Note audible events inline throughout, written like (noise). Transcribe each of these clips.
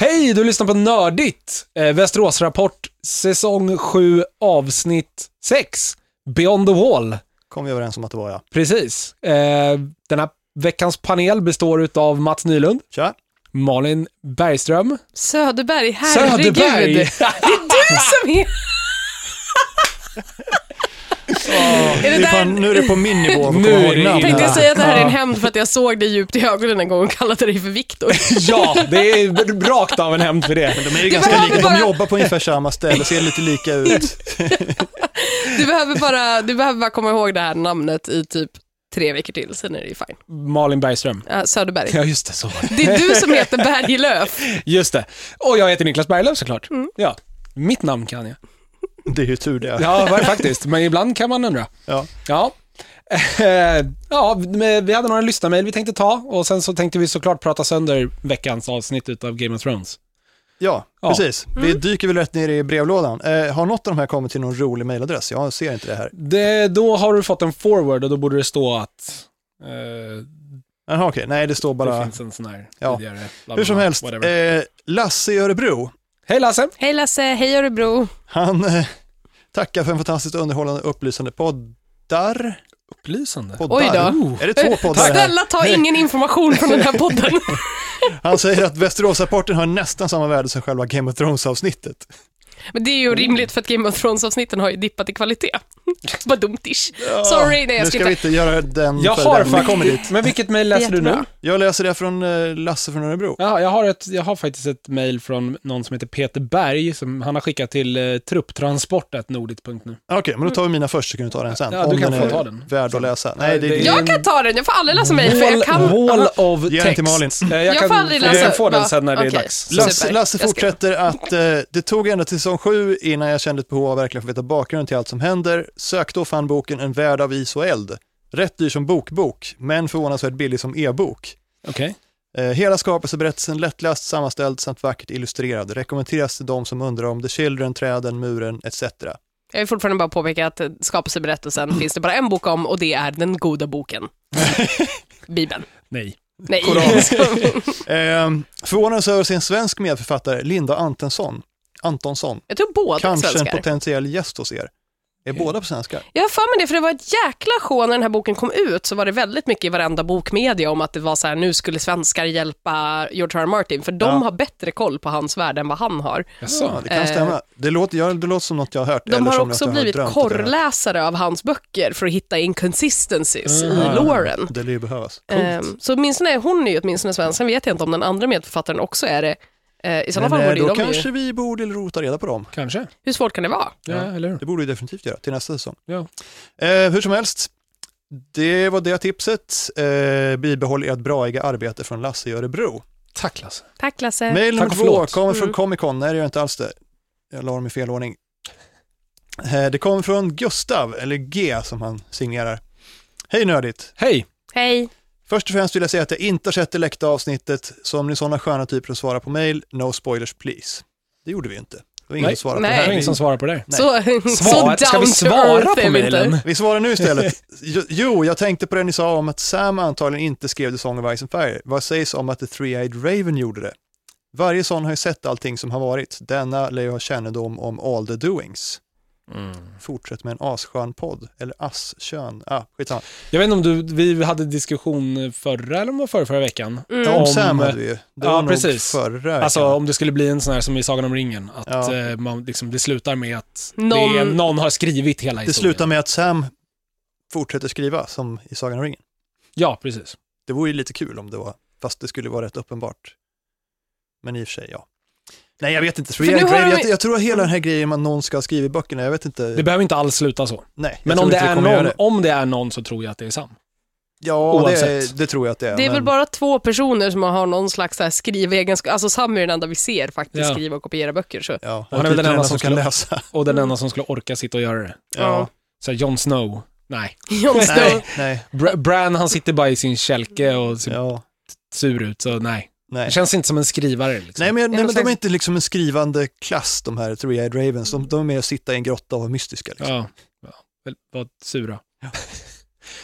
Hej, du lyssnar på Nördigt! Eh, Västerås Rapport, säsong 7, avsnitt 6. Beyond the Wall. Kom vi överens om att det var ja. Precis. Eh, den här veckans panel består av Mats Nylund, Tja! Malin Bergström, Söderberg, herregud. Det är du som är... Är det Det är fan, där- nu är det på min nivå att Nu komma är ihåg det namn. inne. Tänkte jag här. säga att det här är en hämnd för att jag såg dig djupt i ögonen en gång och kallade dig för Viktor. ja, det är rakt av en hämnd för det. De är ju Det ganska var lika, bara- de Mm. jobbar på ungefär samma ställe, ser lite lika ut. Du behöver bara, du behöver bara komma ihåg det här namnet i typ tre veckor till, sen är det ju fine. Malin Bergström. Ja, Söderberg. Ja, just det. Så var det. Det är du som heter Berglöf. Just det. Och jag heter Niklas Berglöf såklart. Ja, mitt namn kan jag. Det är ju tur det. Ja, var- faktiskt. Men ibland kan man undra. Ja. Ja. (laughs) Eh, ja, men vi hade några lyssnarmail vi tänkte ta och sen så tänkte vi såklart prata sönder veckans avsnitt utav Game of Thrones. Ja, Ja. precis. Vi Mm. dyker väl rätt ner i brevlådan. Eh, har något av de här kommit till någon rolig mejladress? Jag ser inte det här. Det, då har du fått en forward och då borde det stå att eh, Jaha, okej. Nej, det det står bara... finns en sån här Ja. tidigare. bla, bla, Hur som bla, helst, whatever. eh, Lasse i Örebro, Hej Lasse! Hej Lasse, hej Örebro. han eh, tackar för en fantastiskt underhållande och upplysande poddar. Upplysande. poddar. Oj då. Oh. Är det två poddar här? Snälla ta ingen information från den här podden. Han säger att Västeråsrapporten har nästan samma värde som själva Game of Thrones-avsnittet. Men det är ju rimligt för att Game of Thrones-avsnitten har ju dippat i kvalitet. Vad dumt ish. Sorry, nej nu jag ska vi skrattar. inte göra den Jag för har den. Vi kommer dit. faktiskt... Men vilket mail läser du nu? Jättebra. Jag läser det från eh, Lasse från Örebro. Ja, jag, har ett, jag har faktiskt ett mejl från någon som heter Peter Berg, som han har skickat till eh, trupptransport.nordigt.nu. Ah, Okej, men då tar vi mina först så kan du ta den sen. Ja, du Om kan den få är ta den. värd att läsa. Nej, det, det är- jag, Jag kan ta den, jag får aldrig läsa mejl för jag kan... Wall of Ge den text. till Malin. Eh, Jag, Jag kan, får aldrig jag läsa, kan få den va? sen när det är Okej. dags. Lasse- Lasse, Super. Lasse Jag ska- fortsätter att eh, det tog ända till säsong sju innan jag kände ett behov av att verkligen få veta bakgrunden till allt som händer. Sökte och fann boken En värld av is och eld. Rätt dyr som bokbok, men förvånansvärt billig som e-bok. Okej. Eh, hela skapelseberättelsen lättläst, sammanställd samt vackert illustrerad. Rekommenderas till de som undrar om The Children, Träden, Muren etc. Jag vill fortfarande bara påpeka att eh, skapelseberättelsen (clears throat) finns det bara en bok om och det är den (laughs) goda boken. Bibeln. Nej. Nej. Koran. (laughs) Eh, förvånades över sin svensk medförfattare Linda Antonsson. Antonsson. Jag tror båda Kanske en svenskar. potentiell gäst hos er. Är båda på svenska? Jag har för mig det, för det var ett jäkla show när den här boken kom ut, så var det väldigt mycket i varenda bokmedia om att det var så här, nu skulle svenskar hjälpa George R. R. Martin, för de Ja. har bättre koll på hans värld än vad han har. Ja, Jaså? det kan Eh, stämma. Det låter, jag, det låter som något jag har hört. De eller har som något också jag blivit drömt att jag har hört. korrläsare av hans böcker för att hitta inconsistencies Mm. i loren. Det lär ju behövas. Ehm, så åtminstone är hon är ju åtminstone svensk, sen vet jag inte om den andra medförfattaren också är det. Eh, I sådana Men fall eh, borde ju då de kanske ju... vi borde rota reda på dem. Kanske. Hur svårt kan det vara? Ja, Ja. eller hur? Det borde vi definitivt göra till nästa säsong. Ja. Eh, hur som helst, det var det tipset. Eh, bibehåll ert braiga arbete från Lasse i Örebro. Tack Lasse. Tack Lasse. Mail Tack nummer och två förlåt. kommer från Mm. Comic Con. Nej, det gör inte alls det. Jag la dem i fel ordning. Eh, Det kommer från Gustav, eller G som han signerar. Hej Nördigt! Hej! Hej. Först och främst vill jag säga att jag inte har sett det läckta avsnittet, så om ni är sådana sköna typer att svara på mail, no spoilers please. Det gjorde vi inte. Det var ingen Nej. som svarade Det Nej. på det är här. ingen som Vi, svarar på det. Nej. Så, Svar. (laughs) så Ska vi down to svara earth på är vi mejlen? inte. vi svarar (laughs) nu istället. Jo- Jo, jag tänkte på det ni sa om att Sam antagligen inte skrev The Song of Ice and Fire. Vad sägs om att The Three-Eyed Raven gjorde det? Varje sån har ju sett allting som har varit. Denna lär ju ha kännedom om all the doings. Mm. Fortsätt med en asskön podd, eller asskön, ah, skitsamma. Jag vet inte om du, vi hade diskussion förra eller om det var förra, förra veckan. Mm. Om Om- Sam hade vi ju, det Ja, var nog precis. förra Alltså veckan. om det skulle bli en sån här som i Sagan om ringen, att Ja. eh, man liksom, det slutar med att någon, det är, Någon- någon har skrivit hela Det historien. slutar med att Sam fortsätter skriva som i Sagan om ringen. Ja, precis. Det vore ju lite kul om det var, fast det skulle vara rätt uppenbart. Men i och för sig, ja. Nej, jag vet inte. Three nu Eyed har Raven, de- jag, jag tror hela den här grejen med att någon ska skriva i böckerna, jag vet inte. Det behöver inte alls sluta så. Nej, jag Men tror om det, inte vi är kommer göra någon, om det är någon så tror jag att det är Sam. Ja, det, Oavsett. det tror jag att det är. Det är men väl bara två personer som har någon slags så här skrivegenskap. Alltså Sam är den enda vi ser faktiskt Ja. skriva och kopiera böcker. Så. Ja, han är väl den enda som kan skulle- läsa. Och Mm. den enda som skulle orka sitta och göra det. Ja. Så här, Jon Snow. (laughs) Nej. Jon Snow. Nej, nej, Br- Bran han sitter bara i sin kälke och ser ja, sur ut, så nej. nej. Det känns inte som en skrivare. Liksom. Nej, men, nej, men de slags- är inte liksom en skrivande klass, de här Three-Eyed Ravens. De, de är med att sitta i en grotta och vara mystiska. Liksom. Ja, ja. väl, Vad (laughs) sura.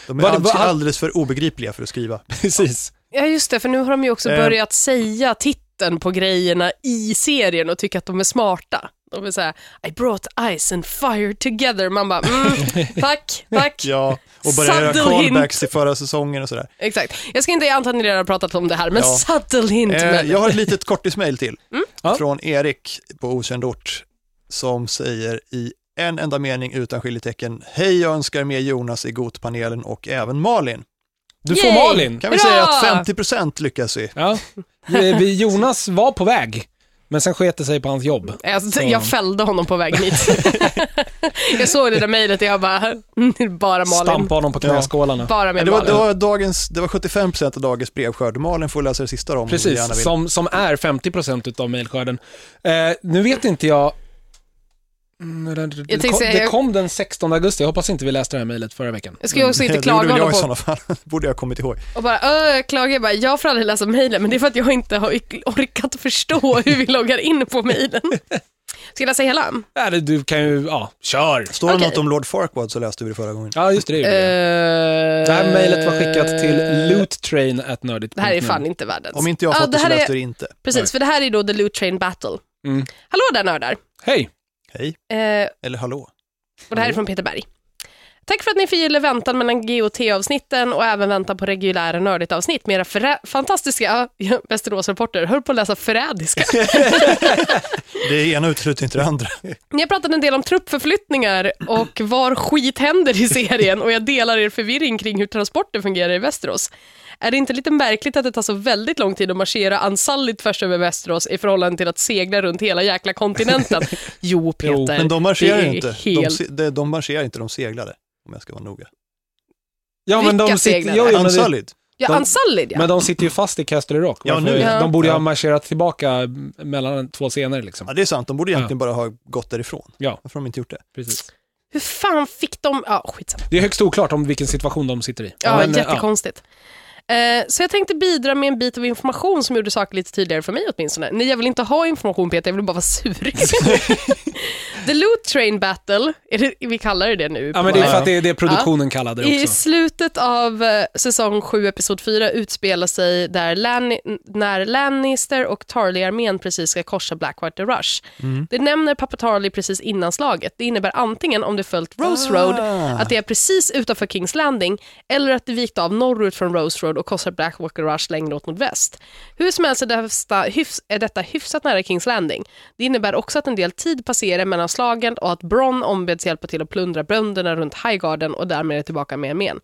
De är Var det- alldeles, var- alldeles för obegripliga för att skriva. Precis. Ja, just det, för nu har de ju också Eh. börjat säga titeln twisten på grejerna i serien och tycker att de är smarta. De är såhär, I brought ice and fire together. Man (laughs) bara, mm, tack, tack. Ja, och börja göra Subtle hint. callbacks till förra säsongen och sådär. Exakt. Jag ska inte, jag antar att ni redan har pratat om det här, men Ja. subtle hint. Eh, men... jag har ett litet kortismail till Mm. Ja. från Erik på okänd ort som säger i en enda mening utan skiljetecken, hej jag önskar med Jonas i Gotpanelen och även Malin. Du får Yay! Malin. Kan vi Hurra! säga att 50% lyckas vi. Ja. Vi, vi, Jonas var på väg, men sen sket det sig på hans jobb. Jag, Eh, alltså, jag fällde honom på väg (laughs) hit. jag såg det där mejlet och jag bara, (laughs) "Mm, bara Malin. Stampa honom på knäskålarna. Bara med Det var, Malin. det, var dagens, det var 75% av dagens brevskörd. Malin får läsa det sista om hon gärna Precis, vill. som, som är 50% utav mejlskörden. Eh, nu vet inte jag... Mm, det- det, tänkte kom, säga- det kom den 16 augusti, jag hoppas inte vi läste det här mejlet förra veckan. Jag skulle (laughs) också Det inte gjorde väl klaga jag honom i på sådana fall. (laughs) borde jag ha kommit ihåg. och bara, "Ö, jag klagar, jag bara, jag får aldrig läsa mejlen, men det är för att jag inte har ork- orkat (laughs) förstå hur vi loggar in på mejlen. Ska jag läsa hela? Ja, det- du kan ju, ja, kör! Står det Okej. något om Lord Farquaad så läste vi det förra gången. Ja, just det, det, gjorde Eh, jag. det här mejlet var skickat till loottrain.nördigt.nu. Det här är fan inte världens. Om inte jag har Ja, fått det, här så läste är, vi det inte. Nej. Precis, för det här är då The Loot Train Battle. Mm. Hallå där nördar. Hej! Hej, Eh, eller hallå. Och det här är från Peter Berg. Tack för att ni förgyller väntan mellan GOT-avsnitten och även väntan på reguljära nördigt avsnitt med era förä- fantastiska ja, Västerås-rapporter. Höll på att läsa förrädiska. Det ena utesluter inte det andra. Ni har pratat en del om truppförflyttningar och var skit händer i serien och jag delar er förvirring kring hur transporter fungerar i Västerås. Är det inte lite märkligt att det tar så väldigt lång tid att marschera ansalligt tvärs över Västerås i förhållande till att segla runt hela jäkla kontinenten? Jo, Peter. Jo, Men de marscherar det är inte. De, Helt... se- de, de marscherar inte, de seglade. Om jag ska vara noga. Ja, men de Vilka sitter, seglare? jo, jo, men, det, Ansalid. Ja, de- ansallig ja. men de sitter ju fast i Castle Rock. Ja, Varför- nu, ja. De borde ju ha Ja. marscherat tillbaka mellan två scener liksom. Ja, det är sant. De borde egentligen bara ha gått därifrån. Ja. Varför har de inte gjort det? Precis. Hur fan fick de... Ja, skitsamma. Det är högst oklart om vilken situation de sitter i. Ja, Men, eh, jättekonstigt. Eh, Så jag tänkte bidra med en bit av information som gjorde saker lite tydligare för mig åtminstone. Nej, jag vill inte ha information Peter, jag vill bara (laughs) vara sur. The Loot Train Battle, är det, vi kallar det det nu. Ja, men det är för Ja. att det är det produktionen kallade det I också. slutet av eh, säsong 7, episod 4 utspelar sig där Lan- när Lannister och Tarly-armén precis ska korsa Blackwater Rush. Mm. Det nämner pappa Tarly precis innan slaget. Det innebär antingen om det följt Rose Road, Ah. att det är precis utanför Kings Landing, eller att det vikt av norrut från Rose Road och korsar Blackwater Rush längre åt nordväst. Hur som helst är detta, hyfs, är detta hyfsat nära Kings Landing. Det innebär också att en del tid passerar mellan slagen och att Bronn ombeds hjälpa till att plundra bönderna runt Highgarden och därmed är tillbaka med armén.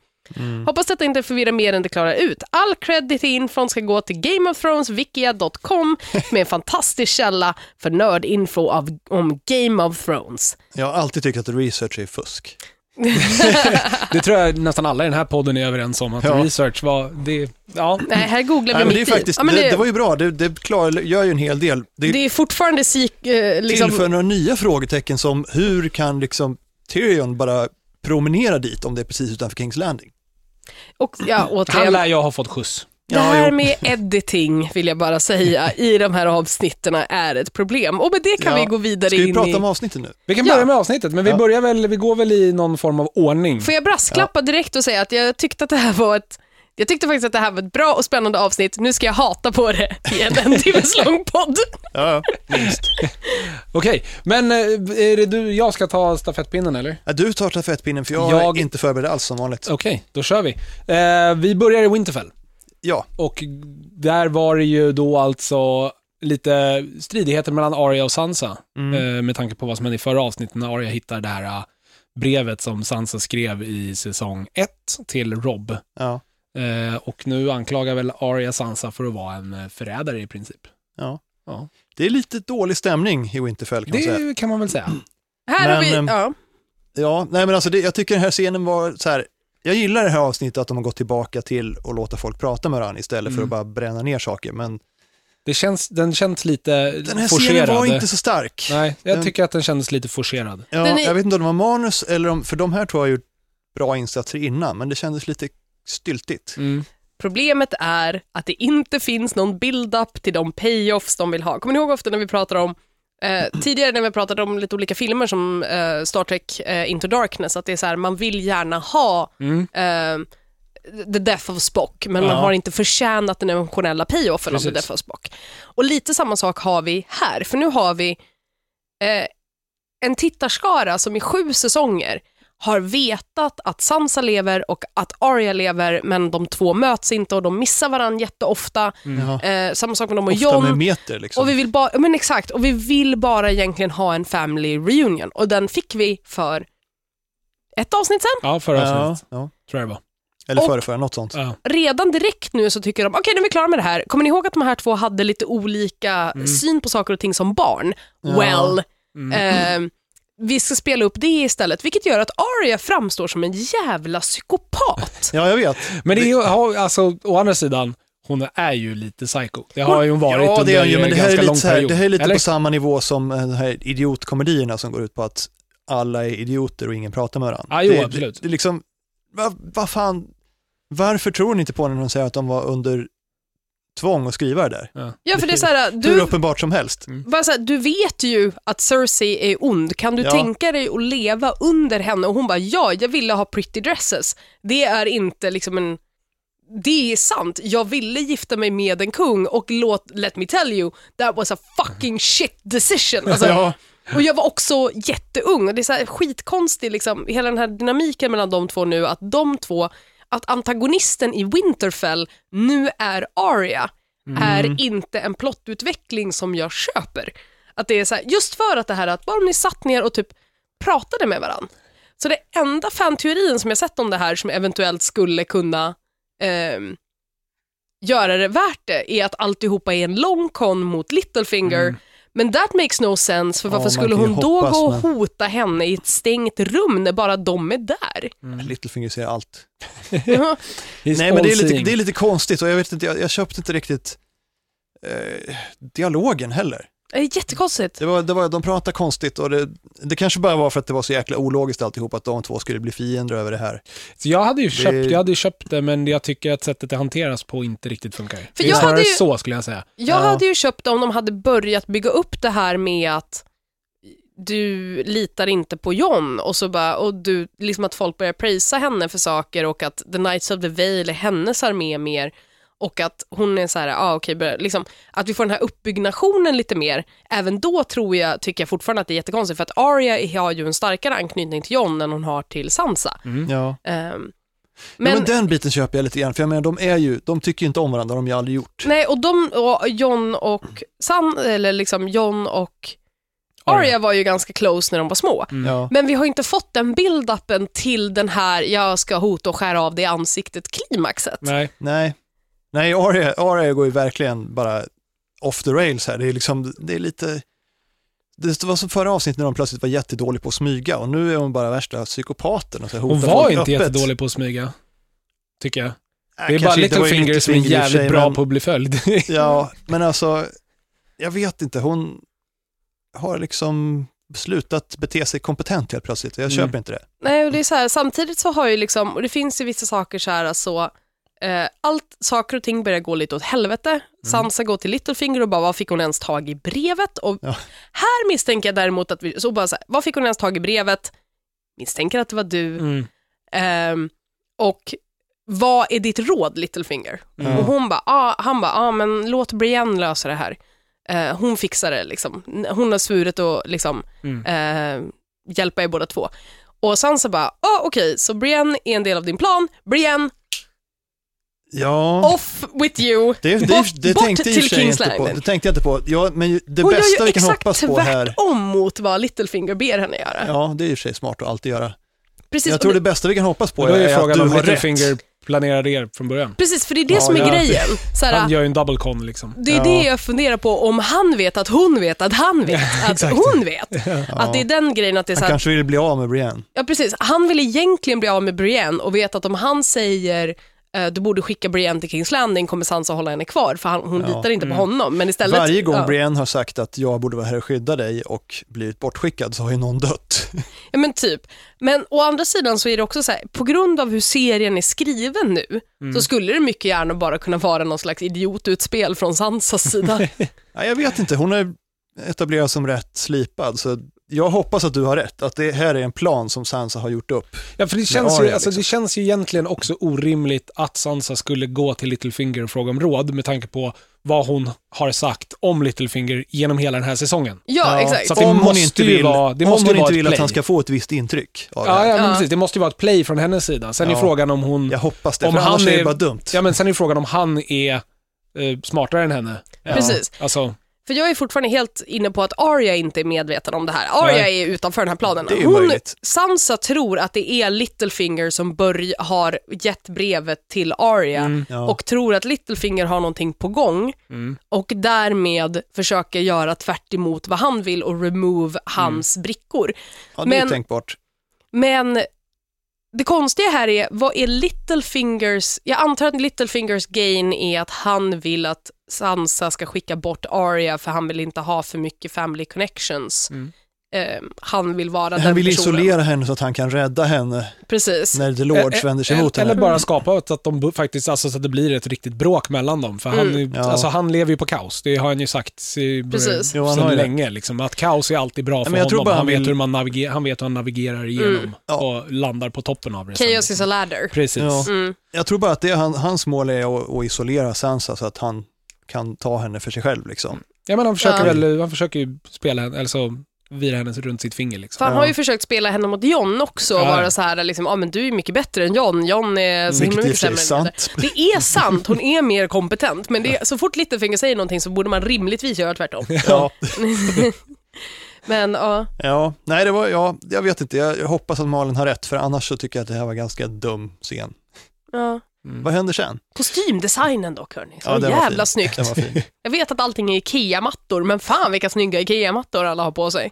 Hoppas detta inte förvirrar mer än det klarar ut. All credit i infon ska gå till gameofthroneswikia.com med en fantastisk källa för nördinfo av, om Game of Thrones. Jag har alltid tyckt att research är fusk. Det tror jag nästan alla i den här podden är överens om, att Ja. research var, det, ja. Nej, här googlar vi Nej, men det, är mitt i. faktiskt, Ja, men det, det var ju bra. Det, det klar, gör ju en hel del. Det, det är fortfarande sik, eh, liksom, tillför några nya frågetecken som hur kan liksom Tyrion bara promenera dit om det är precis utanför Kings Landing? och, ja, Han återigen, lär jag ha fått skjuts. det här jo. med editing vill jag bara säga i de här avsnitten är ett problem. Och med det kan Ja. vi gå vidare Ska in vi prata i... om avsnittet nu? Vi kan Ja. börja med avsnittet, men vi, Ja. börjar väl, vi går väl i någon form av ordning. Får jag brasklappa direkt och säga att jag tyckte att det här var ett jag tyckte faktiskt att det här var ett bra och spännande avsnitt. Nu ska jag hata på det i en en timmes lång podd. Ja, minst. Okej, men eh, är det du, jag ska ta stafettpinnen eller? Ja, du tar stafettpinnen för jag, Jag- är inte förberedd alls som vanligt. Okej, då kör vi. Eh, vi börjar i Winterfell. Ja, Och där var det ju då alltså lite stridigheter mellan Arya och Sansa. Mm. Eh, med tanke på vad som hände i förra avsnittet när Arya hittar det här eh, brevet som Sansa skrev i säsong 1 till Rob. ja, Eh, och nu anklagar väl Arya Sansa för att vara en eh, förrädare i princip. ja. Ja. Det är lite dålig stämning i Winterfell kan man säga. Det kan man väl säga. Här har Men, vi... ehm, Ja. Ja, nej men alltså det, jag tycker den här scenen var så här, jag gillar det här avsnittet att de har gått tillbaka till och låta folk prata med varandra istället för Mm. att bara bränna ner saker. Men Det känns, den känns lite den här forcerad. scenen var inte så stark. Nej, jag Den- tycker att den kändes lite forcerad. Ja, Den är- Jag vet inte om det var manus eller om, för de här två har gjort bra insatser innan, men det kändes lite styltigt. Mm, Problemet är att det inte finns någon build-up till de payoffs de vill ha. Kommer ni ihåg ofta när vi pratar om Eh, tidigare när vi pratade om lite olika filmer som eh, Star Trek eh, Into Darkness, att det är så här, man vill gärna ha Mm. eh, The Death of Spock, men man Ja. har inte förtjänat den emotionella payoffen av The Precis. Death of Spock. Och lite samma sak har vi här, för nu har vi eh, en tittarskara som i sju säsonger har vetat att Sansa lever och att Arya lever, men de två möts inte och de missar varandra jätteofta. Mm. Jaha. Eh, samma sak med dem och Mm. Ofta Jon. med meter liksom. Och vi vill bara, men exakt, och vi vill bara egentligen ha en family reunion och den fick vi för ett avsnitt sen. Ja, förra ja, avsnittet ja. tror jag det var. Eller Och- förra, förra, något sånt. Ja. Redan direkt nu så tycker de, okej nu är vi klara med det här. Kommer ni ihåg att de här två hade lite olika syn på saker och ting som barn? Mm. Ja. Well, Mm. ehm, vi ska spela upp det istället, vilket gör att Arya framstår som en jävla psykopat. Ja, jag vet. Men det är, ju- har- alltså, å andra sidan, hon är ju lite psycho. Det har ju hon varit ja, det under är ju, men en det här är ganska lite, lång så här, period. det här är lite Eller? på samma nivå som eh, de här idiotkomedierna som går ut på att alla är idioter och ingen pratar med varandra. Ja, jo, det, absolut. Det, det är liksom, vad va fan, varför tror ni inte på när de säger att de var under tvång att skriva det där? Ja, för det är så här, Hur du, uppenbart som helst. Mm. bara så här, du vet ju att Cersei är ond, kan du Ja. tänka dig att leva under henne? Och hon bara, ja, jag ville ha pretty dresses. Det är inte liksom en... Det är sant, jag ville gifta mig med en kung och låt, let me tell you, that was a fucking shit decision. Alltså, Ja. Och jag var också jätteung och det är så här skitkonstigt, liksom, hela den här dynamiken mellan de två nu, att de två, att antagonisten i Winterfell nu är Arya, är inte en plottutveckling som jag köper. Att det är så här, just för att det här att bara om ni satt ner och typ pratade med varandra. Så det enda fanteorin som jag sett om det här som eventuellt skulle kunna ehm, göra det värt det är att alltihopa är en lång kon mot Littlefinger. Men that makes no sense, för Mm. Ja, varför man skulle kan ju hon då hoppas, gå och men- hota henne i ett stängt rum när bara de (laughs) är där? Littlefinger Mm. säger allt. He's Nej, men det är, lite, all-seeing. det är lite konstigt och jag vet inte, jag, jag köpte inte riktigt eh, dialogen heller. Det är jättekonstigt. Det var, det var, de pratade konstigt och det, det kanske bara var för att det var så jäkla ologiskt alltihop att de två skulle bli fiender över det här. Så jag hade ju köpt Det- det, jag hade ju köpt det men jag tycker att sättet det hanteras på inte riktigt funkar. det är jag snarare hade ju- så skulle jag säga. Jag Ja. hade ju köpt det om de hade börjat bygga upp det här med att du litar inte på John och så bara, och du, liksom att folk börjar prisa henne för saker och att The Knights of the Vale är hennes armé mer och att hon är så här, ah, okej, börja- liksom, att vi får den här uppbyggnationen lite mer. Även då tror jag, tycker jag fortfarande att det är jättekonstigt för att Arya har ju en starkare anknytning till John än hon har till Sansa. Ja. Ehm, Men, ja, men den biten köper jag lite grann, för jag menar de är ju, de tycker ju inte om varandra, de har ju aldrig gjort. Nej, och de, och John och San, eller liksom John och Arya var ju ganska close när de var små. Ja. Men vi har inte fått den build-upen till den här jag ska hota och skära av dig i ansiktet klimaxet. Nej. Nej, nej Arya, Arya går ju verkligen bara off the rails här. Det är liksom, det är lite, det var som förra avsnittet när de plötsligt var jättedålig på att smyga och nu är hon bara värsta psykopaten. Och så hotar Hon var folk inte öppet. jättedålig på att smyga. Tycker jag. Nej, Det är bara kanske inte, det var ju Littlefinger som är Littlefinger i och för jävligt sig, bra men- på att bli (laughs) följd. Ja, men alltså, jag vet inte, hon har liksom slutat bete sig kompetent helt plötsligt och jag Mm. köper inte det. Nej, och det är så här, samtidigt så har ju liksom, och det finns ju vissa saker så här så, eh, allt, saker och ting börjar gå lite åt helvete. Sansa går till Littlefinger och bara, vad fick hon ens tag i brevet? Och Ja. här misstänker jag däremot att vi, så bara så här, vad fick hon ens tag i brevet? Misstänker att det var du. Mm. Ehm, och vad är ditt råd Littlefinger? Mm. Och hon bara, ah, han bara, ah, men låt Brienne lösa det här. Eh, hon fixar det liksom. N- Hon har svurit att liksom, Mm. eh, hjälpa er båda två. Och Sansa bara, ah, okej, så Brienne är en del av din plan. Brienne, Ja, off with you. det, det, bort- det bort tänkte jag i och till för sig King's inte på. Landing. Det tänkte jag inte på. Ja, men ju- det Hon bästa gör ju vi kan exakt hoppas på här, tvärtom mot vad Littlefinger ber henne göra. ja det är i och för sig smart att alltid göra. Precis, Jag och tror det- det bästa vi kan hoppas Och på då är är, ju att frågan du om har Littlefinger rätt. planerade er från början. precis, för det är det Ja, som är ja. grejen. Så här, Han gör ju en double con liksom. Det är Ja. det jag funderar på, om han vet att hon vet att (laughs) han vet att exakt. hon vet. Att det är den grejen att det är så Han här, kanske vill bli av med Brienne. ja precis, han vill egentligen bli av med Brienne och vet att om han säger eh, du borde skicka Brienne till Kings Landing kommer Sansa hålla henne kvar för han, hon Ja. Mm. litar inte på honom. Men istället, Varje gång ja. Brienne har sagt att jag borde vara här och skydda dig och blivit bortskickad så har ju någon dött. (laughs) Ja men typ. Men å andra sidan så är det också så här, på grund av hur serien är skriven nu, Mm. så skulle det mycket gärna bara kunna vara någon slags (laughs) idiotutspel från Sansas sida. Ja, jag vet inte, hon är etablerad som rätt slipad så jag hoppas att du har rätt, att det här är en plan som Sansa har gjort upp. Ja, för det känns, ju, Arya, alltså, liksom. det känns ju egentligen också orimligt att Sansa skulle gå till Littlefinger och fråga om råd med tanke på vad hon har sagt om Littlefinger genom hela den här säsongen. Ja, exakt. så att det om hon måste inte ju vill, vara- det om måste ju hon vara inte ett vill play. att han ska få ett visst intryck av det Ja, här. ja, men Ja. precis. Det måste ju vara ett play från hennes sida. Sen är Ja. frågan om hon... Jag hoppas det, Om för han annars är är- det bara dumt. Ja, men sen är frågan om han är eh, smartare än henne. Ja. Precis. Alltså, För jag är fortfarande helt inne på att Arya inte är medveten om det här. Arya Nej. är utanför den här planen. Det är ju Hon, möjligt. Sansa tror att det är Littlefinger som börj- har gett brevet till Arya Mm. Ja. och tror att Littlefinger har någonting på gång mm. och därmed försöker göra tvärt emot vad han vill och Mm. remove hans brickor. ja, det är men- tänkbart. Men det konstiga här är, vad är Littlefingers, jag antar att Littlefingers gain är att han vill att Sansa ska skicka bort Arya för han vill inte ha för mycket family connections. Mm. Eh, han vill vara den Han vill personen. isolera henne så att han kan rädda henne Precis. när The Lords vänder sig mot Eh, Eller henne. bara skapa ett- att, de bu- faktiskt, alltså, så att det blir ett riktigt bråk mellan dem. För han, Mm. är- Ja. alltså, han lever ju på kaos, det har han ju sagt i- Precis. Jo, han har sedan ju det. länge. Liksom, att kaos är alltid bra för men jag honom. tror bara han, han vet vill- hur man navigerar, han vet hur han navigerar igenom Ja. och landar på toppen av det. sen, Mm. Chaos liksom. is a ladder. Precis. Ja. Mm. Jag tror bara att det, är han, hans mål är att, att isolera Sansa så att han kan ta henne för sig själv. Mm. Liksom. Ja, men han försöker Ja. väl, han försöker ju spela henne, eller så vira henne runt sitt finger liksom. För han har ju försökt spela henne mot John också och Ja, ja. vara så här, liksom, ah, men du är mycket bättre än John, John Alltså, är så himla Vilket i och mycket för sig är sämre än dig. sant. Det är sant, hon är mer kompetent, men det är, så fort Littlefinger säger någonting så borde man rimligtvis (laughs) göra tvärtom. Ja, Men ja, ja. Nej, det var, ja, jag vet inte, jag, jag hoppas att Malin har rätt för annars så tycker jag att det här var ganska dum scen. ja. Vad händer sen? Kostymdesignen dock hörni, så Ja, den var jävla fin. snyggt. Den var (laughs) fin. Jag vet att allting är IKEA-mattor, men fan vilka snygga IKEA-mattor alla har på sig.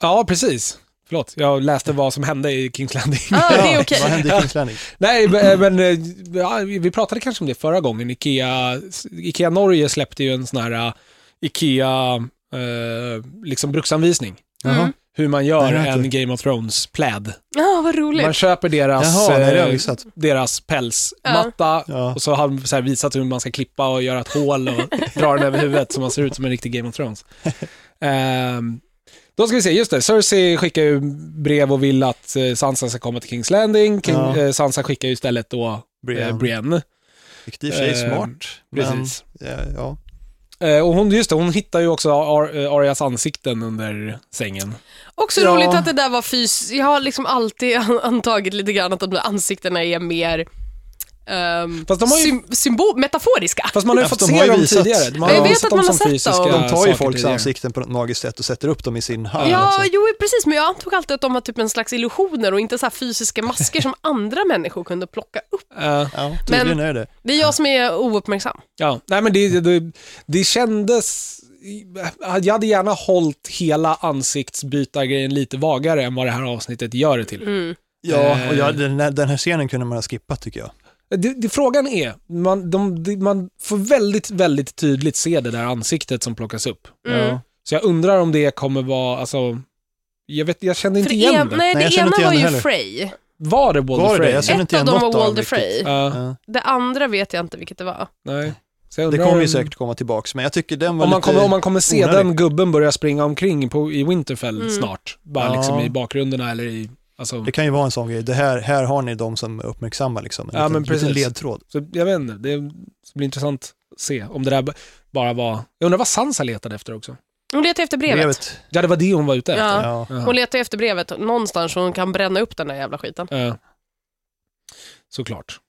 Ja, precis. Förlåt, jag läste vad som hände i Kings Landing. Ah, det är Ja, okej. Vad hände i Kings Landing? Nej, men men, eh, ja, vi vi pratade kanske om det förra gången. Ikea, Ikea Norge släppte ju en sån här eh, Ikea eh, liksom bruksanvisning. Mm. Jaha. Hur man Nej, gör det har jag en Game of Thrones-pläd. Ja, vad roligt. Man köper deras, Jaha, nej, det har jag eh, missat. deras pälsmatta Ja. och så har de så här visat hur man ska klippa och göra ett hål och dra den över huvudet så man ser ut som en riktig Game of Thrones. Ehm, då ska vi se, just det, Cersei skickar ju brev och vill att eh, Sansa ska komma till Kings Landing. King, Ja. eh, Sansa skickar ju istället då Brienne. eh, Brienne. Vilket i och för sig är Eh, smart. Precis. Men, ja, ja. Eh, och hon, just det, hon hittar ju också Ar- eh, Arias ansikten under sängen. Också Ja. roligt att det där var fys... Jag har liksom alltid (laughs) an- antagit lite grann att de där ansiktena är mer ehm, Fast de har ju- sym- symbol- metaforiska. Fast man har ju Ja, fått de se har ju dem visat- tidigare. Man Ja, jag ju vet sett att dem man har som sett fysiska dem. De tar ju saker folks tidigare. ansikten på något magiskt sätt och sätter upp dem i sin hand. (laughs) Ja, alltså. jo precis, men jag antog alltid att de var typ en slags illusioner och inte så här fysiska masker som andra människor kunde plocka upp. Eh, ja tydligen är det Det är jag som är ouppmärksam. Ja, nej men det, det, det kändes... Jag hade gärna hållit hela ansiktsbytargrejen lite vagare än vad det här avsnittet gör det till. Mm. Ja, och Eh. jag, den, här- den här scenen kunde man ha skippat tycker jag. Det, det, frågan är, man, de, det- man får väldigt, väldigt tydligt se det där ansiktet som plockas upp. Mm. Ja. Så jag undrar om det kommer vara, alltså, jag, vet, jag kände inte För igen en, det. nej, Nej, jag det känner inte ena igen var det ju heller. Frey. Var det Walder Var det det? Frey? Jag känner Ett inte igen av dem något var av dem Walder riktigt. Frey. Ja, Ja. Det andra vet jag inte vilket det var. nej. Så jag Det undrar kommer ju om- säkert komma tillbaks, men jag tycker den var Om man, lite... kommer, om man kommer se onödig. den gubben börja springa omkring på, i Winterfell Mm. snart, bara Ja. liksom i bakgrunderna eller i... Alltså, Det kan ju vara en sån grej, det här, här har ni de som uppmärksammar liksom, en Ja, liten, men liten precis. ledtråd. Så jag vet inte, det blir intressant att se om det där b- bara var... Jag undrar vad Sansa letade efter också? Hon letar efter brevet. Ja, det var det hon var ute efter. Ja. Ja. Jaha. Hon letar efter brevet någonstans så hon kan bränna upp den där jävla skiten. Eh, såklart.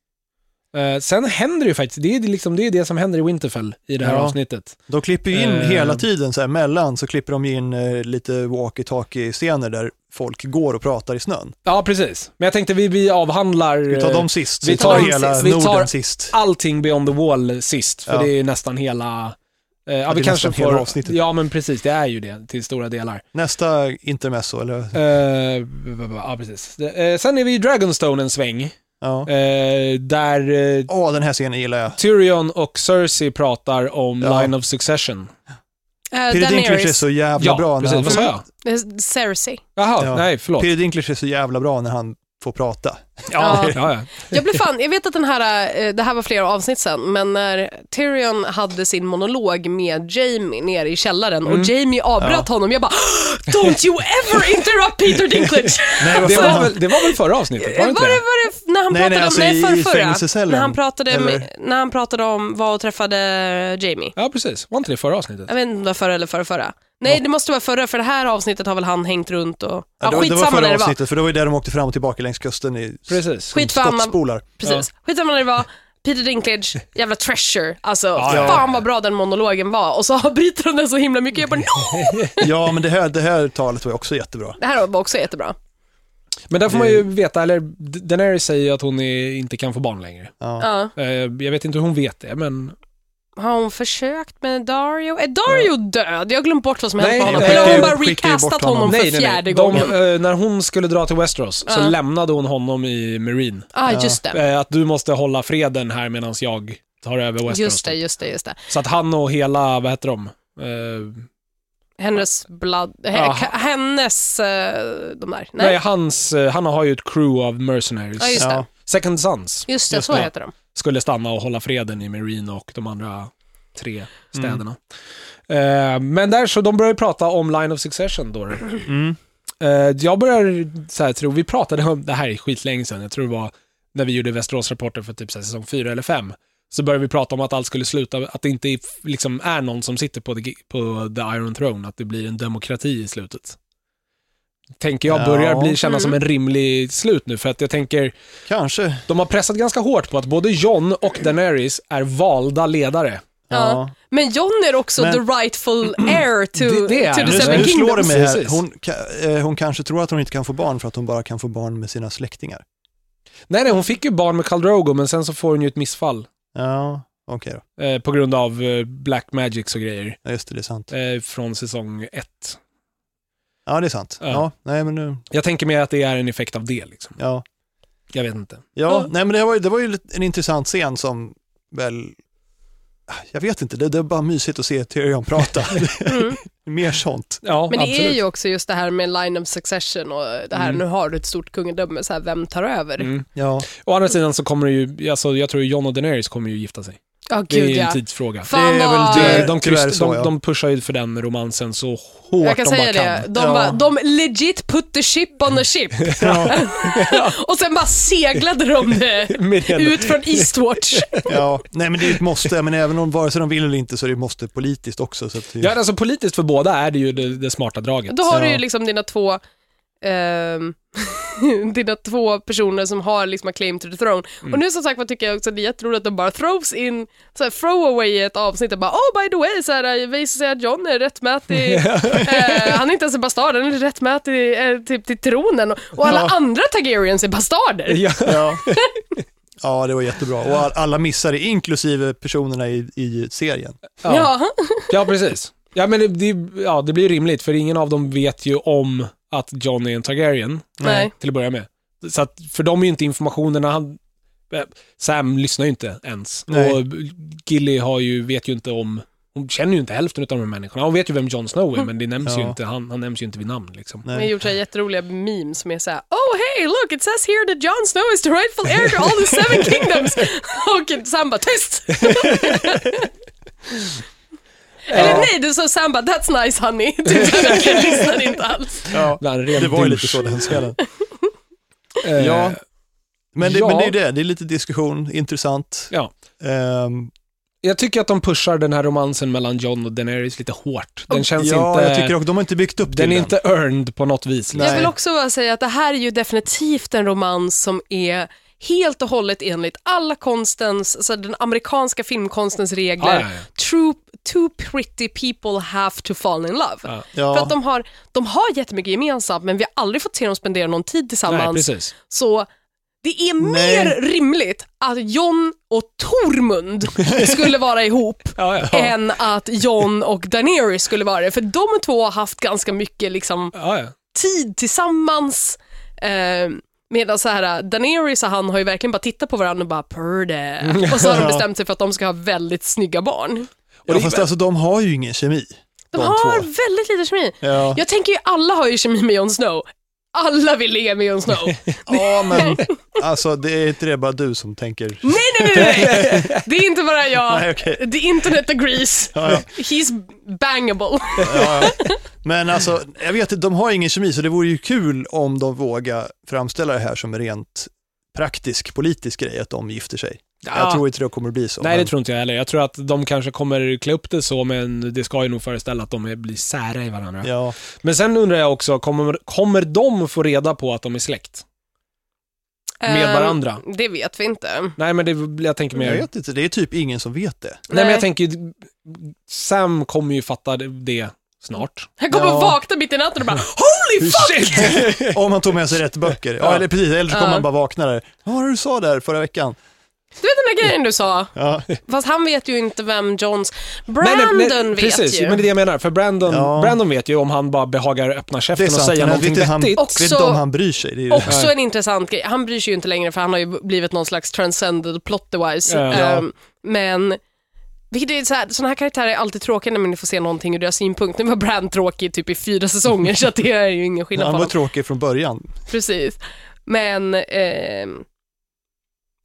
Eh, sen händer det ju faktiskt, det är, det liksom, det är det som händer i Winterfell i det här Ja. avsnittet. De klipper ju in Eh. hela tiden, så här, mellan så klipper de ju in eh, lite walkie-talkie-scener där folk går och pratar i snön. Ja, precis. Men jag tänkte vi, vi avhandlar Vi tar eh, dem sist, så vi vi tar, tar- hela vi tar- Norden sist. allting beyond the wall sist, för Ja. det är nästan hela... eh, ja, vi är kanske nästan hela får... avsnittet. Ja, men precis, det är ju det till stora delar. Nästa intermezzo, eller? Eh, ja, precis. Eh, sen är vi i Dragonstone en sväng, Ja. eh, där eh, Åh, den här scenen gillar jag. Tyrion och Cersei pratar om Ja. Line of Succession. Uh, Peter Dinklage är Daenerys, så jävla bra. precis. han, Vad sa jag? Eh, Cersei. Jaha, Ja. nej, förlåt. Peter Dinklage är så jävla bra när han få prata. Ja, ja, ja. Jag blev fan, jag vet att den här, eh, det här var flera avsnitt sen, men när Tyrion hade sin monolog med Jamie nere i källaren Mm. och Jamie avbröt honom, jag bara “Don't you ever interrupt Peter (laughs) Dinklage!” Eh, Nej, vad Det fan. var, väl, det var väl förra avsnittet? Var det inte Var det, det? var det när han Nej, pratade nej, alltså om, nej i- i förrförra, fängelsecellen, när han pratade, med, eller? när han pratade om vad och träffade Jamie. Ja, precis. Var inte det förra avsnittet? Jag vet inte om det var förra eller förra, förra. Nej, det måste vara förra, för det här avsnittet har väl han hängt runt och... Ja, det, var, det var skitsamma när förra det var. avsnittet, för det var ju där de åkte fram och tillbaka längs kusten i Precis. Skitsamma, skottspolar. precis. Skitsamma när det var. Peter Dinklage, jävla treasure. Alltså, ja. fan vad bra den monologen var. Och så avbryter de den så himla mycket. Jag bara, no! Ja, men det här, det här talet var ju också jättebra. Det här var också jättebra. Men där får man ju veta, eller D- Daenerys säger ju att hon är, inte kan få barn längre. Ja. Ja. Eh, Jag vet inte hur hon vet det, men... Har hon försökt med Dario? Är Dario död? Jag har glömt bort vad som hände Nej, med honom. de Eller har skickar hon ju- bara skickar ju bort recastat honom honom. för fjärde De, gången? eh, när hon skulle dra till Westeros så Ja. lämnade hon honom i Marine. Ah, just det. Eh, Att du måste hålla freden här medan jag tar över Westeros. Just det, just det, just det. Så att han och hela, vad heter de? Eh, Hennes blad... Ja. he- Hennes... eh, De där. nej, Nej, hans, eh, han har ju ett crew av mercenaries. Ja, just det. Ja. Second Sons just det, just så det. heter de. skulle stanna och hålla freden i Marine och de andra tre Mm. städerna. Eh, men där så, de börjar ju prata om Line of Succession då. Mm. Eh, jag börjar så här, tro, vi pratade om, det här är skitlänge sedan, jag tror det var när vi gjorde Västerås-rapporten för typ så här, säsong fyra eller fem. så började vi prata om att allt skulle sluta, att det inte är- liksom, är någon som sitter på the, på the Iron Throne, att det blir en demokrati i slutet. Tänker jag börjar Ja. bli kännas som en rimlig slut nu, för att jag tänker, Kanske. Ja. de har pressat ganska hårt på att både John och Daenerys är valda ledare. Ja. Men John är också Men- the (clears throat) rightful heir to, Det- det är to han. Nu, the Just Seven nu slår det Kingdoms. mig här. Precis. Hon, ka- eh, hon kanske tror att hon inte kan få barn för att hon bara kan få barn med sina släktingar. Nej, nej, hon fick ju barn med Khal Drogo, men sen så får hon ju ett missfall Ja, okej då. eh, på grund av eh, black magics och grejer. Ja, just det, det är sant. eh, från säsong ett. Ja, det är sant. Ja. Ja, nej men nu, Jag tänker mig att det är en effekt av det. Liksom. ja. Jag vet inte. Ja, Ja. nej men det var ju, det var ju lite- en intressant scen som väl, jag vet inte, det, det är bara mysigt att se Tyrion prata. Mm. (laughs) Mer sånt. Ja, Men det absolut. är ju också just det här med line of succession och det här, nu har du ett stort kungadöme, så här, vem tar över? Ja, Mm. Ja, Å andra sidan så kommer det ju, alltså, jag tror ju John och Daenerys kommer ju gifta sig. Det är gud ju en ja. tidsfråga. Fan Det är väl vad... De, det- de, tyvärr kryst- så, de, ja. de pushar ju för den romansen så hårt Jag kan de bara säga det, kan. de, Ja. bara, de legit put the ship on (laughs) the ship. och sen bara seglade de det Med den- ut från (laughs) Eastwatch. (laughs) ja. Nej men det är ju ett måste, men även om vare sig de vill eller inte så är det ett måste politiskt också. Så att det, Ja, alltså politiskt för båda är det ju det, det smarta (laughs) draget. Då har du ju Ja. liksom dina två ehm, (laughs) dina två personer som har liksom a claim to the throne. Och nu som sagt vad tycker jag också att det är jätteroligt att de bara throws in, så här, throw away i ett avsnitt och bara oh by the way, så här, eh, visar sig att John är rättmätig, eh, han är inte ens en bastard, han är rättmätig eh, typ till tronen och, och alla Ja. andra Targaryens är bastarder. Ja. Ja. ja, det var jättebra. Och all- alla missar det, inklusive personerna i, i serien. Ja. Ja. ja, precis. Ja, men det, det, ja, det blir ju rimligt, för ingen av dem vet ju om att John är en Targaryen. Nej. till att börja med. Så att, för de är ju inte informationen när han... eh, Sam lyssnar ju inte ens. Nej. Och Gilly har ju, vet ju inte om... Hon känner ju inte hälften av de här människorna. Hon vet ju vem Jon Snow är, men det nämns ju Mm. Ja. inte. Han, han nämns ju inte vid namn liksom. De har Nej. gjort så här jätteroliga memes som är såhär Oh hey look it says here that Jon Snow is the rightful heir to all the seven kingdoms och Sam bara tyst! Eller nej, du sa Sam bara that's nice honey. (laughs) Du lyssnade inte alls. Ja. Bland ren Det var douche. ju lite så den scenen. Eh, Ja. Men det, Ja. men det är ju det, det är lite diskussion, intressant. ja. Ehm, Jag tycker att de pushar den här romansen mellan John och Daenerys lite hårt. Den känns ja, inte... jag tycker också, de har inte byggt upp den till är inte earned på något vis. Nej. Liksom. Jag vill också bara säga att det här är ju definitivt en romans som är helt och hållet enligt alla konstens, alltså den amerikanska filmkonstens regler. Ja, ja, ja. True, two pretty people have to fall in love. Ja. Ja. För att de har, de har jättemycket gemensamt men vi har aldrig fått se dem spendera någon tid Nej, tillsammans. precis. så det är Nej. mer rimligt att John och (laughs) Tormund skulle vara ihop Ja, ja. än att John och Daenerys skulle vara det. För de två har haft ganska mycket liksom, Ja, ja. tid tillsammans. Eh, Medan så här, Daenerys och han har ju verkligen bara tittat på varandra och bara (laughs) purde. Och så har de Ja. bestämt sig för att de ska ha väldigt snygga barn. Ja, fast alltså de har ju ingen kemi. De De har två. väldigt lite kemi. Ja. Jag tänker ju alla har ju kemi med Jon Snow. Alla vill ligga med Jon Snow. Ja, (laughs) men alltså det är inte det bara du som tänker. Mm. nej, nej, nej, (laughs) nej. Det är inte bara jag. Nej, okej. The internet agrees. Ja, ja. He's bangable. Ja, ja. Men alltså, jag vet inte, de har ingen kemi så det vore ju kul om de vågar framställa det här som en rent praktisk politisk grej, att de gifter sig. Jag tror inte det kommer att bli så. Nej, men- det tror inte jag heller. Jag tror att de kanske kommer klä upp det så, men det ska ju nog föreställa att de är- blir sära i varandra. Ja, Men sen undrar jag också, kommer, kommer de få reda på att de är släkt? Med Eh, varandra? Det vet vi inte. Nej, men det, jag tänker mer... jag vet inte, det är typ ingen som vet det. Nej, men Nej. jag tänker ju, Sam kommer ju fatta det- det snart. Han kommer Ja. vakna mitt i natten och bara Holy (laughs) fuck! Om han tog med sig rätt böcker. Ja, Ja. eller precis, eller så kommer Ja. han bara vakna där. Vad var det du sa där förra veckan? Du vet den där grejen du sa? Ja, Fast han vet ju inte vem Johns... Nej, nej, Brandon nej, vet Precis, ju. men det är det jag menar. För Brandon, Ja. Brandon vet ju om han bara behagar öppna det är käften och sant. säga men jag någonting vet inte, han, vettigt. jag vet inte om han bryr sig. Det är ju det. Också en intressant grej. Han bryr sig ju inte längre för han har ju blivit någon slags transcended plot-wise. Ja. Ehm, men vilket är så här, såna här karaktärer är alltid tråkiga när man får se någonting ur deras synpunkt. Nu var Brand tråkig typ i fyra säsonger Mm. så att det är ju ingen skillnad på Han var honom. tråkig från början. Precis. Men ehm,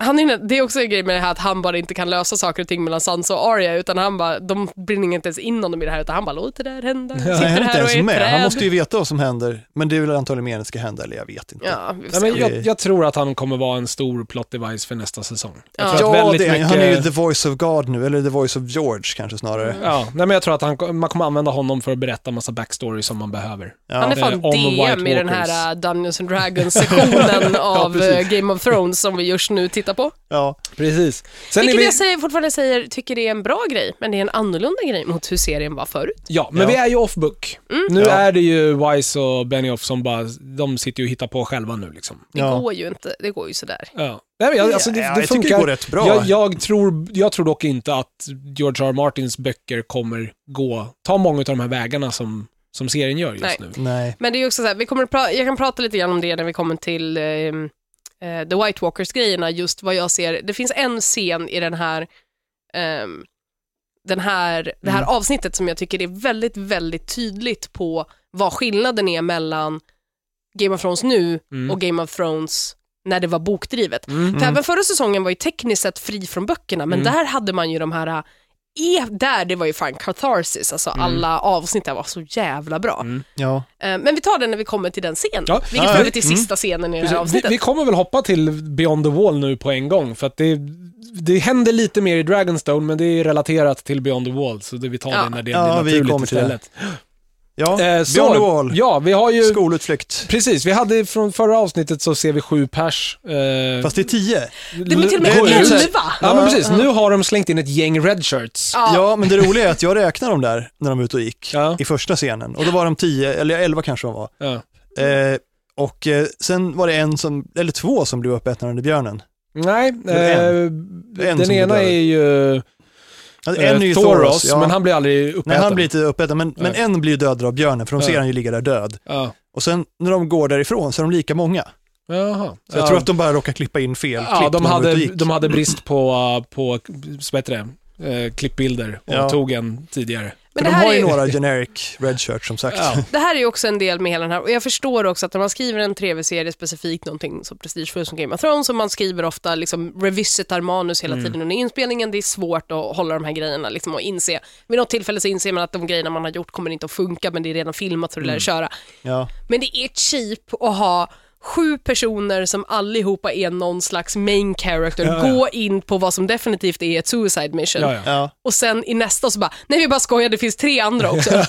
han är, det är också en grej med det här att han bara inte kan lösa saker och ting mellan Sansa och Arya utan han bara, de brinner inte ens in honom i det här utan han bara låter det här hända. Ja, Han sitter är inte här och ens är ett med. träd. Han måste ju veta vad som händer. Men det är väl antagligen meningen ska hända, eller jag vet inte. Ja, vi får Nej, se. men jag, jag tror att han kommer vara en stor plot device för nästa säsong. Jag Ja. tror att Ja, väldigt det är, mycket... han är ju the voice of God nu, eller the voice of George kanske snarare. Mm. Ja, nej, men jag tror att han, man kommer använda honom för att berätta massa backstory som man behöver. Han är Ja. Eh, fan om DM White i den Walkers. här äh, Dungeons and (laughs) Dragons-sektionen av precis. eh, Game of Thrones som vi just nu tittar på. Ja. Precis. Sen är Vilket vi, jag säger, fortfarande säger, tycker det är en bra grej, men det är en annorlunda grej mot hur serien var förut. Mm, ja, men Ja. vi är ju off book. Nu Ja. är det ju Wise och Benioff som bara, de sitter ju och hittar på själva nu liksom. Det Ja. går ju inte, det går ju sådär. Ja. Nej, men jag, alltså, det, Ja, det jag funkar. tycker det går rätt bra. Jag, jag, tror, jag tror dock inte att George R. R. Martins böcker kommer gå, ta många av de här vägarna som, som serien gör just Nej. nu. Nej. Men det är ju också såhär, vi kommer att pra- jag kan prata lite grann om det när vi kommer till ehm, eh, The White Walkers-grejerna, just vad jag ser. Det finns en scen i den här, ehm, den här, det Mm. här avsnittet som jag tycker är väldigt, väldigt tydligt på vad skillnaden är mellan Game of Thrones nu Mm. och Game of Thrones när det var bokdrivet. Mm. För även förra säsongen var ju tekniskt sett fri från böckerna, men Mm. där hade man ju de här eh, E, där det var ju fan catharsis, alltså Mm. alla avsnitt där var så jävla bra. Ja. Eh, Men vi tar den när vi kommer till den scenen, Ja. vilket Ja, Mm. för ja. övrigt är sista scenen i det här Precis. Vi, avsnittet. vi kommer väl hoppa till Beyond the Wall nu på en gång, för att det, det händer lite mer i Dragonstone, men det är relaterat till Beyond the Wall, så det, vi tar Ja. det när det Ja, vi blir naturligt kommer till istället. Ja, Eh, så- Beyond the Wall. Ja, vi har ju... Skolutflykt. Precis, vi hade från förra avsnittet så ser vi sju pers. Eh, Fast det är tio. det blir till och med det är ju så här- elva! Ja, men precis. Nu har de slängt in ett gäng redshirts. Ja. Ja, men det roliga är att jag räknade dem där när de var ute och gick Ja. i första scenen. Och då var de tio, eller elva kanske de var. Ja. Eh, och eh, sen var det en som, eller två som blev uppätna under björnen. Nej, är en. eh, en den som ena dör. är ju eh, Alltså, en är ju Thoros, Thoros, ja. men han blir aldrig uppäten. Nej, han blir inte uppäten, men, men Nej. en blir ju dödad av björnen, för de ser Ja. han ju ligga där död. Ja. Och sen när de går därifrån så är de lika många. Jaha. Så jag ja. tror att de bara råkar klippa in fel ja, klipp de, när var ute och hade, gick. de hade brist på, eh, på vad heter det, eh, klippbilder och Ja. tog en tidigare. Men För det de här, har är, ju ju- några generic red shirts som sagt. Ja. det här är ju också en del med hela den här, och jag förstår också att när man skriver en tv-serie specifikt, någonting så prestigefullt som Game of Thrones, och man skriver ofta, liksom revisitar manus Mm. hela tiden under inspelningen, det är svårt att hålla de här grejerna liksom, och inse, vid något tillfälle så inser man att de grejerna man har gjort kommer inte att funka, men det är redan filmat så Mm. det lär köra. Ja. Men det är cheap att ha sju personer som allihopa är någon slags main character, Ja, ja. gå in på vad som definitivt är ett suicide mission. Ja, ja. (laughs) Ja. Och sen i nästa så bara, nej vi bara skojar, det finns tre andra också.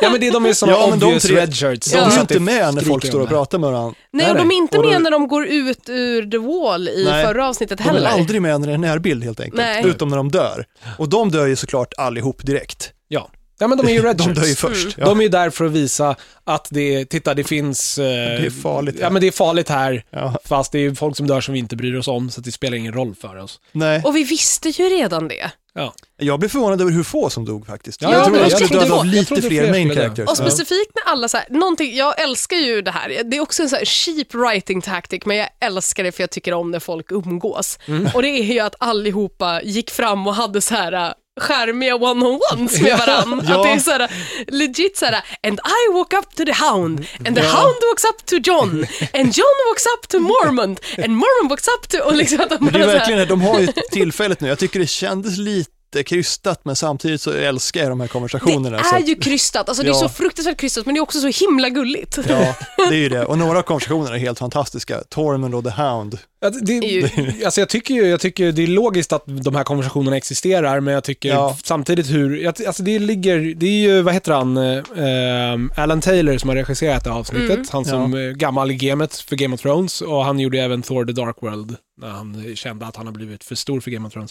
ja, men det, de är sådana Ja, men de obvious tre- redshirts. De Så är ju att inte det med när folk skriker står om och det. pratar med varandra. nej, och de är inte Och då- med när de går ut ur The Wall i Nej. förra avsnittet De är heller. aldrig med när det är närbild helt enkelt, Nej. utom när de dör. Och de dör ju såklart allihop direkt. Ja. ja, men de är ju (laughs) De dör ju redshirts. först. Ja. Mm. De är ju där för att visa att det, är- titta det finns... Eh, det är farligt här. Ja, men det är farligt här. Ja. Fast det är ju folk som dör som vi inte bryr oss om, så att det spelar ingen roll för oss. Nej. Och vi visste ju redan det. Ja. Jag blev förvånad över hur få som dog faktiskt. Ja, jag jag trodde trodde- att de jag skulle trodde döda av få- jag lite trodde fler, fler main skulle dö. characters. Och specifikt när alla så här, någonting, jag älskar ju det här, det är också en så här cheap writing tactic men jag älskar det för Mm. jag tycker om när folk umgås. Och det är ju att allihopa gick fram och hade så här äh, skärmiga one-on-ones med varandra. Ja. Att det är så här, legit så här, and I walk up to the hound, and the Ja. hound walks up to John, and John walks up to Mormont, and Mormont walks up to... Och liksom att de (laughs) Men det är bara så här, verkligen det, de har ju tillfället nu. Jag tycker det kändes lite krystat, men samtidigt så älskar jag de här konversationerna. det så är att, ju krystat, alltså det är Ja. så fruktansvärt krystat, men det är också så himla gulligt. Ja, det är ju det. Och några av konversationerna är helt fantastiska. Tormund och The Hound. Att det, Ju- (laughs) alltså jag tycker ju jag tycker det är logiskt att de här konversationerna existerar, men jag tycker Ja. samtidigt hur, jag- alltså det ligger, det är ju, vad heter han, eh, ehm, Alan Taylor som har regisserat det här avsnittet, han som eh, gammal i gamet för Game of Thrones, och han gjorde även Thor the Dark World, när han eh, kände att han har blivit för stor för Game of Thrones.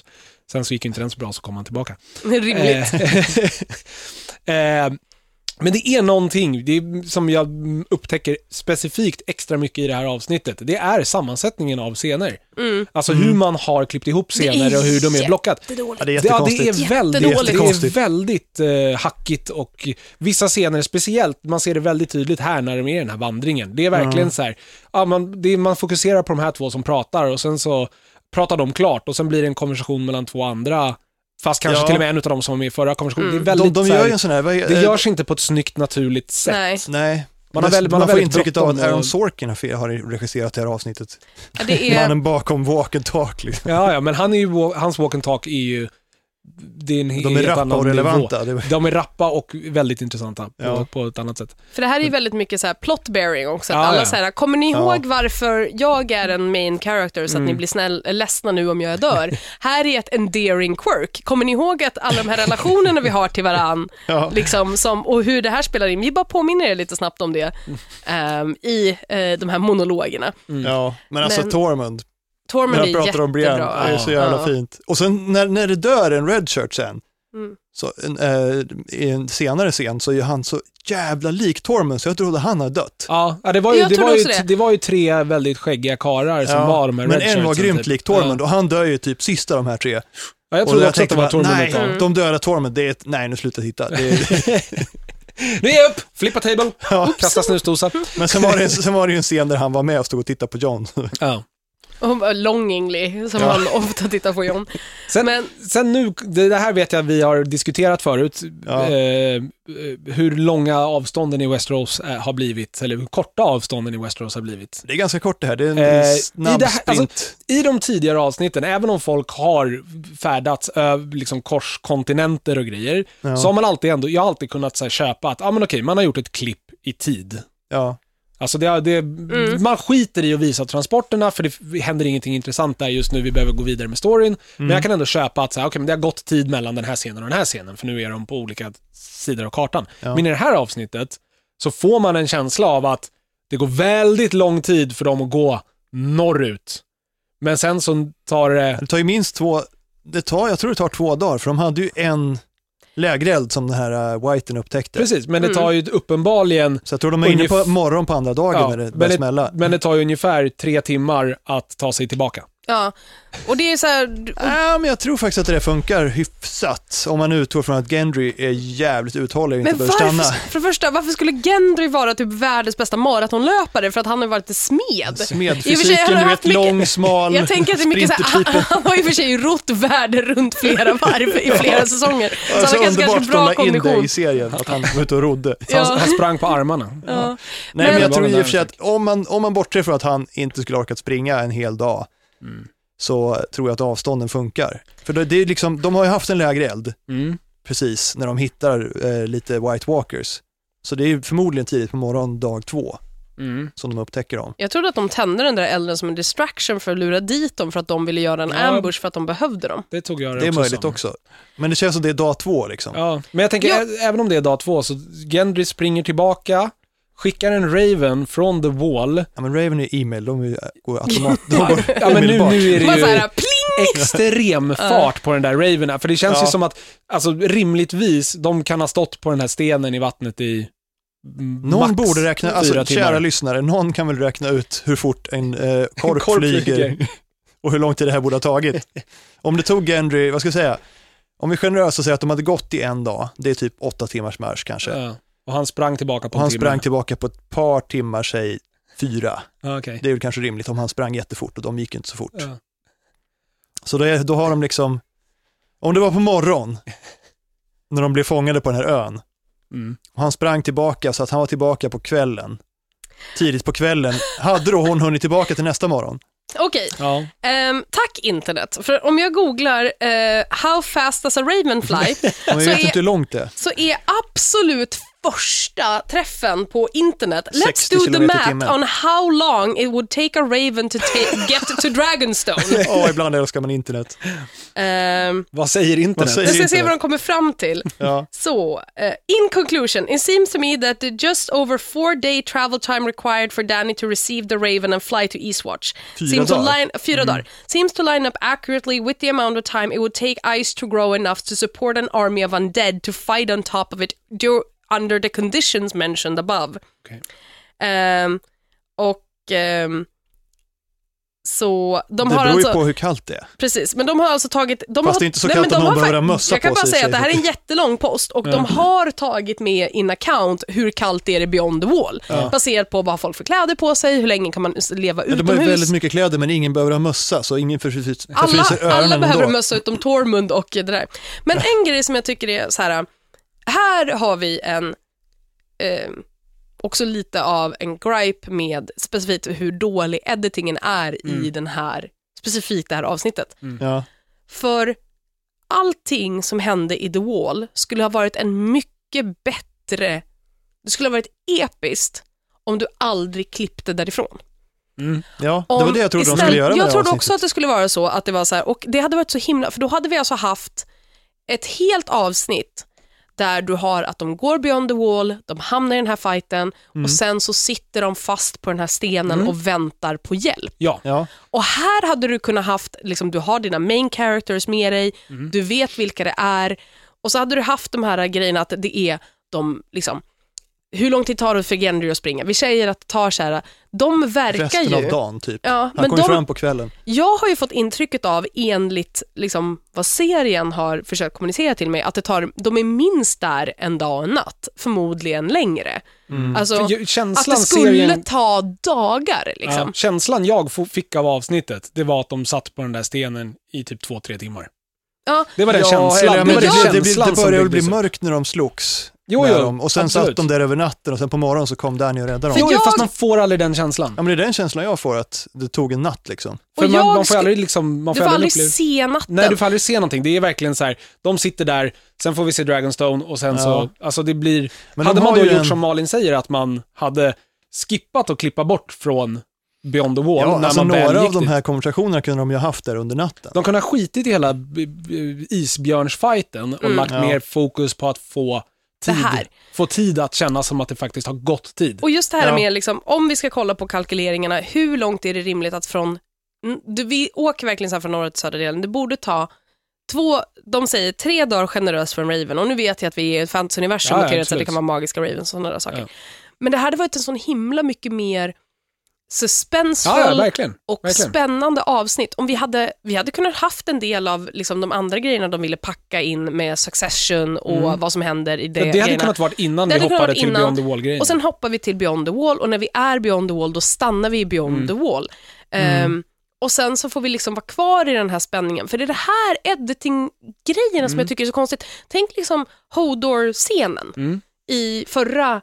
Sen så gick ju inte den så bra, så kom han tillbaka. Det är Rimligt. Eh, (laughs) eh, men det är någonting det är, som jag mm, upptäcker specifikt extra mycket i det här avsnittet. Det är sammansättningen av scener. Alltså hur man har klippt ihop Det är scener och hur de är blockat. jättedåligt. Ja, det är Ja, jättekonstigt. det är väldigt, det är Jättekonstigt. väldigt eh, hackigt och vissa scener, speciellt, man ser det väldigt tydligt här när de är i den här vandringen. Det är verkligen så här, ja, man, det är, man fokuserar på de här två som pratar och sen så pratar de klart och sen blir det en konversation mellan två andra, fast kanske Ja. till och med en av dem som var med i förra konversationen. Det är De, väldigt de så här, gör ju en eh, sån här... Vad, det görs inte på ett snyggt, naturligt sätt. Nej, Nej. Man Man, har väl- man man, har får väldigt intrycket av bråttom att Aaron och- Sorkin har- har regisserat det här avsnittet. ja, det är... Mannen bakom Walk and Talk. Liksom. Ja, ja, men han är ju, wa- hans walk and talk är ju, det är en De är helt rappa annan och nivå. relevanta. Det var- De är rappa och väldigt intressanta på, Ja. på ett annat sätt. För det här är ju väldigt mycket så här plot bearing också. Att Ja, alla ja. så här, kommer ni Ja. Mm. ihåg varför jag är en main character så att ni blir snäll, eh, ledsna nu om (laughs) jag dör? här är ett endearing quirk. Kommer ni ihåg att alla de här relationerna vi har (laughs) till varann, Ja. liksom, som, och hur det här spelar in? Vi bara påminner er lite snabbt om det ehm, i eh, de här monologerna. Ja, men alltså Men- Tormund, när Tormund är han pratar om Brian, jättebra. det är så jävla Ja. fint. Och sen när, när det dör en redshirt sen, Mm. så, en, eh, i en senare scen så är han så jävla lik Tormund så jag trodde han hade dött. Ja, ja, det var ju, Jag det trodde var ju, också det. det var ju tre väldigt skäggiga karlar som Ja, var de här men redshirtsen, en var grymt typ. lik Tormund Ja. och han dör ju typ sista de här tre. Ja, jag och trodde också att det var bara, Tormund ett nej, tag. de döda Tormund, det är ett, nej nu slutar jag titta. (laughs) Det är, Nu är jag upp! Flippa table! ja. Kasta snusdosa. Men sen var, det, sen var det ju en scen där han var med och stod och tittade på John. (laughs) Ja. Och bara Longingly, som Ja. han ofta tittar på John. Sen, Men- sen nu, det det här vet jag vi har diskuterat förut, Ja. eh, eh, hur långa avstånden i Westeros eh, har blivit, eller hur korta avstånden i Westeros har blivit. Det är ganska kort det här, det är en Eh, i snabb det här- alltså- sprint. I de tidigare avsnitten, även om folk har färdats över liksom, korskontinenter och grejer, Ja. så har man alltid ändå, jag har alltid kunnat så här, köpa att, ja ah, men okej, man har gjort ett klipp i tid. ja. Alltså det, det, Man skiter i att visa transporterna för det händer ingenting intressant där just nu, vi behöver gå vidare med storyn. Men jag kan ändå köpa att så här, okay, men det har gått tid mellan den här scenen och den här scenen, för nu är de på olika sidor av kartan. Ja. Men i det här avsnittet så får man en känsla av att det går väldigt lång tid för dem att gå norrut. Men sen så tar det... Det tar ju minst två, det tar, jag tror det tar två dagar, för de hade ju en lägereld som den här uh, Whiten upptäckte. Precis, men det tar ju uppenbarligen Så jag tror de är inne på Ungef- morgon på andra Mm. dagen Ja, när det men börjar det- smälla. Men det tar ju ungefär tre timmar att ta sig tillbaka. Ja. Och det är så här, Ja, men jag tror faktiskt att det där funkar hyfsat, om man utgår från att Gendry är jävligt uthållig och inte Men behöver varför, stanna. för det första, varför skulle Gendry vara typ världens bästa maratonlöpare för att han har varit smed? I och för sig, han Smedfysiken, har Alltså, du vet, haft mycket- lång, smal, Jag tänker att det är mycket (laughs) så här, han, han har ju för sig rott världen runt flera varv (laughs) i flera säsonger. Så han Alltså, har ganska, underbart ganska att de la bra in det kondition. i serien, att han var ute och rodde. Så Ja. han, han sprang på armarna. Ja. Nej, Men- men, jag tror i och för sig att om man, om man bortser från att han inte skulle orkat springa en hel dag, Mm. så tror jag att avstånden funkar. För det, det är liksom, de har ju haft en lägre eld, Mm. precis, när de hittar eh, lite White Walkers. Så det är ju förmodligen tidigt på morgon dag två Mm. som de upptäcker dem. Jag trodde att de tände den där elden som en distraction för att lura dit dem för att de ville göra en Ja. ambush för att de behövde dem. Det tog jag Det är också möjligt som. också. Men det känns som det är dag två liksom. Ja. Men jag tänker, Ja. ä- även om det är dag två, så Gendry springer tillbaka, skickar en Raven från The Wall. Ja, men Raven är e-mail, de är- eh, går (laughs) automat, de går Ja, men nu, omedelbart. nu är det Bara så ju här, pling! extrem fart på den där Raven, här, för det känns Ja. ju som att, alltså rimligtvis, de kan ha stått på den här stenen i vattnet i mm, Någon max borde räkna, fyra alltså timmar. kära lyssnare, någon kan väl räkna ut hur fort (laughs) en eh, korp, Korp flyger. flyger, och hur lång tid det här borde (laughs) ha tagit. Om det tog Gendry, vad ska jag säga, om vi är generösa säger att de hade gått i en dag, det är typ åtta timmars marsch kanske. Ja. Och han sprang tillbaka på och en han timme. sprang tillbaka på ett par timmar, säg fyra. Ja, okej. Det är väl kanske rimligt om han sprang jättefort och de gick inte så fort. Ja. Så det, då har de liksom, Om det var på morgon, när de blev fångade på den här ön, Mm. och han sprang tillbaka så att han var tillbaka på kvällen, tidigt på kvällen, hade då hon hunnit tillbaka till nästa morgon? Okej, Ja. ehm, tack internet. För om jag googlar eh, “How fast does a (laughs) raven fly” Men Så jag vet Alltså, är- inte hur långt det är. så är absolut första träffen på internet “Let's 60 do the kilometer i math timmen." on how long it would take a raven to ta- get (laughs) to Dragonstone”. Ja, ibland älskar man internet. Ehm, Vad säger Vad internet? säger Jag ska se vad internet? de kommer fram till. Ja. Så, eh, in conclusion, it seems to me that the just over four day travel time required for Danny to receive the Raven and fly to Eastwatch Fyra seems to dagar. Mm. line fyra dagar seems to line up accurately with the amount of time it would take ice to grow enough to support an army of undead to fight on top of it dur- under the conditions mentioned above. Okej. Ehm, och ehm, så de Det har beror ju alltså... på hur kallt det är. Precis, men de har alltså tagit... De Fast har, det är inte så Nej, kallt men att de någon har behöver fa- ha mössa Jag kan på bara sig i säga att det här är en tjejgruppen. jättelång post och de har tagit med in account hur kallt det är i Beyond the Wall. Baserat på vad folk för kläder på sig, hur länge kan man leva Ja, de har ju utomhus. väldigt mycket kläder men ingen behöver ha mössa så ingen förfryser alla, förfryser öronen alla behöver ändå. mössa utom Tormund och det där. Men en grej som jag tycker är så här, här har vi en, eh, också lite av en gripe med specifikt hur dålig editingen är Mm. i den här, specifikt det här avsnittet. Ja. För allting som hände i The Wall skulle ha varit en mycket bättre, det skulle ha varit episkt om du aldrig klippte därifrån. ja, det Om, var det jag trodde de istället- skulle göra med Jag det trodde här också att det skulle vara så att det var så här, och det hade varit så himla, för då hade vi alltså haft ett helt avsnitt där du har att de går beyond the wall, de hamnar i den här fighten Mm. och sen så sitter de fast på den här stenen och väntar på hjälp. Ja. Ja, Och här hade du kunnat haft, liksom, du har dina main characters med dig, Mhm. du vet vilka det är och så hade du haft de här grejerna att det är de, liksom, hur lång tid tar det för Gendry att springa? Vi säger att det tar så här, de verkar resten av ju, dagen typ. Ja, men Han kom ju de- fram på kvällen. jag har ju fått intrycket av enligt liksom, vad serien har försökt kommunicera till mig, att det tar, de är minst där en dag och en natt, förmodligen längre. Mm. Alltså, Ju- att det Känslan skulle serien... ta dagar liksom. Ja, känslan jag fo- fick av avsnittet, det var att de satt på den där stenen i typ två, tre timmar. Ja. Det var den känslan. eller, det men var det, den blev- det, blev- känslan det som började bli byggdes upp. mörkt när de slogs. Jo, med jo, dem. Och sen absolut. satt de där över natten och sen på morgonen så kom Danny och räddade dem. Jo, jag- fast man får aldrig den känslan. Ja, men det är den känslan jag får, att det tog en natt liksom. För Och man, jag man får sku- aldrig liksom... Man Du får får aldrig aldrig uppleva- se natten. Nej, du får aldrig se någonting. Det är verkligen så här, de sitter där, sen får vi se Dragonstone och sen så, alltså det blir... Men de hade man har då ju gjort en- som Malin säger, att man hade skippat och klippa bort från Beyond the Wall, Ja, när alltså man väl några gick av de dit. här konversationerna kunde de ju ha haft där under natten. De kunde ha skitit i hela b- b- isbjörnsfajten och lagt Ja. mer fokus på att få Mm. Det tid, här. få tid att känna som att det faktiskt har gått tid. Och just det här Ja. med, liksom, om vi ska kolla på kalkyleringarna, hur långt är det rimligt att från... Mm, Du, vi åker verkligen så här från norra till södra delen. Det borde ta två, de säger tre dagar generöst från Raven och nu vet jag att vi är i ett fantasy-universum Ja, ja, och så absolut. det kan vara magiska Ravens och sådana där saker. Ja. Men det hade varit en sån himla mycket mer ja, ja, suspensfull verkligen. och verkligen. spännande avsnitt. Om vi hade, vi hade kunnat haft en del av liksom, de andra grejerna de ville packa in med Succession och vad som händer i det. Mm. Ja, det hade grejerna. kunnat vara innan Det vi hade kunnat hoppade varit till innan. Beyond the Wall-grejen. Och sen hoppar vi till Beyond the Wall och när vi är Beyond the Wall då stannar vi i Beyond Mm. the Wall. Ehm, och sen så får vi liksom vara kvar i den här spänningen. För det är det här editing-grejerna som jag tycker är så konstigt. Tänk liksom Hodor-scenen Mm. i förra,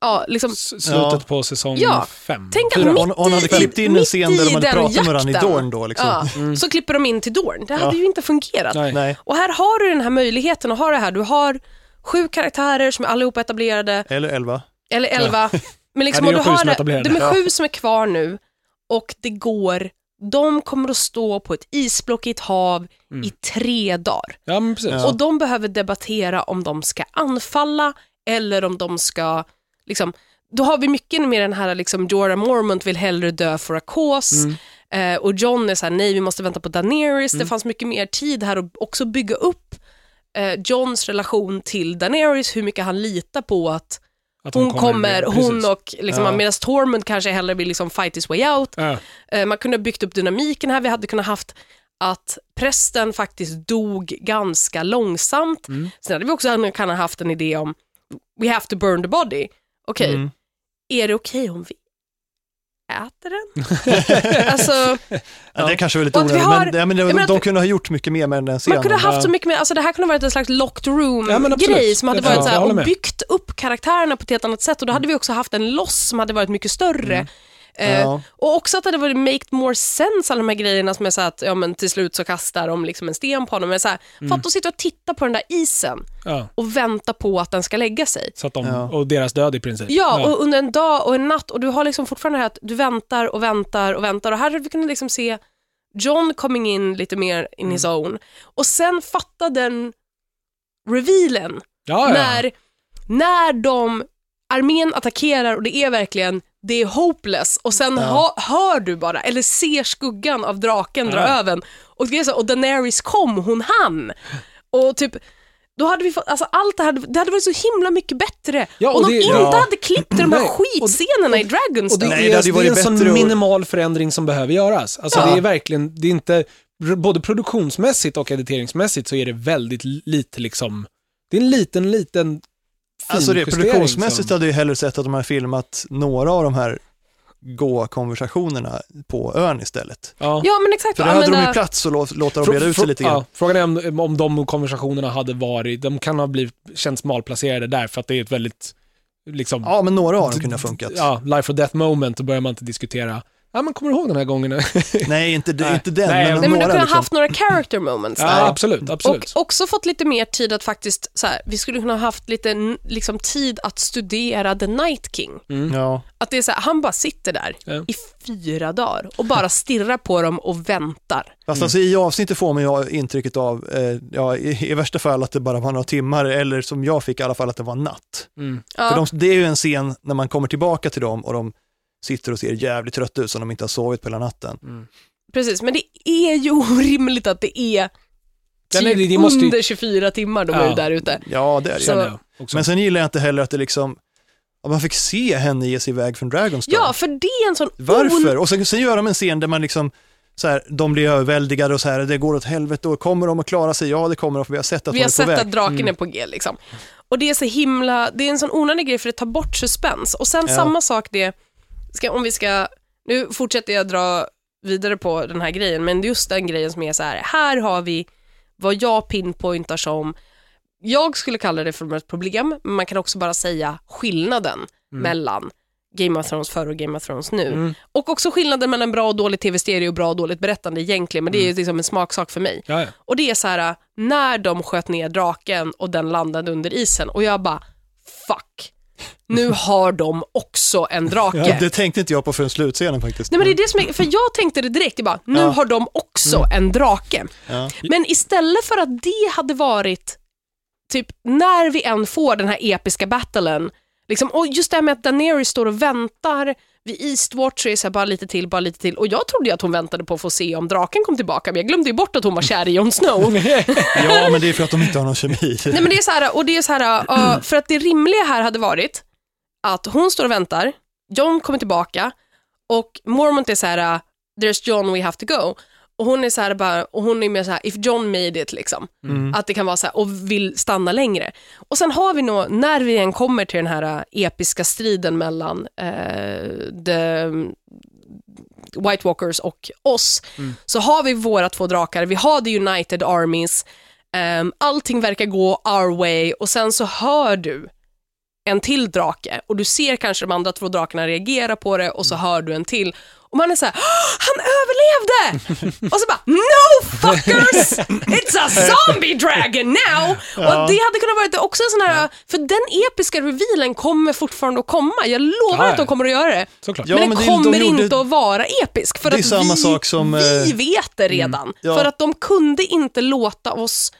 ja liksom, S- Slutet Ja. på säsong Ja. fem. Tänk att fyra. mitt Hon, hon hade i- klippt in en mitt scen där i de hade den pratat med varandra i jakten. dåren då. Liksom. ja, Mm. så klipper de in till Dorn. Det hade Ja. ju inte fungerat. Nej. Nej, Och här har du den här möjligheten att ha det här. Du har sju karaktärer som är allihopa etablerade. eller elva. Eller 11. (laughs) Men liksom, Ja, och det är de sju du har som är det, etablerade. de är Ja. sju som är kvar nu och det går, de kommer att stå på ett isblock i ett hav i tre dagar. Mm. Ja, men precis. Ja. Och de behöver debattera om de ska anfalla eller om de ska, liksom, då har vi mycket mer den här liksom, Jorah Mormont vill hellre dö för a cause. Mm. Eh, och John är såhär, nej vi måste vänta på Daenerys. Det fanns mycket mer tid här att också bygga upp eh, Johns relation till Daenerys, hur mycket han litar på att Att hon kommer, precis. hon och liksom, Ja. medan Tormund kanske hellre vill liksom fight his way out. Ja. Eh, man kunde ha byggt upp dynamiken här, vi hade kunnat haft att prästen faktiskt dog ganska långsamt. Mm. Sen hade vi också kunnat haft en idé Mm. om, we have to burn the body. Okej, Mm. är det okej om vi äter den. (laughs) alltså, Ja, det kanske var lite Och att vi onödigt, har- men, ja, men, menar de, att de vi- kunde ha gjort mycket mer med den där scenen. man kunde ha haft så Ja. mycket mer, alltså det här kunde ha varit en slags locked Ja, men room-grej absolut. som hade Ja, varit jag så här, håller och med. Mm. byggt upp karaktärerna på ett helt annat sätt och då hade vi också haft en loss som hade varit mycket större. Eh, Ja. Och också att det hade varit made more sense alla de här grejerna som är så här att ja, men till slut så kastar de liksom en sten på honom. Men så här, Fatta att sitta och titta på den där isen Ja, och vänta på att den ska lägga sig. så att de, Ja. och deras död i princip. Ja, och under en dag och en natt och du har liksom fortfarande det här att du väntar och väntar och väntar och här hade vi kunnat liksom se John coming in lite mer in his own och sen fatta den revealen ja, ja. när, när de, armén attackerar och det är verkligen, det är hopeless och sen ha, hör du bara, eller ser skuggan av draken dra Ja. över en. och, det är så, och Daenerys kom, hon hann. Och typ, då hade vi fått, alltså allt det hade, det hade varit så himla mycket bättre Ja, och om de det- inte ja. hade klippt de Nej, här och- skitscenerna i Dragons. Och det, då. Nej, är, det det, hade ju är en varit sån bättre att- minimal förändring som behöver göras. Alltså Ja. det är verkligen, det är inte, både produktionsmässigt och editeringsmässigt så är det väldigt lite liksom, det är en liten, liten fin Alltså det, justering produktionsmässigt som, hade jag hellre sett att de hade filmat några av de här gå-konversationerna på ön istället. ja. Ja men eh, exakt, För där hade de ju använda- plats att lå- låta dem Frå- breda ut sig frå- lite grann. ja, frågan är om, om de konversationerna hade varit, de kan ha blivit, känts malplacerade där för att det är ett väldigt, liksom, Ja, men några av dem kunde ha funkat. ja, life or death moment, då börjar man inte diskutera, ja men kommer du ihåg den här gången? (laughs) Nej, inte, Nej. inte den, Nej, men Nej men du några. kunde ha liksom. haft några character moments där. ja, absolut, absolut. Och också fått lite mer tid att faktiskt, så här, vi skulle kunna ha haft lite n- liksom, tid att studera The Night King. Mm, Ja. Att det är så här, han bara sitter där Ja. i fyra dagar och bara stirrar på dem och väntar. Fast alltså i avsnittet får man ju intrycket av, eh, ja, i, i värsta fall att det bara var några timmar, eller som jag fick i alla fall att det var natt. Mm. Ja. För de, det är ju en scen när man kommer tillbaka till dem och de sitter och ser jävligt trötta ut som de inte har sovit på hela natten. Precis, men det är ju (laughs) orimligt att det är Ja, typ nej, det- det måste ju- under 24 timmar de är Ja. där ute. Ja, det är det. Så- Känner jag också. Men sen gillar jag inte heller att det liksom, att man fick se henne ge sig iväg från Dragonstone. Ja, för det är en sån Varför? Och sen, sen gör de en scen där man liksom, så här, de blir överväldigade och så här, det går åt helvete och kommer de att klara sig? Ja, det kommer de för vi har sett att Vi de har är på sett väg. Mm. att draken är på G liksom. Och det är så himla, det är en sån onödig grej för det tar bort suspens. Och sen Ja. samma sak det, ska, om vi ska, nu fortsätter jag dra vidare på den här grejen, men just den grejen som är så här, här har vi vad jag pinpointar som, jag skulle kalla det för ett problem, men man kan också bara säga skillnaden Mm. mellan Game of Thrones förr och Game of Thrones nu. Och också skillnaden mellan bra och dålig tv-serie och bra och dåligt berättande egentligen, men det är Mm. ju liksom en smaksak för mig. (laughs) ja, ja. Och det är så här, när de sköt ner draken och den landade under isen och jag bara, fuck, nu har de också en drake. (laughs) Ja, det tänkte inte jag på förrän slutscenen faktiskt. Nej men det är det som är, för jag tänkte det direkt, jag bara, nu Ja. Mm. har de också en drake. Ja. Men istället för att det hade varit, typ när vi än får den här episka battlen, liksom, och just det här med att Daenerys står och väntar vid Eastwatch, så är det så här, bara lite till, bara lite till. Och jag trodde ju att hon väntade på att få se om draken kom tillbaka, men jag glömde ju bort att hon var kär i Jon Snow. Ja, men det är för att de inte har någon kemi. (laughs) Nej men det är så här, och det är så här, ja, för att det rimliga här hade varit att hon står och väntar, John kommer tillbaka och Mormont är så här, uh, there's John, we have to go. Och hon är så här bara, och hon är mer så här, if John made it liksom. Att det kan vara så här, och vill stanna längre. Och sen har vi nog, när vi än kommer till den här uh, episka striden mellan eh, the White Walkers och oss, så har vi våra två drakar, vi har the United Armies, ehm, allting verkar gå our way och sen så hör du en till drake och du ser kanske de andra två drakarna reagera på det och så Mm. hör du en till och man är så här, "Åh, han överlevde! (laughs) och så bara, no fuckers! It's a zombie dragon now! Och det hade kunnat vara också en sån här, för den episka revealen kommer fortfarande att komma, jag Ja, lovar att de ja. kommer att göra det. Såklart. Ja, men men den det- de kommer gjorde- inte att vara episk för Det är att samma vi, sak som, vi eh, vet det redan. ja. För att de kunde inte låta oss,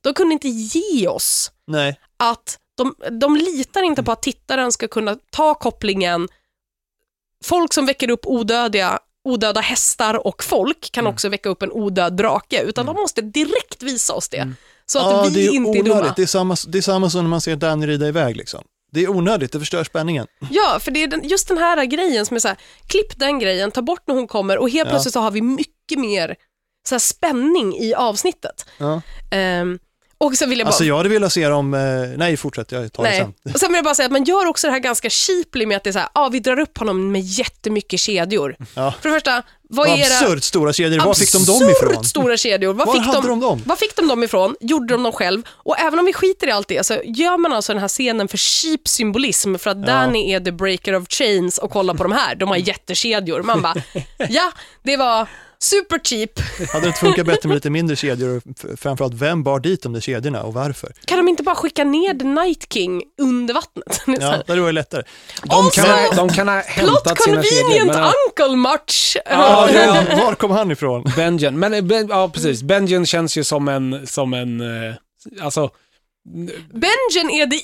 de kunde inte ge oss Nej. att de, de litar inte på att tittaren ska kunna ta kopplingen. Folk som väcker upp odödiga, odöda hästar och folk kan Mm. också väcka upp en odöd drake, utan de måste direkt visa oss det. Så att Mm. Ja, vi det är inte är dumma. onödigt. Det är, samma, det är samma som när man ser Danny rida iväg liksom. Det är onödigt, det förstör spänningen. Ja, för det är den, just den här grejen som är så här, klipp den grejen, ta bort när hon kommer och helt Ja. plötsligt så har vi mycket mer så här, spänning i avsnittet. Ja. Ehm, Och sen vill jag bara... Alltså jag hade velat se dem, eh, nej fortsätt, jag tar det Nej. sen. Och sen vill jag bara säga att man gör också det här ganska cheaply med att det är så här, ah, vi drar upp honom med jättemycket kedjor. Ja. För det första, vad är era Absurt stora kedjor, var fick de dem ifrån? Absurt stora kedjor. Var, Var fick hade de dem? Var fick de dem ifrån? Gjorde de dem själv? Och även om vi skiter i allt det så gör man alltså den här scenen för cheap symbolism för att Danny är the breaker of chains och kolla på de här, de har jättekedjor. (laughs) Man bara, ja, det var super cheap. Hade det inte funkat bättre med lite mindre kedjor? och f- Framförallt, vem bar dit de där kedjorna och varför? Kan de inte bara skicka ner The Night King under vattnet? (laughs) Det är så Ja, här, det hade varit lättare. De kan, Also, de kan ha Plot hämtat sina kedjor. convenient Men, ja, uncle much. Ja, ja. Var kom han ifrån? Benjen, men eh, ben, ja, precis. Benjen känns ju som en, som en, eh, alltså, Benjen är the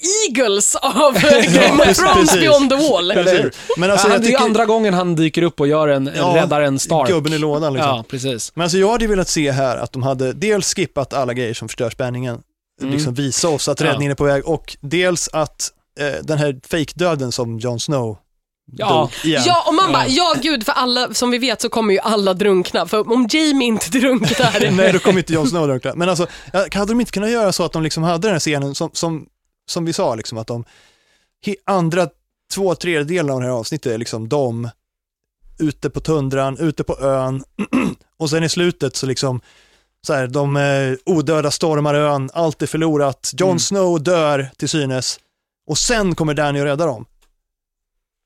(laughs) eagles av Game of precis, Thrones precis. beyond the wall. Eller hur? Men alltså, han, jag det är ju tycker, andra gången han dyker upp och gör en, Ja, räddar en Stark. gubben i lådan liksom. Ja, precis. Men alltså jag hade ju velat se här att de hade dels skippat alla grejer som förstör spänningen, Mm. liksom visa oss att Ja. räddningen är på väg och dels att eh, den här fejkdöden som Jon Snow Ja. dog igen. Ja, och man bara, ja gud, för alla, som vi vet så kommer ju alla drunkna. För om Jamie inte (laughs) drunknar, Nej, då kommer inte Jon Snow drunkna. Men alltså, jag- hade de inte kunnat göra så att de liksom hade den här scenen som, som, som vi sa, liksom, att de he- andra två tredjedelar av det här avsnittet är liksom de ute på tundran, ute på ön (clears throat) och sen i slutet så liksom så här, de eh, odöda stormar ön, allt är förlorat, Jon Mm. Snow dör till synes och sen kommer Danny och räddar dem.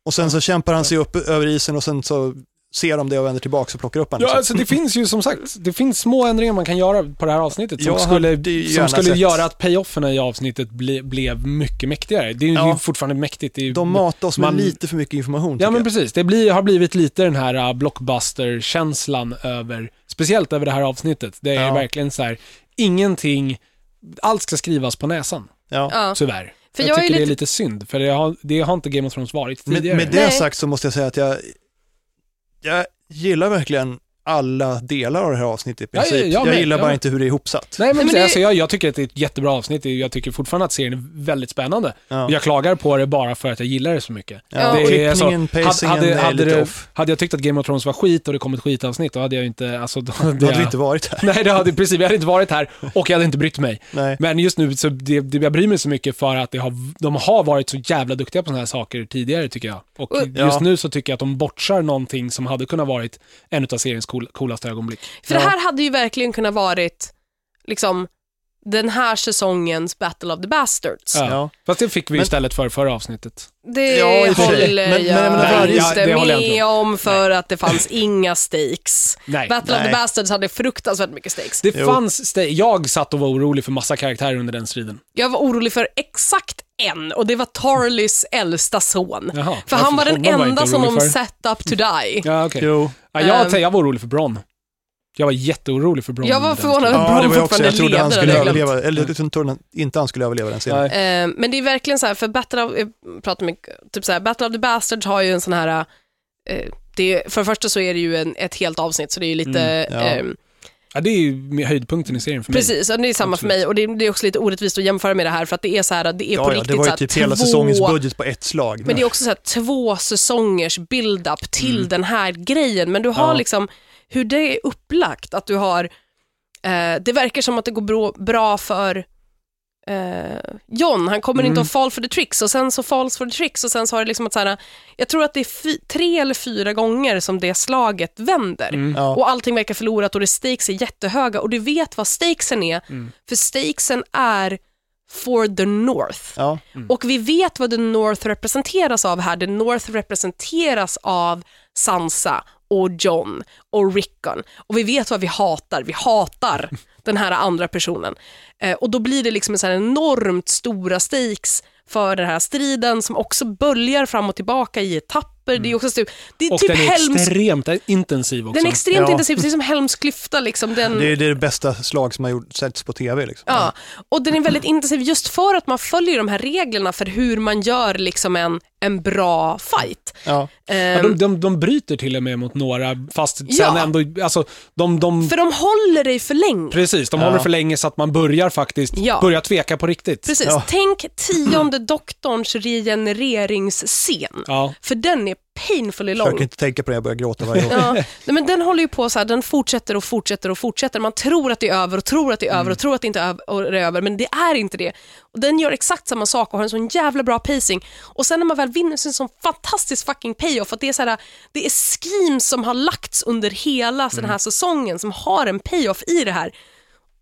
Och sen så kämpar han sig upp över isen och sen så ser de det och vänder tillbaka och plockar upp honom. liksom. Ja, (clears throat) alltså det finns ju som sagt, det finns små ändringar man kan göra på det här avsnittet som Jag skulle, hade ju som gärna skulle sett- göra att payoffen i avsnittet ble, blev mycket mäktigare. Det är ju Ja. fortfarande mäktigt. Det är ju, De matar oss med Man- lite för mycket information. Ja tycker men jag. precis, det blir, har blivit lite den här uh, blockbuster-känslan över, speciellt över det här avsnittet. Det är Ja. verkligen så här, ingenting, allt ska skrivas på näsan, Ja. ja. tyvärr. För jag, jag är tycker det är lite- lite synd, för det har, det har inte Game of Thrones varit Med, tidigare. med det Nej. sagt så måste jag säga att jag, jag gillar verkligen alla delar av det här avsnittet i Ja, ja, princip. jag jag, med, gillar jag bara med. inte hur det är ihopsatt. Nej, men, men precis, det- alltså, jag, jag tycker att det är ett jättebra avsnitt, jag tycker fortfarande att serien är väldigt spännande. Ja. Jag klagar på det bara för att jag gillar det så mycket. Ja, det klippningen, hade, pacingen hade, är hade, lite det, off. hade jag tyckt att Game of Thrones var skit och det kom ett skitavsnitt, då hade jag ju inte, alltså, då hade Då hade vi jag, inte varit här. (laughs) Nej, det hade, precis, jag hade inte varit här och jag hade inte brytt mig. Nej. Men just nu, så det, det, jag bryr mig så mycket för att det har, de har varit så jävla duktiga på sådana här saker tidigare tycker jag. Och Och- just Ja. nu så tycker jag att de bortsar någonting som hade kunnat varit en av seriens cool, coolaste ögonblick. För det här hade ju verkligen kunnat varit liksom, den här säsongens Battle of the Bastards. Ja. Ja. Fast det fick vi Men- istället för förra avsnittet. Det Ja, i och för sig. håller Men- men jag jag menar, varje- inte Ja, det håller jag inte med om för att det fanns inga stakes. (laughs) Nej. Battle of Nej. the Bastards hade fruktansvärt mycket stakes. Det Jo. fanns, sta- jag satt och var orolig för massa karaktärer under den striden. Jag var orolig för exakt en och det var Tarlys äldsta son. Jaha, för han var varför- den honom var jag inte enda som orolig de för. set up to die. Ja, okej. Jo. Ja, jag, Ehm. jag var orolig för Bron. Jag var jätteorolig för Bron. Jag var under den förvånad striden. över Ja, att det var Bron jag också. fortfarande Jag trodde levde. han hade skulle jag glömt. överleva, eller jag trodde han, inte han skulle överleva den scenen. Nej. Eh, men det är verkligen så här, för Battle of, jag pratar med, typ så här, Battle of the Bastards har ju en sån här, eh, det är, för det första så är det ju en, ett helt avsnitt så det är ju lite, Mm, ja. ehm, Ja, det är ju höjdpunkten i serien för mig. precis, och det är samma för Absolut. mig och det, det är också lite orättvist att jämföra med det här för att det är så här, det är på Ja, ja, riktigt det var så ju här, typ hela två, säsongens budget på ett slag. Men det är också så här, två säsongers build-up till den här grejen, men du har Ja. liksom hur det är upplagt, att du har, eh, det verkar som att det går bra, bra för eh, John, han kommer inte att fall for the tricks och sen så falls for the tricks och sen så har det liksom att så här, jag tror att det är fy, tre eller fyra gånger som det slaget vänder. Ja. Och allting verkar förlorat och det stakes är jättehöga och du vet vad stakesen är, för stakesen är for the North. Ja. Och vi vet vad The North representeras av här. The North representeras av Sansa och John och Rickon. Och vi vet vad vi hatar. Vi (laughs) hatar den här andra personen. Eh, och då blir det liksom så här enormt stora stakes för den här striden som också böljar fram och tillbaka i etapper. Det är också typ, det är Mm. Och typ den är Helms... extremt intensiv också. Den är extremt Ja. intensiv, precis som Helms klyfta. Liksom, den... Det är det bästa slag som har gjort, setts på tv. Liksom. Ja, och den är väldigt intensiv just för att man följer de här reglerna för hur man gör liksom en, en bra fight. Ja. Ja, Ehm, de, de, de bryter till och med mot några, fast sen Ja. ändå, alltså, de, de, för de håller dig för länge. precis, de håller för länge så att man börjar faktiskt, Ja. börjar tveka på riktigt. Precis. Ja. Tänk tionde doktorns regeneringsscen. Ja. För den är är painfully lång. Försöker inte tänka på det, jag börjar gråta varje gång. Ja. Nej, men den håller ju på så här, den fortsätter och fortsätter och fortsätter. Man tror att det är över och tror att det är över och tror att det inte är över, och det är över, men det är inte det. Och den gör exakt samma sak och har en sån jävla bra pacing. Och sen när man väl vinner så är det en sån fantastisk fucking payoff. Att det, är så här, det är schemes som har lagts under hela den här säsongen som har en payoff i det här.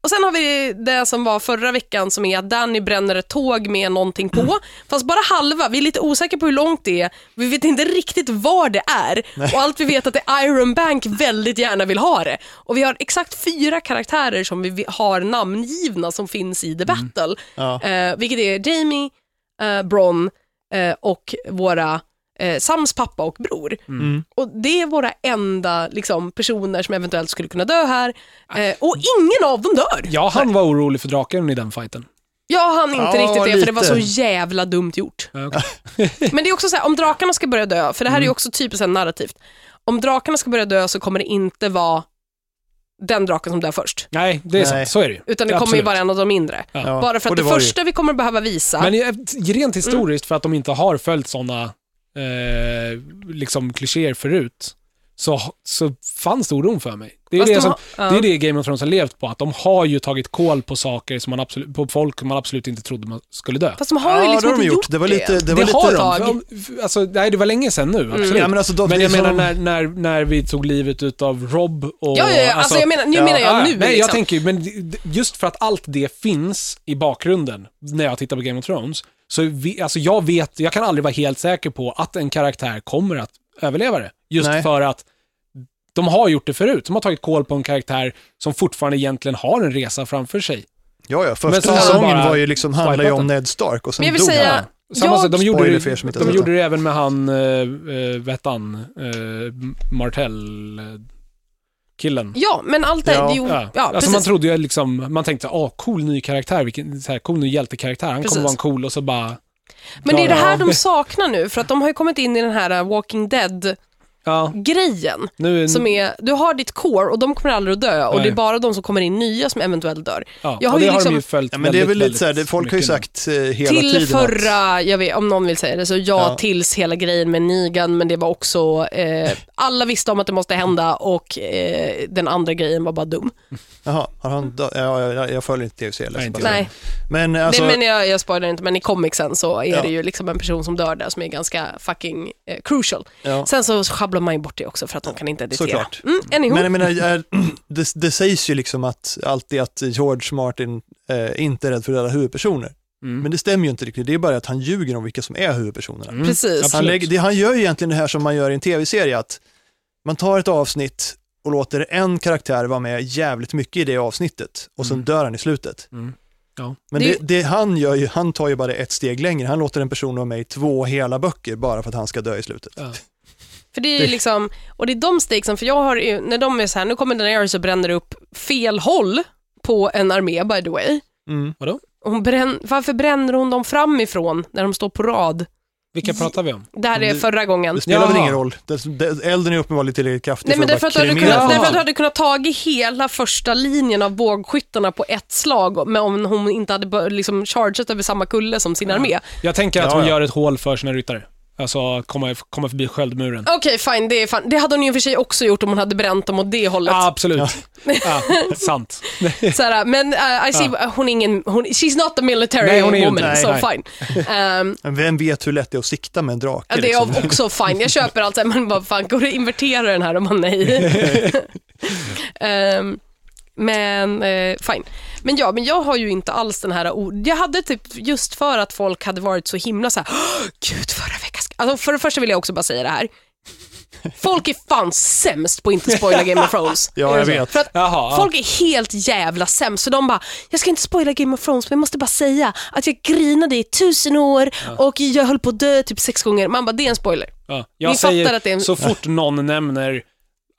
Och sen har vi det som var förra veckan som är att Danny bränner ett tåg med någonting på. Fast bara halva, vi är lite osäkra på hur långt det är. Vi vet inte riktigt var det är. Och allt vi vet är att det är Iron Bank väldigt gärna vill ha det. Och vi har exakt fyra karaktärer som vi vi har namngivna som finns i The Battle. Ja. Eh, vilket är Jamie, eh, Bron eh, och våra eh, Sams pappa och bror. Mm. Och det är våra enda liksom, personer som eventuellt skulle kunna dö här. Eh, och ingen av dem dör. Ja, han var orolig för draken i den fighten. Jag hann inte Ja, riktigt det, för det var lite. så jävla dumt gjort. Ja, okej. Men det är också så här, om drakarna ska börja dö, för det här är ju också typiskt så här narrativt. Om drakarna ska börja dö så kommer det inte vara den draken som dör först, Nej, det är Nej. sant. Så är det ju. utan det kommer ju Absolut. vara en av de mindre. Ja, Bara för och att det, var ju- första vi kommer behöva visa, Men eh, rent Mm. historiskt, för att de inte har följt sådana eh, liksom klichéer förut, så, så fanns det oron för mig. Det är, Fast det, de som, har- ja. det är det Game of Thrones har levt på, att de har ju tagit koll på saker, som man absolut, på folk som man absolut inte trodde man skulle dö. fast de har ju Ja, liksom det har de inte gjort. Det var lite... Det Det, var har lite de. För, för- alltså, nej, det var länge sedan nu, Mm. absolut. Ja, men alltså, de, Men det är jag menar som- när, när, när vi tog livet utav Rob och... Ja, ja, ja. Alltså, jag menar, nu menar jag ja, nu. ja. Nej, liksom. jag tänker ju, men d- just för att allt det finns i bakgrunden när jag tittar på Game of Thrones, så vi, alltså jag vet, jag kan aldrig vara helt säker på att en karaktär kommer att överleva det. Just Nej. för att de har gjort det förut. De har tagit koll på en karaktär som fortfarande egentligen har en resa framför sig. Ja, ja. Första Men så- säsongen bara- var ju liksom, handlade ju om Swipeatten. Ned Stark och Men jag sen vill dog säga, han. Samma jag sak, de gjorde, Spoiler det- för er som inte har de sett gjorde det även med han, äh, vet han, Eh, Martell-killen. Ja, men allt det... Ja. jo, Mm. ja. Ja. alltså precis. man trodde ju liksom, man tänkte, åh, cool ny karaktär, vilken så här, cool ny hjältekaraktär, han Precis. kommer vara en cool och så bara... men det är det här Ja. de saknar nu, för att de har ju kommit in i den här uh, Walking Dead-grejen. Ja, nu... Som är, du har ditt core och de kommer aldrig att dö och Nej. det är bara de som kommer in nya som eventuellt dör. ja, jag har och det ju har liksom- de ju följt Ja, men det är väl väldigt, lite så här, det, väldigt folk har ju mycket nu. sagt eh, hela Till tiden att- förra, jag vet, om någon vill säga det, så ja, Ja. tills hela grejen med Nigan, men det var också, eh, alla visste om att det måste hända och eh, den andra grejen var bara dum. Jaha, har han dö- ja, ja, jag, jag följer inte tv-serien. Nej, ledsen inte på jag. det. Nej, Men alltså, det, men jag, jag spoilar inte, men i comicsen så är Ja. det ju liksom en person som dör där som är ganska fucking eh, crucial. ja. Sen så schabblar man ju bort det också för att de kan inte editera. Såklart. Mm, anywho. men jag menar, är, (clears throat) det, det sägs ju liksom att alltid att George Martin eh, inte är rädd för att döda huvudpersoner. Mm. Men det stämmer ju inte riktigt, det är bara att han ljuger om vilka som är huvudpersonerna. Mm, Precis. Han, absolut. lägger, det, han gör ju egentligen det här som man gör i en tv-serie, att man tar ett avsnitt och låter en karaktär vara med jävligt mycket i det avsnittet och sen Mm. dör han i slutet. Mm. Ja. Men Det- det, det han gör ju, han tar ju bara det ett steg längre, han låter en person vara med i två hela böcker bara för att han ska dö i slutet. Ja. För det är ju Det- liksom, och det är de stegsen, för jag har ju, när de är så här, nu kommer Daenerys och bränner upp fel håll på en armé by the way. Mm. Hon brän, varför bränner hon dem framifrån när de står på rad? Vilka pratar vi om? Där Det- är förra gången. Mm. Det spelar väl Jaha. ingen roll, det, det, elden är uppenbarligen tillräckligt kraftig Nej, men för därför, att att du bara hade kremera kunnat, därför att folk. du hade kunnat tagit hela första linjen av bågskyttarna på ett slag men om hon inte hade bör- liksom chargat över samma kulle som sin armé. Jag tänker att Ja, hon ja. gör ett hål för sina ryttare. Alltså, att komma, komma förbi sköldmuren. Okej, fine, det är fan. Det hade hon ju i och för sig också gjort om hon hade bränt dem åt det hållet. absolut. Ja, sant. Så här, men eh, I see, hon är ingen, hon, she's not a military Ah. Nej, hon är ju woman, inte- so nej, fine. (laughs) Ehm, Men Vem vet hur lätt det är att sikta med en drake? ja, det är liksom? av- också fine. Jag köper allt, så här, man bara, fan, går det att invertera den här? Och man nej. (laughs) Ehm, men eh, fine. Men ja, men jag har ju inte alls den här o- Jag hade typ, just för att folk hade varit så himla så här, "Åh, gud förra veckan. ska-" Alltså, för det första vill jag också bara säga det här. Folk är fan sämst på att inte spoila Game (laughs) of Thrones. Ja, jag vet. För att Jaha, ja. Folk är helt jävla sämst, så de bara, jag ska inte spoila Game of Thrones, men jag måste bara säga att jag grinade i tusen år och jag höll på att dö typ sex gånger. Man bara, det är en spoiler. Ja, Ni jag fattar säger, att det är en- så fort någon nämner,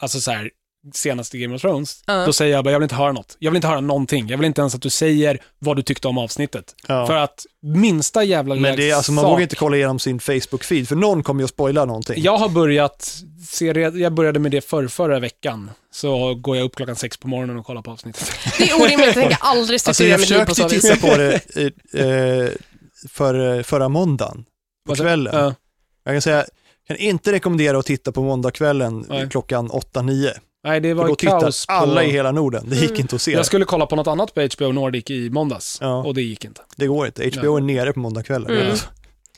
alltså så här, senaste Game of Thrones, Ja. då säger jag bara, jag vill inte höra något. Jag vill inte höra någonting. Jag vill inte ens att du säger vad du tyckte om avsnittet. Ja. För att minsta jävla Men det är, alltså, man sak- vågar inte kolla igenom sin Facebook-feed, för någon kommer ju att spoila någonting. Jag har börjat, se, red- jag började med det förr, förra veckan, så går jag upp klockan sex på morgonen och kollar på avsnittet. Det är orimligt att tänka aldrig Alltså, strukturera jag mitt liv på försökte så ju vis. titta på det eh, eh, för, förra måndagen, på Vad sa- kvällen. Ja. Jag kan säga, Kan inte rekommendera att titta på måndagskvällen Nej. klockan 8-9. Nej, det För var då ju tittar kaos. På... alla i hela Norden. Det Mm. gick inte att se. Jag skulle kolla på något annat på HBO Nordic i måndags Ja. och det gick inte. Det går inte. HBO är nere på måndagskvällen. Mm. Alltså.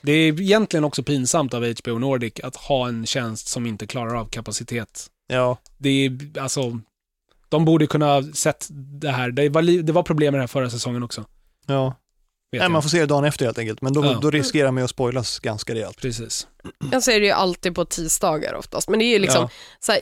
Det är egentligen också pinsamt av HBO Nordic att ha en tjänst som inte klarar av kapacitet. Ja, Det är, alltså, de borde kunna ha sett det här. Det var, li- det var problem med den här förra säsongen också. Vet ja. Nej, jag. man får se det dagen efter helt enkelt. Men då, Ja. då riskerar man ju att spoilas ganska rejält. Precis. Jag ser det ju alltid på tisdagar oftast, men det är ju liksom, Ja. så här,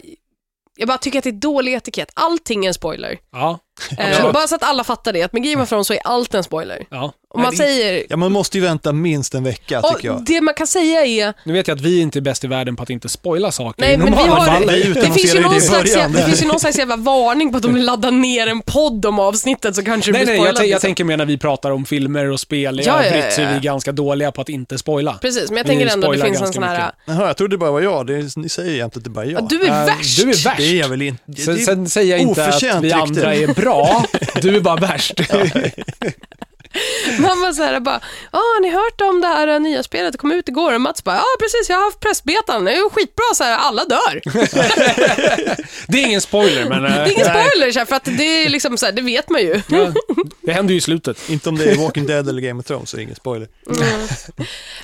jag bara tycker att det är dålig etikett. Allting är (laughs) en spoiler. Ja, Eh, Absolut. bara så att alla fattar det, att med Game of Thrones så är allt en spoiler. ja. Om man Nej, det- säger, Ja, man måste ju vänta minst en vecka tycker och jag. det man kan säga är, Nu vet jag att vi inte är bäst i världen på att inte spoila saker Nej, i men vi normala har- fall. Alla Det det utannonserar finns, ju ju någon det i slags, början. det finns ju någon slags jävla varning på (laughs) att om du laddar ner en podd om avsnittet så kanske du Nej, blir nej, jag, spoilad. tän- jag liksom. tänker mer när vi pratar om filmer och spel i Ja, ja, övrigt ja, så är ja. vi ganska dåliga på att inte spoila. Precis, men jag Vi tänker ändå att det spoilar finns en ganska sån här, mycket. Jaha, jag trodde det bara var jag. Det är, ni säger ju jämt att det bara är jag. att du är Eh, Du värst. är värst. Det är jag väl inte. Det Sen, är- sen säger jag inte att vi oförtjänt rykte. andra är bra, du är bara (laughs) värst. (laughs) Man var så här bara, ja har ni hört om det här nya spelet? Det kom ut igår och Mats bara, ja precis jag har haft pressbetan, det är ju skitbra så här, (laughs) alla dör. Det är ingen spoiler, men... eh, Det är ingen spoiler så här, för att det är liksom så här, det vet man ju. (laughs) Det händer ju i slutet. Inte om det är Walking Dead eller Game of Thrones, så är det ingen spoiler.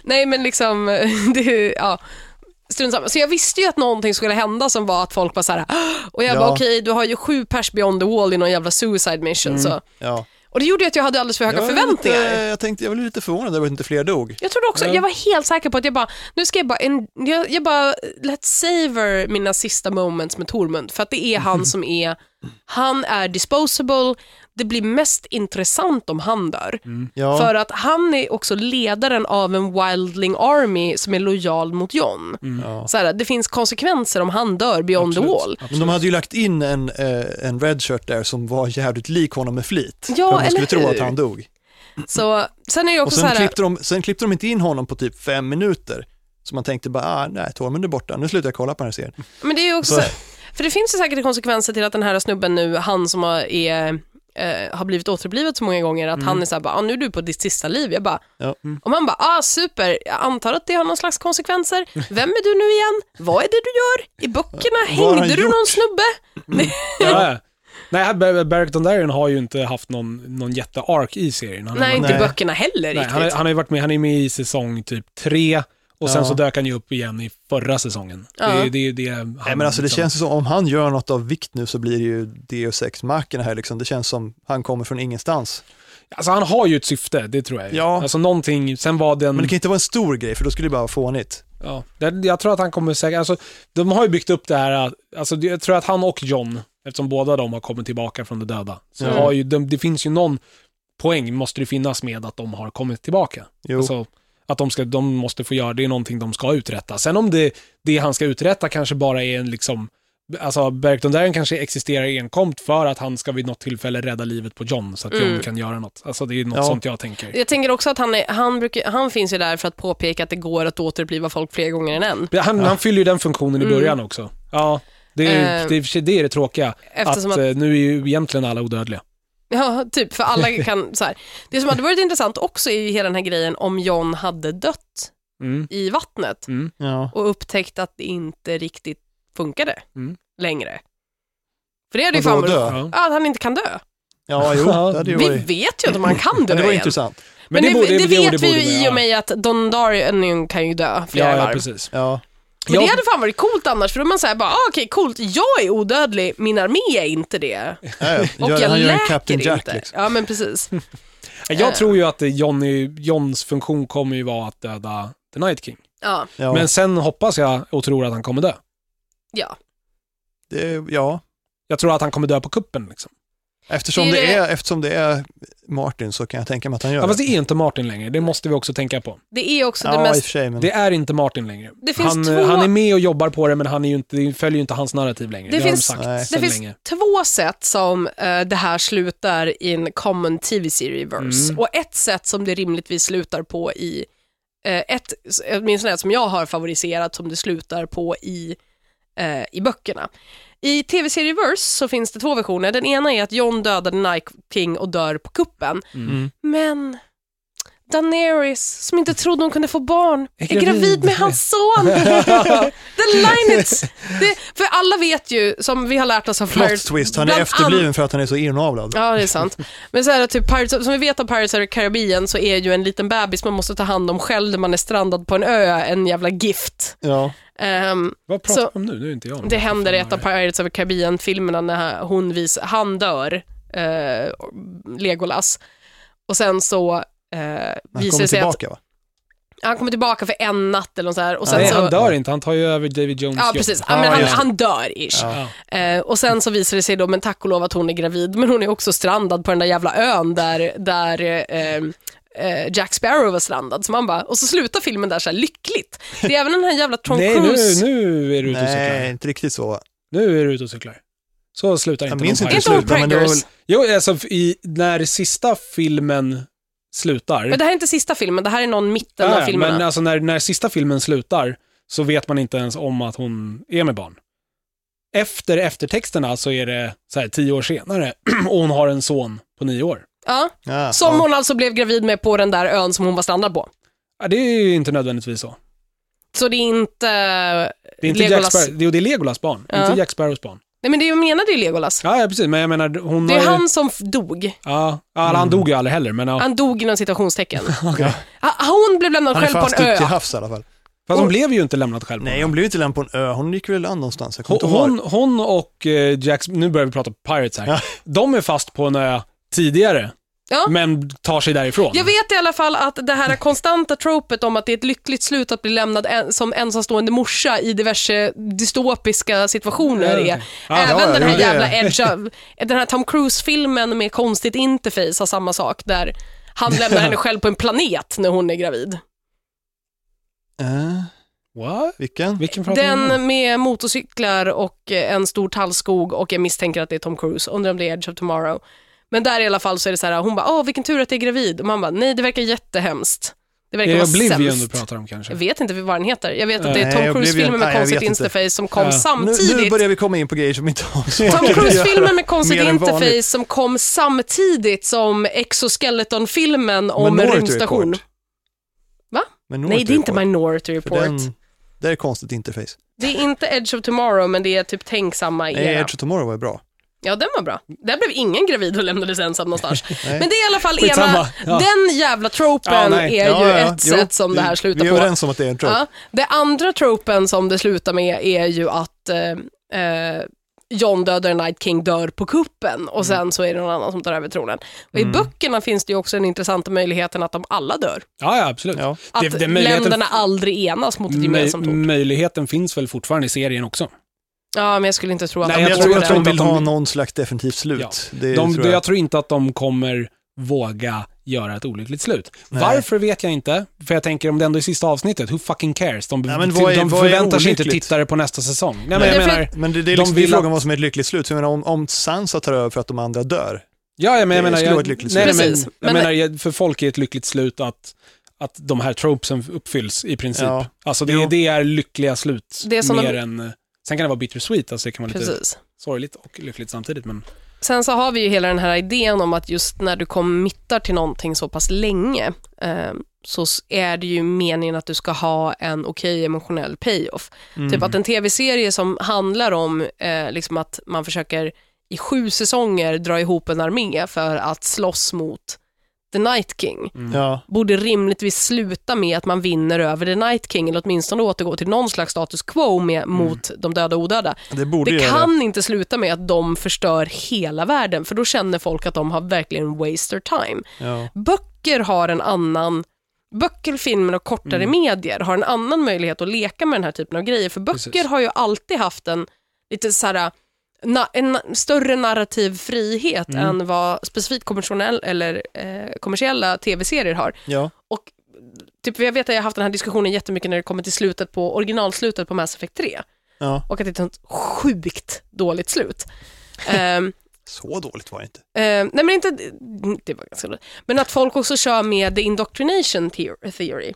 Nej men liksom, (laughs) det, är- ja. Strunt samma. Så jag visste ju att någonting skulle hända som var att folk bara såhär, och jag bara Ja. okej du har ju sju pers beyond the wall i någon jävla suicide mission Mm. så. Ja. Och det gjorde ju att jag hade alldeles för höga Jag var förväntningar. Lite, jag, tänkte, jag blev lite förvånad över att inte fler dog. Jag trodde också, Ja. jag var helt säker på att jag bara, nu ska jag bara, en, jag, jag bara, let's savor mina sista moments med Tormund, för att det är Mhm. han som är, han är disposable, det blir mest intressant om han dör. Mm. Ja. För att han är också ledaren av en wildling army som är lojal mot John. Mm. Ja. Så här, det finns konsekvenser om han dör beyond the wall. Men de hade ju lagt in en, eh, en redshirt där som var jävligt lik honom med flit. Ja, För att man skulle eller tro hur? att han dog. Så, sen är det ju Och också så sen här, klippte, de, sen klippte de inte in honom på typ fem minuter. Så man tänkte bara, ah, nej, Tormund är borta, nu slutar jag kolla på den här serien. Men det är ju också så Så- för det finns ju säkert konsekvenser till att den här snubben nu, han som har, är, eh, har blivit återblivet så många gånger, att Mm. han är såhär, bara, ah, nu är du på ditt sista liv. Jag bara, Ja. och man bara, ah super, jag antar att det har någon slags konsekvenser. Vem är du nu igen? Vad är det du gör? I böckerna, Vad har han hängde du gjort? någon snubbe? Ja. Nej, här- Bar- Barrack Dondarrion har ju inte haft någon, någon jätte-ark i serien. Han har Nej, varit- inte i Nej. böckerna heller Nej, riktigt. han, har- han har ju varit med, han är med i säsong typ tre och sen Ja. så dök han ju upp igen i förra säsongen. Ja. Det, är- det är ju det han... nej, men alltså det liksom- känns ju som, om han gör något av vikt nu så blir det ju Deus ex machina här liksom. Det känns som han kommer från ingenstans. Alltså han har ju ett syfte, det tror jag. ju. Ja. Alltså någonting, sen var den... Men det kan inte vara en stor grej, för då skulle det bara vara fånigt. Ja, det, jag tror att han kommer säkert, alltså, de har ju byggt upp det här, alltså, det- jag tror att han och John, eftersom båda de har kommit tillbaka från de döda, så Mm. har ju, de, det finns ju någon poäng måste det finnas med att de har kommit tillbaka. Jo. Alltså, att de, ska, de måste få göra, det är någonting de ska uträtta. Sen om det, det han ska uträtta kanske bara är en liksom, alltså Bergton Darren kanske existerar enkomt för att han ska vid något tillfälle rädda livet på John så att John Mm. kan göra något. Alltså det är något Ja. sånt jag tänker. Jag tänker också att han, är, han, brukar, han finns ju där för att påpeka att det går att återuppliva folk fler gånger än en. Han, han fyller ju den funktionen i Mm. början också. Ja, det är, Eh. det, är, i och för sig det är det tråkiga. Eftersom att, att- eh, nu är ju egentligen alla odödliga. eh, (laughs) Ja, typ, för alla kan så här. Det som hade varit intressant också är ju hela den här grejen om John hade dött Mm. i vattnet Mm. Ja. och upptäckt att det inte riktigt funkade Mm. längre. För det hade ju Och då fan dö? varit- Ja. Ja, att han inte kan dö. Ja, jo, det hade ju Vi varit... vet ju inte om han kan dö Ja, (laughs) det var igen. intressant. Men, det, borde- det, jo, vet borde vi ju i och med att Dondarrion kan ju dö flera Ja, ja, varv. precis. (laughs) Ja. Men Jag- det hade fan varit coolt annars, för då är man såhär bara, ah, okej coolt, jag är odödlig, min armé är inte det. Ja, ja. Och Gör- jag han gör en läker Captain inte. Jack liksom. Ja men precis. Jag tror ju att eh, Johnny, Johns funktion kommer ju vara att döda The Night King. Ja, Ja, Men sen hoppas jag och tror att han kommer dö. ja. det, ja. Jag tror att han kommer dö på kuppen. Liksom. Eftersom, Det är det det- är, eftersom det är Martin så kan jag tänka mig att han gör Ja, fast det. det är inte Martin längre, det måste vi också tänka på. Det är också det Ja, i och mest för sig, men... Det är inte Martin längre. Det finns han, två- eh, han är med och jobbar på det, men han är ju inte, det följer ju inte hans narrativ längre. Det Det, finns- har de Nej. sagt Det sedan finns länge. två sätt som eh, det här slutar i en common tv-serieverse Mm. och ett sätt som det rimligtvis slutar på i, eh, ett, åtminstone ett som jag har favoriserat som det slutar på i, eh, i böckerna. I tv-serieverse så finns det två versioner. Mm. Den ena är att John dödar The Night King och dör på kuppen. Mm. Men Daenerys, som inte trodde hon kunde få barn, Är är gravid. gravid, med hans son. (laughs) The line it's... (laughs) Det, för alla vet ju, som vi har lärt oss av Plot twist, han är bland efterbliven för att han är så inavlad. Ja, det är sant. Men så här, typ Pirates, som vi vet av Pirates of the Caribbean så är ju en liten bebis man måste ta hand om själv när man är strandad på en ö en jävla gift. Ja. Ehm, Vad pratar Så- vi om nu? Nu är inte jag med. det händer i Fan, ett av vad är Pirates of the Caribbean-filmerna när hon vis, han dör, eh, Legolas. Och sen så eh, Han visar det kommer sig att tillbaka va? han kommer tillbaka för en natt eller något så här. Och det? sen Nej, så, han dör inte. Han tar ju över David Jones Ja, jobb. precis. Ja, men han, just det. han dör ish. Ja. Ja. Eh, och sen så visar det sig då, men tack och lov att hon är gravid, men hon är också strandad på den där jävla ön där, där eh, eh, Jack Sparrow var strandad. Så man bara, och så slutar filmen där så här lyckligt. Det är även den här jävla (laughs) Tom Nej, nu, Cruise. nu är du ute och Nej, cyklar. inte riktigt så. Nu är du ute och cyklar. Så slutar inte Jag någon minns inte Pirates. Inte hon slutet, men det var preggers? väl- Jo, alltså i, när sista filmen slutar. Men det här är inte sista filmen, det här är någon mitten Ja, av ja, filmerna. men alltså när, när sista filmen slutar så vet man inte ens om att hon är med barn. Efter eftertexterna så är det så här, tio år senare (clears throat) och hon har en son på nio år. ja. Ja, Som ja. hon alltså blev gravid med på den där ön som hon var strandad på. Ja, det är ju inte nödvändigtvis så. Så det är inte, Det är, inte Jack Legolas. Sparrow, det är- det är Legolas barn, Ja. inte Jack Sparrows barn. Nej men det jag menade ju Legolas. Ja, ja, precis, men jag menar hon Det har är ju- han som f- dog. Ja, ja, han Mm. dog ju aldrig heller, men ja. Han dog inom citationstecken. Okej. Ha- Hon blev lämnad Han är själv på fast en ute till ö. havs i alla fall. Fast hon blev ju inte lämnad själv. Nej, hon blev ju inte lämnad på en ö. Hon gick väl an någonstans. Jag Hon, kommer inte ihåg. hon, hon och eh, Jack, nu börjar vi prata Pirates här. Ja. De är fast på en ö tidigare, Ja. men tar sig därifrån. Jag vet i alla fall att det här konstanta tropet om att det är ett lyckligt slut att bli lämnad en, som ensamstående morsa i diverse dystopiska situationer Ja, är okej. Ja, även ja, den här jo, det- jävla Edge of, den här Tom Cruise-filmen med konstigt interface har samma sak där han lämnar henne själv på en planet när hon är gravid. Eh, What? vilken? Vilken pratar vi om nu? Den med motorcyklar och eh, en stor tallskog och jag misstänker att det är Tom Cruise, undrar om det är Edge of Tomorrow. Men där i alla fall så är det så här, hon bara, åh vilken tur att jag är gravid. Och man bara, nej det verkar jättehemskt. Det verkar Det är vara Oblivion sämst. du pratar om kanske. Jag vet inte vad den heter. Jag vet att det är Nej, Tom Oblivion. Cruise-filmer Nej, med jag konstigt vet inte. interface som kom Ja. Nu, samtidigt. nu börjar vi komma in på grejer som inte har så Tom mycket att göra. (laughs) Cruise-filmen med konstigt Mer än vanligt. interface som kom samtidigt som Exoskeleton-filmen om en Minority rymdstation. Report. Va? Minority Nej, det är inte Report. Minority Report. För Den, det är konstigt interface. Det är inte Edge of Tomorrow, men det är typ tänk samma Nej, era. Edge of Tomorrow var ju bra. Ja, den var bra. Där blev ingen gravid och lämnades ensam någonstans. (laughs) Nej. Men det är i alla fall Skitsamma. ena, Ja. den jävla tropen Ja, nej. är Ja, ju ja, ett jo, sätt som det här vi, slutar på. Vi är överens om att det är en trope. Ja. Det andra tropen som det slutar med är ju att eh, eh, John dödar Night King dör på kuppen Mm. och sen så är det någon annan som tar över tronen. Och I böckerna finns det ju också den intressanta möjligheten att de alla dör. Ja, ja, absolut. Ja. Att Det- det är möjligheten- länderna aldrig enas mot ett gemensamt Möj- hot. möjligheten finns väl fortfarande i serien också? Ja, men jag skulle inte tro att Nej, Men de jag, jag tror, tror jag tror inte inte att de vill- ha någon slags definitivt slut. Ja. Det De, tror jag. jag tror inte att de kommer våga göra ett olyckligt slut. Varför vet jag inte, för jag tänker om det ändå är sista avsnittet, who fucking cares? De, Nej, men vad är- de vad är förväntar sig inte olyckligt? tittare på nästa säsong. Nej, men Nej, jag för- menar, Men det, det är De liksom det är vill frågan att- vad som är ett lyckligt slut. Så Jag menar, om, om Sansa tar över för att de andra dör. ja, jag menar, Det jag, skulle vara ett jag, lyckligt nej, slut. men, Precis, jag men- menar, jag- för folk är ett lyckligt slut att, att de här tropesen uppfylls i princip. Ja. Alltså Jo. det, det är lyckliga slut, Det är som de- mer än... Sen kan det vara bittersweet, alltså det kan vara lite Precis. sorgligt och lyckligt samtidigt, men Sen så har vi ju hela den här idén om att just när du committar till någonting så pass länge eh, så s- är det ju meningen att du ska ha en okej emotionell payoff. Typ att en tv-serie som handlar om eh, liksom att man försöker i sju säsonger dra ihop en armé för att slåss mot The Night King Mm. Ja. borde rimligtvis sluta med att man vinner över The Night King eller åtminstone återgå till någon slags status quo med, mot de döda och odöda. Det borde Det göra det. kan inte sluta med att de förstör hela världen, för då känner folk att de har verkligen waste their time. Ja. Böcker har en annan... Böcker, filmer och kortare medier har en annan möjlighet att leka med den här typen av grejer, för böcker Precis. har ju alltid haft en lite så här, na, en na- större narrativ frihet än vad specifikt kommersiell, eller, eh, kommersiella tv-serier har. Ja. Och typ, jag vet att jag har haft den här diskussionen jättemycket när det kommer till slutet på, originalslutet på Mass Effect 3 Ja. och att det är ett sånt sjukt dåligt slut. Ehm, Så dåligt var det inte. ehm, nej men inte, det var ganska dåligt. Men att folk också kör med the indoctrination theor- theory.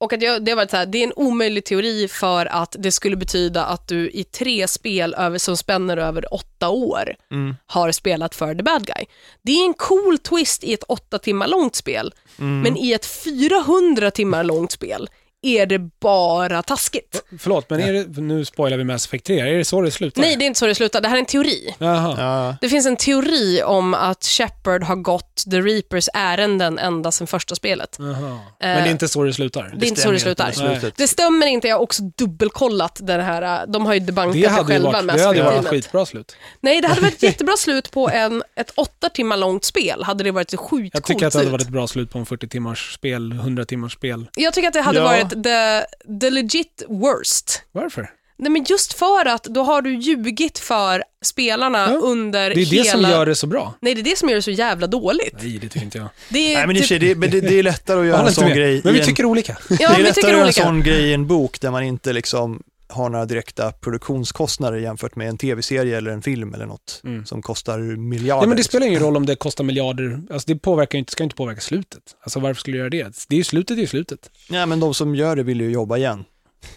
Och att jag, det har varit så här, det är en omöjlig teori för att det skulle betyda att du i tre spel över, som spänner över åtta år Mm. har spelat för The Bad Guy. Det är en cool twist i ett åtta timmar långt spel, men i ett 400 timmar långt spel är det bara taskigt. Förlåt, men är det, nu spoilar vi Mass Effect 3. Är det så det slutar? Nej, det är inte så det slutar. Det här är en teori. Jaha. Ja. Det finns en teori om att Shepard har gått The Reapers ärenden ända sedan första spelet. Jaha. Men det är inte så det slutar? Eh, Det är inte så det stämmer slutar. inte i slutet. Det stämmer inte, jag har också dubbelkollat den här, äh, de har ju debankat Det det hade ju själva varit, med det hade ju varit spelet. skitbra slut. Nej, det (laughs) hade varit ett jättebra slut på en, ett åtta timmar långt spel, hade det varit ett sjukt Jag tycker att coolt det hade slut. varit ett bra slut på en 40 timmars spel, 100 timmars spel. Jag tycker att det hade Ja. varit the, the legit worst. Varför? Nej men just för att då har du ljugit för spelarna Ja. under Det är hela... det som gör det så bra. Nej, det är det som gör det så jävla dåligt. Nej, det tycker inte jag. Det är Nej, men i och för typ- sig, det, men det, det är lättare att göra Håller en inte sån med. grej Men i vi en- tycker (laughs) olika. ja, det är vi lättare tycker att göra en olika. sån grej i en bok där man inte liksom har några direkta produktionskostnader jämfört med en tv-serie eller en film eller något Mm. som kostar miljarder. Ja, men det spelar ingen roll om det kostar miljarder. Alltså, det påverkar ju inte, ska ju inte påverka slutet. Alltså, varför skulle det göra det? det är ju slutet är ju slutet. Nej, men de som gör det vill ju jobba igen.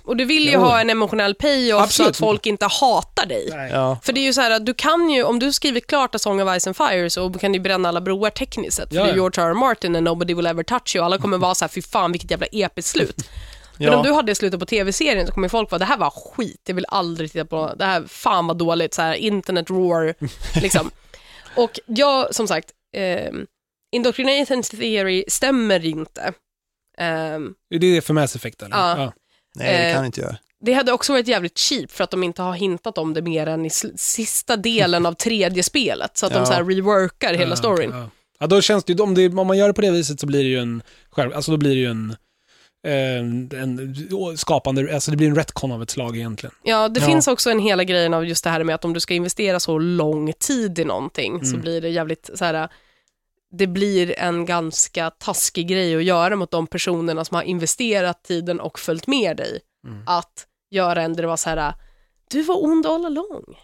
Och du vill ju Jo. ha en emotionell payoff så Absolut. att folk inte hatar dig. Ja. För det är ju så här att du kan ju, om du skriver klart A Song of Ice and Fire så kan du ju bränna alla broar tekniskt sett. För Ja, det är ja. George R. R. Martin and Nobody Will Ever Touch You. Alla kommer vara så här, fy fan vilket jävla episkt (laughs) slut. Men Ja. om du hade det slutet på tv-serien så kommer folk vara, det här var skit, jag vill aldrig titta på, det här fan vad dåligt, så här, (laughs) internet roar, liksom. Och jag, som sagt, ehm, Indoctrination Theory stämmer inte. Ehm, Är det det för Mass Effect, eller? Ja. Nej, det Eh, kan inte jag. det hade också varit jävligt cheap för att de inte har hintat om det mer än i sl- sista delen av tredje spelet. Så att Ja. de så här reworkar hela Ja, storyn. Eh, Ja. ja, då känns det ju, om, det, om man gör det på det viset så blir det ju en, själv, alltså då blir det ju en, eh, en skapande, alltså det blir en retcon av ett slag egentligen. Ja, det Ja. finns också en hela grejen av just det här med att om du ska investera så lång tid i någonting så Mm. blir det jävligt så här, det blir en ganska taskig grej att göra mot de personerna som har investerat tiden och följt med dig. Mm. Att göra en där det var så här, du var ond all along.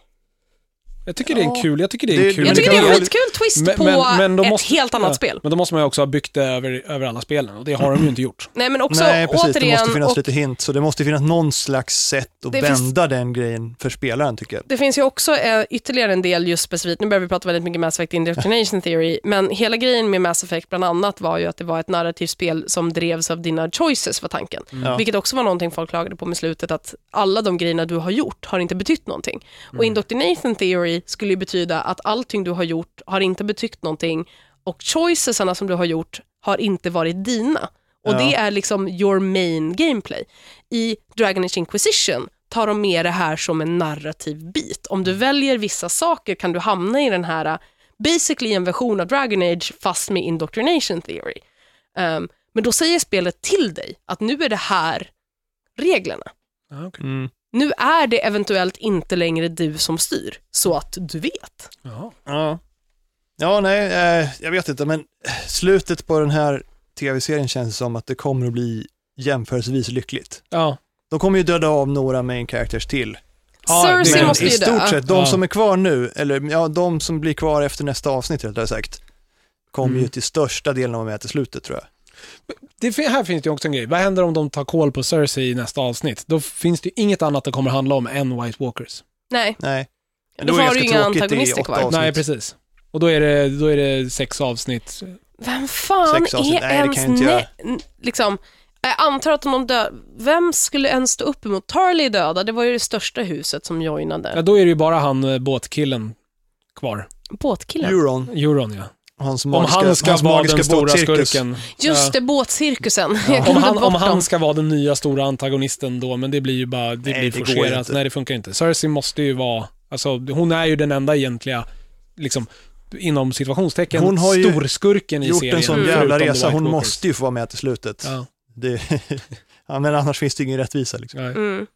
Jag tycker det är en kul, jag tycker det är Det- en kul. Men Jag tycker det det kan är vara- en skitkul twist Men- på men- men då ett måste- helt annat ja. spel. Men då måste man ju också ha byggt det över, över alla spelen och det har de ju inte gjort. Nej men också Nej, precis. det måste återigen, finnas och lite hint, så det måste finnas någon slags sätt att Det vända finns- den grejen för spelaren, tycker jag. det finns ju också eh, ytterligare en del just specifikt, nu börjar vi prata väldigt mycket Mass Effect Indoctrination Theory, men hela grejen med Mass Effect bland annat var ju att det var ett narrativt spel som drevs av dina choices var tanken. Mm. Ja. Vilket också var någonting folk klagade på med slutet, att alla de grejerna du har gjort har inte betytt någonting. Och Mm. Indoctrination Theory skulle ju betyda att allting du har gjort har inte betytt någonting och choicesarna som du har gjort har inte varit dina. Och Ja. det är liksom your main gameplay. I Dragon Age Inquisition tar de med det här som en narrativ bit. Om du väljer vissa saker kan du hamna i den här, basically en version av Dragon Age fast med indoctrination theory. Ehm, men då säger spelet till dig att nu är det här reglerna. Ja, okej. Mm. Nu är det eventuellt inte längre du som styr, så att du vet. Jaha. Ja. ja, nej, eh, jag vet inte, men slutet på den här tv-serien känns som att det kommer att bli jämförelsevis lyckligt. Ja. De kommer ju döda av några main characters till. Ja, Cersei det- Men måste i ju dö. stort sett, de Ja. som är kvar nu, eller ja, de som blir kvar efter nästa avsnitt rättare sagt, kommer Mm. ju till största delen att vara med till slutet tror jag. Det, fin- här finns det ju också en grej. Vad händer om de tar koll på Cersei i nästa avsnitt? Då finns det ju inget annat det kommer handla om än White Walkers. Nej, Nej. Men Då är det har du ganska inga tråkigt i antagonister åtta kvar. avsnitt. Nej, precis. Och då är, det, då är det sex avsnitt. vem fan Sex avsnitt. är Nej, det ens... kan jag inte göra. nä- n- liksom, jag antar att om de dör, vem skulle ens stå upp emot Tarly döda? Det var ju det största huset som Ja, joinade. då är det ju bara han eh, båtkillen kvar. Båtkillen. Euron, Euron, ja. hans Om magiska, han ska hans vara magiska den stora båtcirkus. skurken. Just Ja. det, båtcirkusen. Ja. (laughs) Jag Om glömde han, bort om han dem. ska vara den nya stora antagonisten då, men det blir ju bara, det Nej, blir det går ju forcerat. inte. Nej, det funkar inte. Cersei måste ju vara, alltså hon är ju den enda egentliga, liksom, inom situationstecken, Hon har ju storskurken i gjort serien. en sån förutom jävla The resa, White hon Walkers. måste ju få vara med till slutet. Ja, Det, (laughs) ja, men annars finns det ingen rättvisa. Liksom. nej. Mm.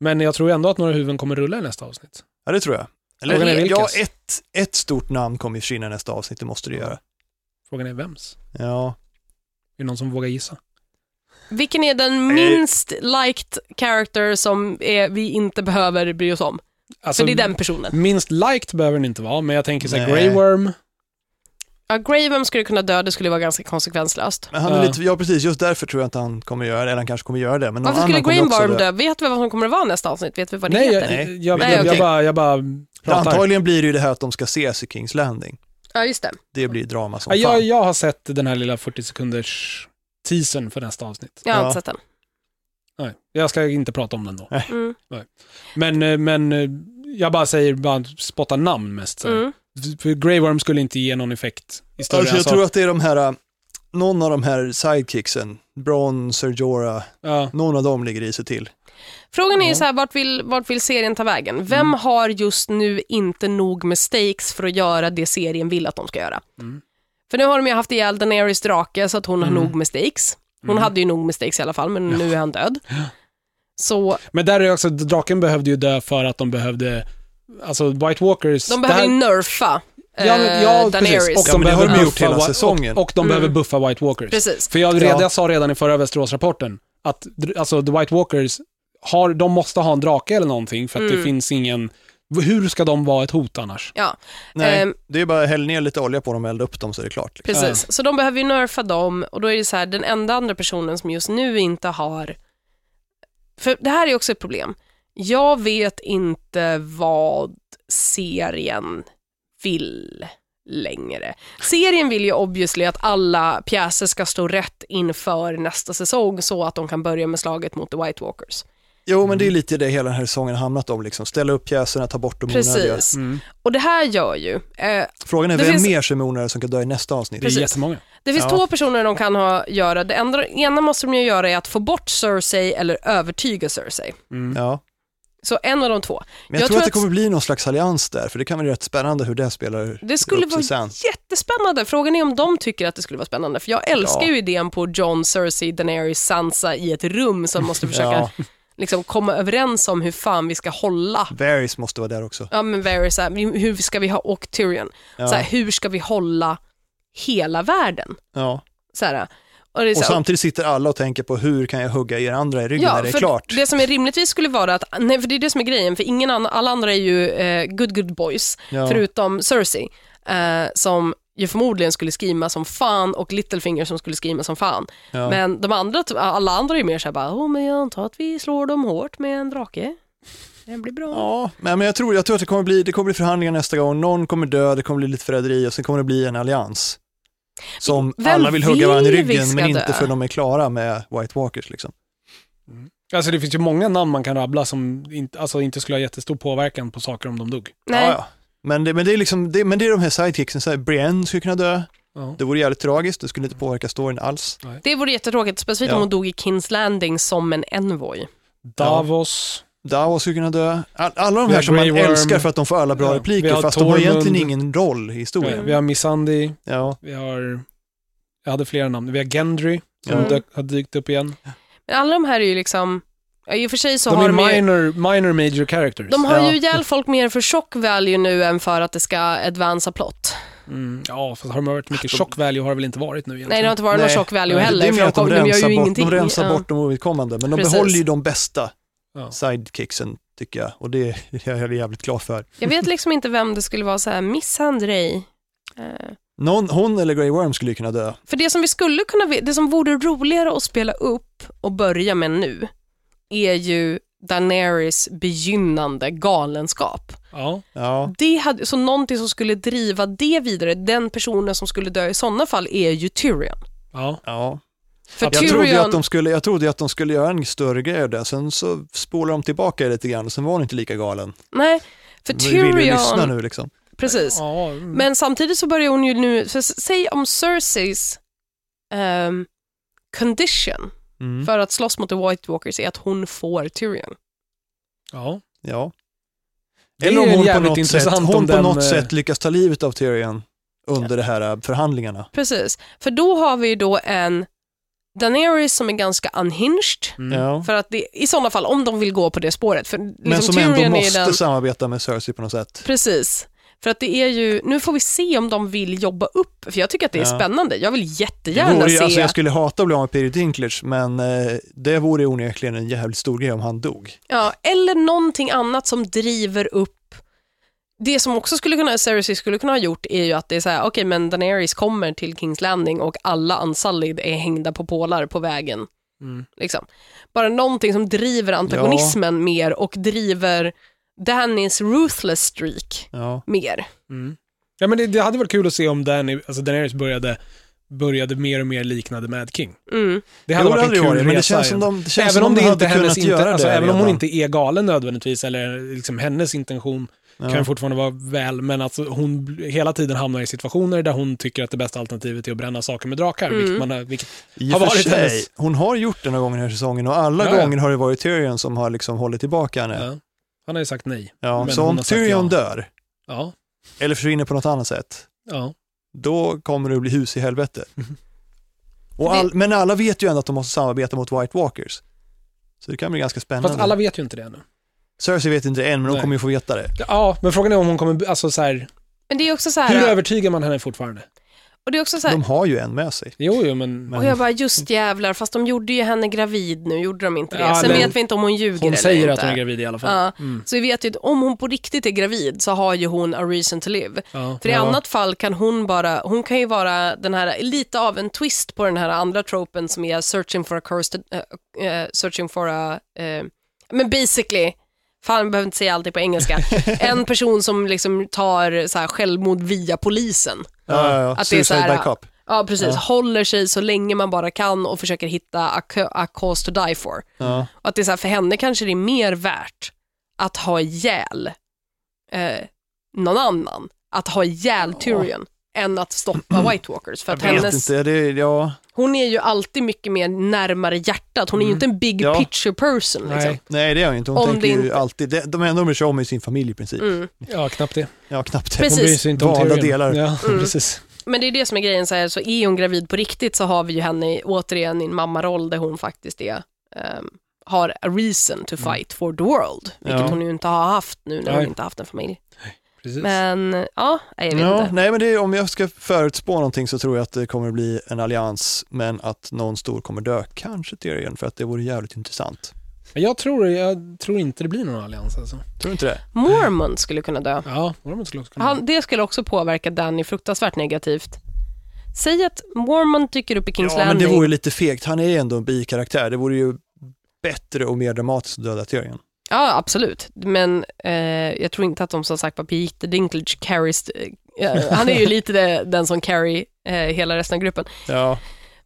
Men jag tror ändå att några huvuden kommer rulla i nästa avsnitt. Ja, det tror jag. Frågan är Eller, vilkas? ja, ett, ett stort namn kommer ju försvinna i nästa avsnitt, det måste det göra. Frågan är vems? Ja. Är det någon som vågar gissa? Vilken är den Eh. minst liked character som är, vi inte behöver bry oss om? Alltså, För det är den personen. Minst liked behöver den inte vara, men jag tänker såhär Nej. Grey Worm. Ja, Graven skulle kunna dö, det skulle vara ganska konsekvenslöst. Men han är Ja. lite, ja precis, just därför tror jag inte han kommer göra det, eller han kanske kommer göra det. Men någon Varför annan skulle kommer också Gravenbarm dö. dö? Vet vi vad som kommer att vara nästa avsnitt? Vet vi vad det Nej, heter? jag, Nej. jag, jag, Nej, jag, okej. bara, jag bara pratar. Antagligen blir det ju det här att de ska ses i Kings Landing. Ja, just det. Det blir drama som Ja, jag, fan. jag har sett den här lilla 40 sekunders teasern för nästa avsnitt. Jag har Ja. inte sett den. Nej, jag ska inte prata om den då. Mm. Men, eh, men eh, jag bara säger, bara spotta namn mest. Så. här. Mm. För Grey Worm skulle inte ge någon effekt i större Alltså, än jag så. tror att det är de här, äh, någon av de här sidekicksen, Bron, Serjora, Ja, någon av dem ligger i sig till. Frågan är ju Ja. så här, vart vill, vart vill serien ta vägen? Vem Mm. har just nu inte nog med stakes för att göra det serien vill att de ska göra? Mm. För nu har de ju haft ihjäl Daenerys drake så att hon Mm. har nog med stakes. Hon Mm. hade ju nog med stakes i alla fall, men nu är han död. Så men där är också, draken behövde ju dö för att de behövde, alltså White Walkers, de det behöver här- ju nerfa eh, Ja, men, ja Daenerys. precis. Och Ja, de men det har behöver de gjort buffa hela Wi- säsongen. Och, och de Mm. behöver buffa White Walkers. Precis. För jag, redan, Ja. jag sa redan i förra Västeråsrapporten att dr- alltså, The White Walkers, har, de måste ha en drake eller någonting för att det Mm. finns ingen... Hur ska de vara ett hot annars? Ja, Nej, Ehm. det är bara häll ner lite olja på dem och elda upp dem så är det klart. Liksom. precis. Så de behöver ju nerfa dem och då är det så här, den enda andra personen som just nu inte har... För det här är också ett problem. Jag vet inte vad serien vill längre. Serien vill ju obviously att alla pjäser ska stå rätt inför nästa säsong så att de kan börja med slaget mot The White Walkers. Jo, men det Mm. är lite det hela den här säsongen har hamnat om, liksom. ställa upp pjäserna, ta bort de onödiga. Precis. Mm. Och det här gör ju... Eh, Frågan är Det vem finns- mer som är onödiga som kan dö i nästa avsnitt. Det är jättemånga. Det finns Ja. två personer de kan ha göra. Det enda, ena måste de ju göra är att få bort Cersei eller övertyga Cersei. Mm. Ja. Så en av de två. Men jag, tror, att det kommer bli någon slags allians där, för det kan vara rätt spännande hur det spelar det skulle upp sig vara sen. jättespännande. Frågan är om de tycker att det skulle vara spännande. För jag älskar Ja. ju idén på John, Cersei, Daenerys, Sansa i ett rum som måste försöka Ja. liksom, komma överens om hur fan vi ska hålla. Varys måste vara där också. Ja men Varys, så här, hur ska vi ha, och Tyrion, Ja. så här, hur ska vi hålla hela världen? Ja. Så här, och det är så Och här, samtidigt sitter alla och tänker på hur kan jag hugga er andra i ryggen när det är för klart. Det som är rimligtvis skulle vara att, nej för det är det som är grejen, för ingen annan, alla andra är ju eh, good good boys, Ja. förutom Cersei, eh, som ju förmodligen skulle skrima som fan och Littlefinger som skulle skrima som fan. Ja. Men de andra, alla andra är ju mer såhär bara, oh, men jag antar att vi slår dem hårt med en drake. Det blir bra. Ja, men men jag tror, jag tror att det kommer, bli, det kommer bli förhandlingar nästa gång, någon kommer dö, det kommer bli lite förräderi och sen kommer det bli en allians. Som Vem alla vill vill hugga varandra i vi ryggen ska men inte dö? för de är klara med White Walkers. Liksom. Alltså det finns ju många namn man kan rabbla som inte, alltså, inte skulle ha jättestor påverkan på saker om de dog. Nej. Ja, ja. Men, det, men, det är liksom, det, men det är de här sidekicksen, så här, Brienne skulle kunna dö, Ja. det vore jävligt tragiskt, det skulle inte påverka storyn alls. Det vore jättetråkigt, speciellt Ja. om hon dog i Kings Landing som en envoy. Davos. Davos skulle kunna dö, All, alla de Vi här har som man Grey Worm. älskar för att de får alla bra Ja. Vi repliker, har fast de har egentligen Tormund. ingen roll i Ja, historien. Vi har Missandi, Ja. vi har... Jag hade flera namn. Vi har Gendry, som Mm. dök, har dykt upp igen. Men alla de här är ju liksom, ja, i och för sig så De har är de ju... minor, minor major characters. De har Ja. ju ihjäl folk mer för chock value nu än för att det ska advansa plott. Mm, ja, fast har de varit mycket chock value har det väl inte varit nu egentligen. Nej, det har inte varit någon Nej. chock value Nej, heller. Eh, det är för mer att de kom- gör ju rensar, bort, ingenting. de rensar Ja. bort de ovidkommande, men de Precis. behåller ju de bästa Ja. sidekicksen tycker jag och det är (laughs) jag jävligt glad för. Jag vet liksom inte vem det skulle vara så här misshandrej. Någon, hon eller Grey Worm skulle ju kunna dö. För det som vi skulle kunna, ve- det som vore roligare att spela upp och börja med nu är ju Daenerys begynnande galenskap. Ja. Ja, Det hade, så någonting som skulle driva det vidare, den personen som skulle dö i sådana fall är ju Tyrion. ja. ja. För Jag, Tyrion, trodde ju att de skulle, jag trodde ju att de skulle göra en större grej av det, sen så spolar de tillbaka det lite grann och sen var hon inte lika galen. nej, för Vi vill ju lyssna Tyrion, nu liksom. precis. ja. mm. Men samtidigt så börjar hon ju nu, för s- säg om Cerseis ehm, condition Mm. för att slåss mot The White Walkers är att hon får Tyrion. ja. Ja. Det är Eller om ju hon på jävligt något, sätt, intressant om hon på den, något eh, sätt lyckas ta livet av Tyrion under de här eh, förhandlingarna. Precis, för då har vi ju då en Daenerys som är ganska unhinged. Mm. Ja. För att det, i sådana fall, om de vill gå på det spåret. För liksom Men som Tyrion ändå är måste den, samarbeta med Cersei på något sätt. Precis. För att det är ju, nu får vi se om de vill jobba upp, för jag tycker att det är Ja. spännande. Jag vill Det jättegärna vore ju, se... Alltså jag skulle hata att bli av med Peter Dinklage, men eh, det vore ju onekligen en jävligt stor grej om han dog. Ja, eller någonting annat som driver upp det som också skulle kunna, Cersei skulle kunna ha gjort är ju att det är så här, okej men Daenerys kommer till Kings Landing och alla Unsullied är hängda på pålar på vägen. Mm. Liksom. Bara någonting som driver antagonismen mer och driver Dannys ruthless streak Ja. mer. Mm. Ja, men det, det hade varit kul att se om Danny, alltså Daenerys började, började mer och mer liknade Mad King. Mm. Det hade Jo, varit en hade kul varit, resa Men det känns igen. som de, det känns även som om de det inte hade hennes kunnat inte, göra alltså, det även om hon redan. inte är galen nödvändigtvis, eller liksom hennes intention Ja. kan ju fortfarande vara väl, men alltså hon bl- hela tiden hamnar i situationer där hon tycker att det bästa alternativet är att bränna saker med drakar, Mm. vilket man har, vilket, I har och för varit sig, hennes- hon har gjort det några gånger den här säsongen och alla Ja, ja. gånger har det varit Tyrion som har liksom hållit tillbaka henne. Ja. ja. han har ju sagt nej. men så hon om har sagt Tyrion ja. dör, Ja, eller försvinner på något annat sätt, ja. då kommer det att bli hus i helvete. Mhm. Och all, men alla vet ju ändå att de måste samarbeta mot White Walkers. Så det kan bli ganska spännande. Fast alla vet ju inte det ännu. Cersei vet inte det än, men hon Nej. kommer ju få veta det. Ja, men frågan är om hon kommer, alltså så här, Men det är också så här, hur övertygar man henne fortfarande? och det är också så här De har ju en med sig. Jo, jo, men, Men och jag bara just jävlar, fast de gjorde ju henne gravid nu, gjorde de inte det? Ja, Sen men- vet vi inte om hon ljuger hon eller säger inte. att hon är gravid i alla fall. Ja. Mm. Så vi vet ju att om hon på riktigt är gravid så har ju hon a reason to live. Ja. För i Ja. annat fall kan hon bara, hon kan ju vara den här, lite av en twist på den här andra tropen som är searching for a curse, eh, searching for a, eh, men basically, fan jag behöver inte säga alltid på engelska, en person som liksom tar så här självmord via polisen. Ja, ja, ja. Att det är så Suicide här- by cop. Ja precis, Ja. håller sig så länge man bara kan och försöker hitta a, cu- a cause to die for. Ja. Och att det är så här, för henne kanske det är mer värt att ha ihjäl eh, någon annan, att ha ihjäl Tyrion, än att stoppa (clears throat) White Walkers. För att Jag vet hennes, inte, det, är- ja, hon är ju alltid mycket mer närmare hjärtat, hon är ju inte en big Mm. Ja. picture person. Liksom. Nej, nej det är hon inte. Hon Om tänker det ju inte- alltid, det- de enda hon bryr sig om är sin familj i princip. Mm. ja, knappt det. Ja, knappt det. Hon Precis. bryr sig inte om Valda teorin. delar. Ja, Mm. precis. Men det är det som är grejen, så, här, så är hon gravid på riktigt så har vi ju henne i- återigen i en mammaroll där hon faktiskt är ehm, har a reason to fight for the world, vilket Mm. Ja. hon ju inte har haft nu när hon Nej. inte haft en familj. precis. Men ja, nej, jag vet Ja, inte. nej, men det är, om jag ska förutspå någonting så tror jag att det kommer bli en allians, men att någon stor kommer dö. Kanske Tyrion, för att det vore jävligt intressant. Men jag tror, jag tror inte det blir någon allians alltså. Tror du inte det? Mormon skulle kunna dö. Ja, Mormont skulle också kunna Han, det skulle också påverka Danny fruktansvärt negativt. Säg att Mormon dyker upp i Kings Ja, men det Landing. vore lite fegt. Han är ändå en bikaraktär. Det vore ju bättre och mer dramatiskt att döda Tyrion. Ja, absolut. Men eh, jag tror inte att de som sagt var Peter Dinklage carries... Eh, han är ju lite det- den som carry eh, hela resten av gruppen. Ja.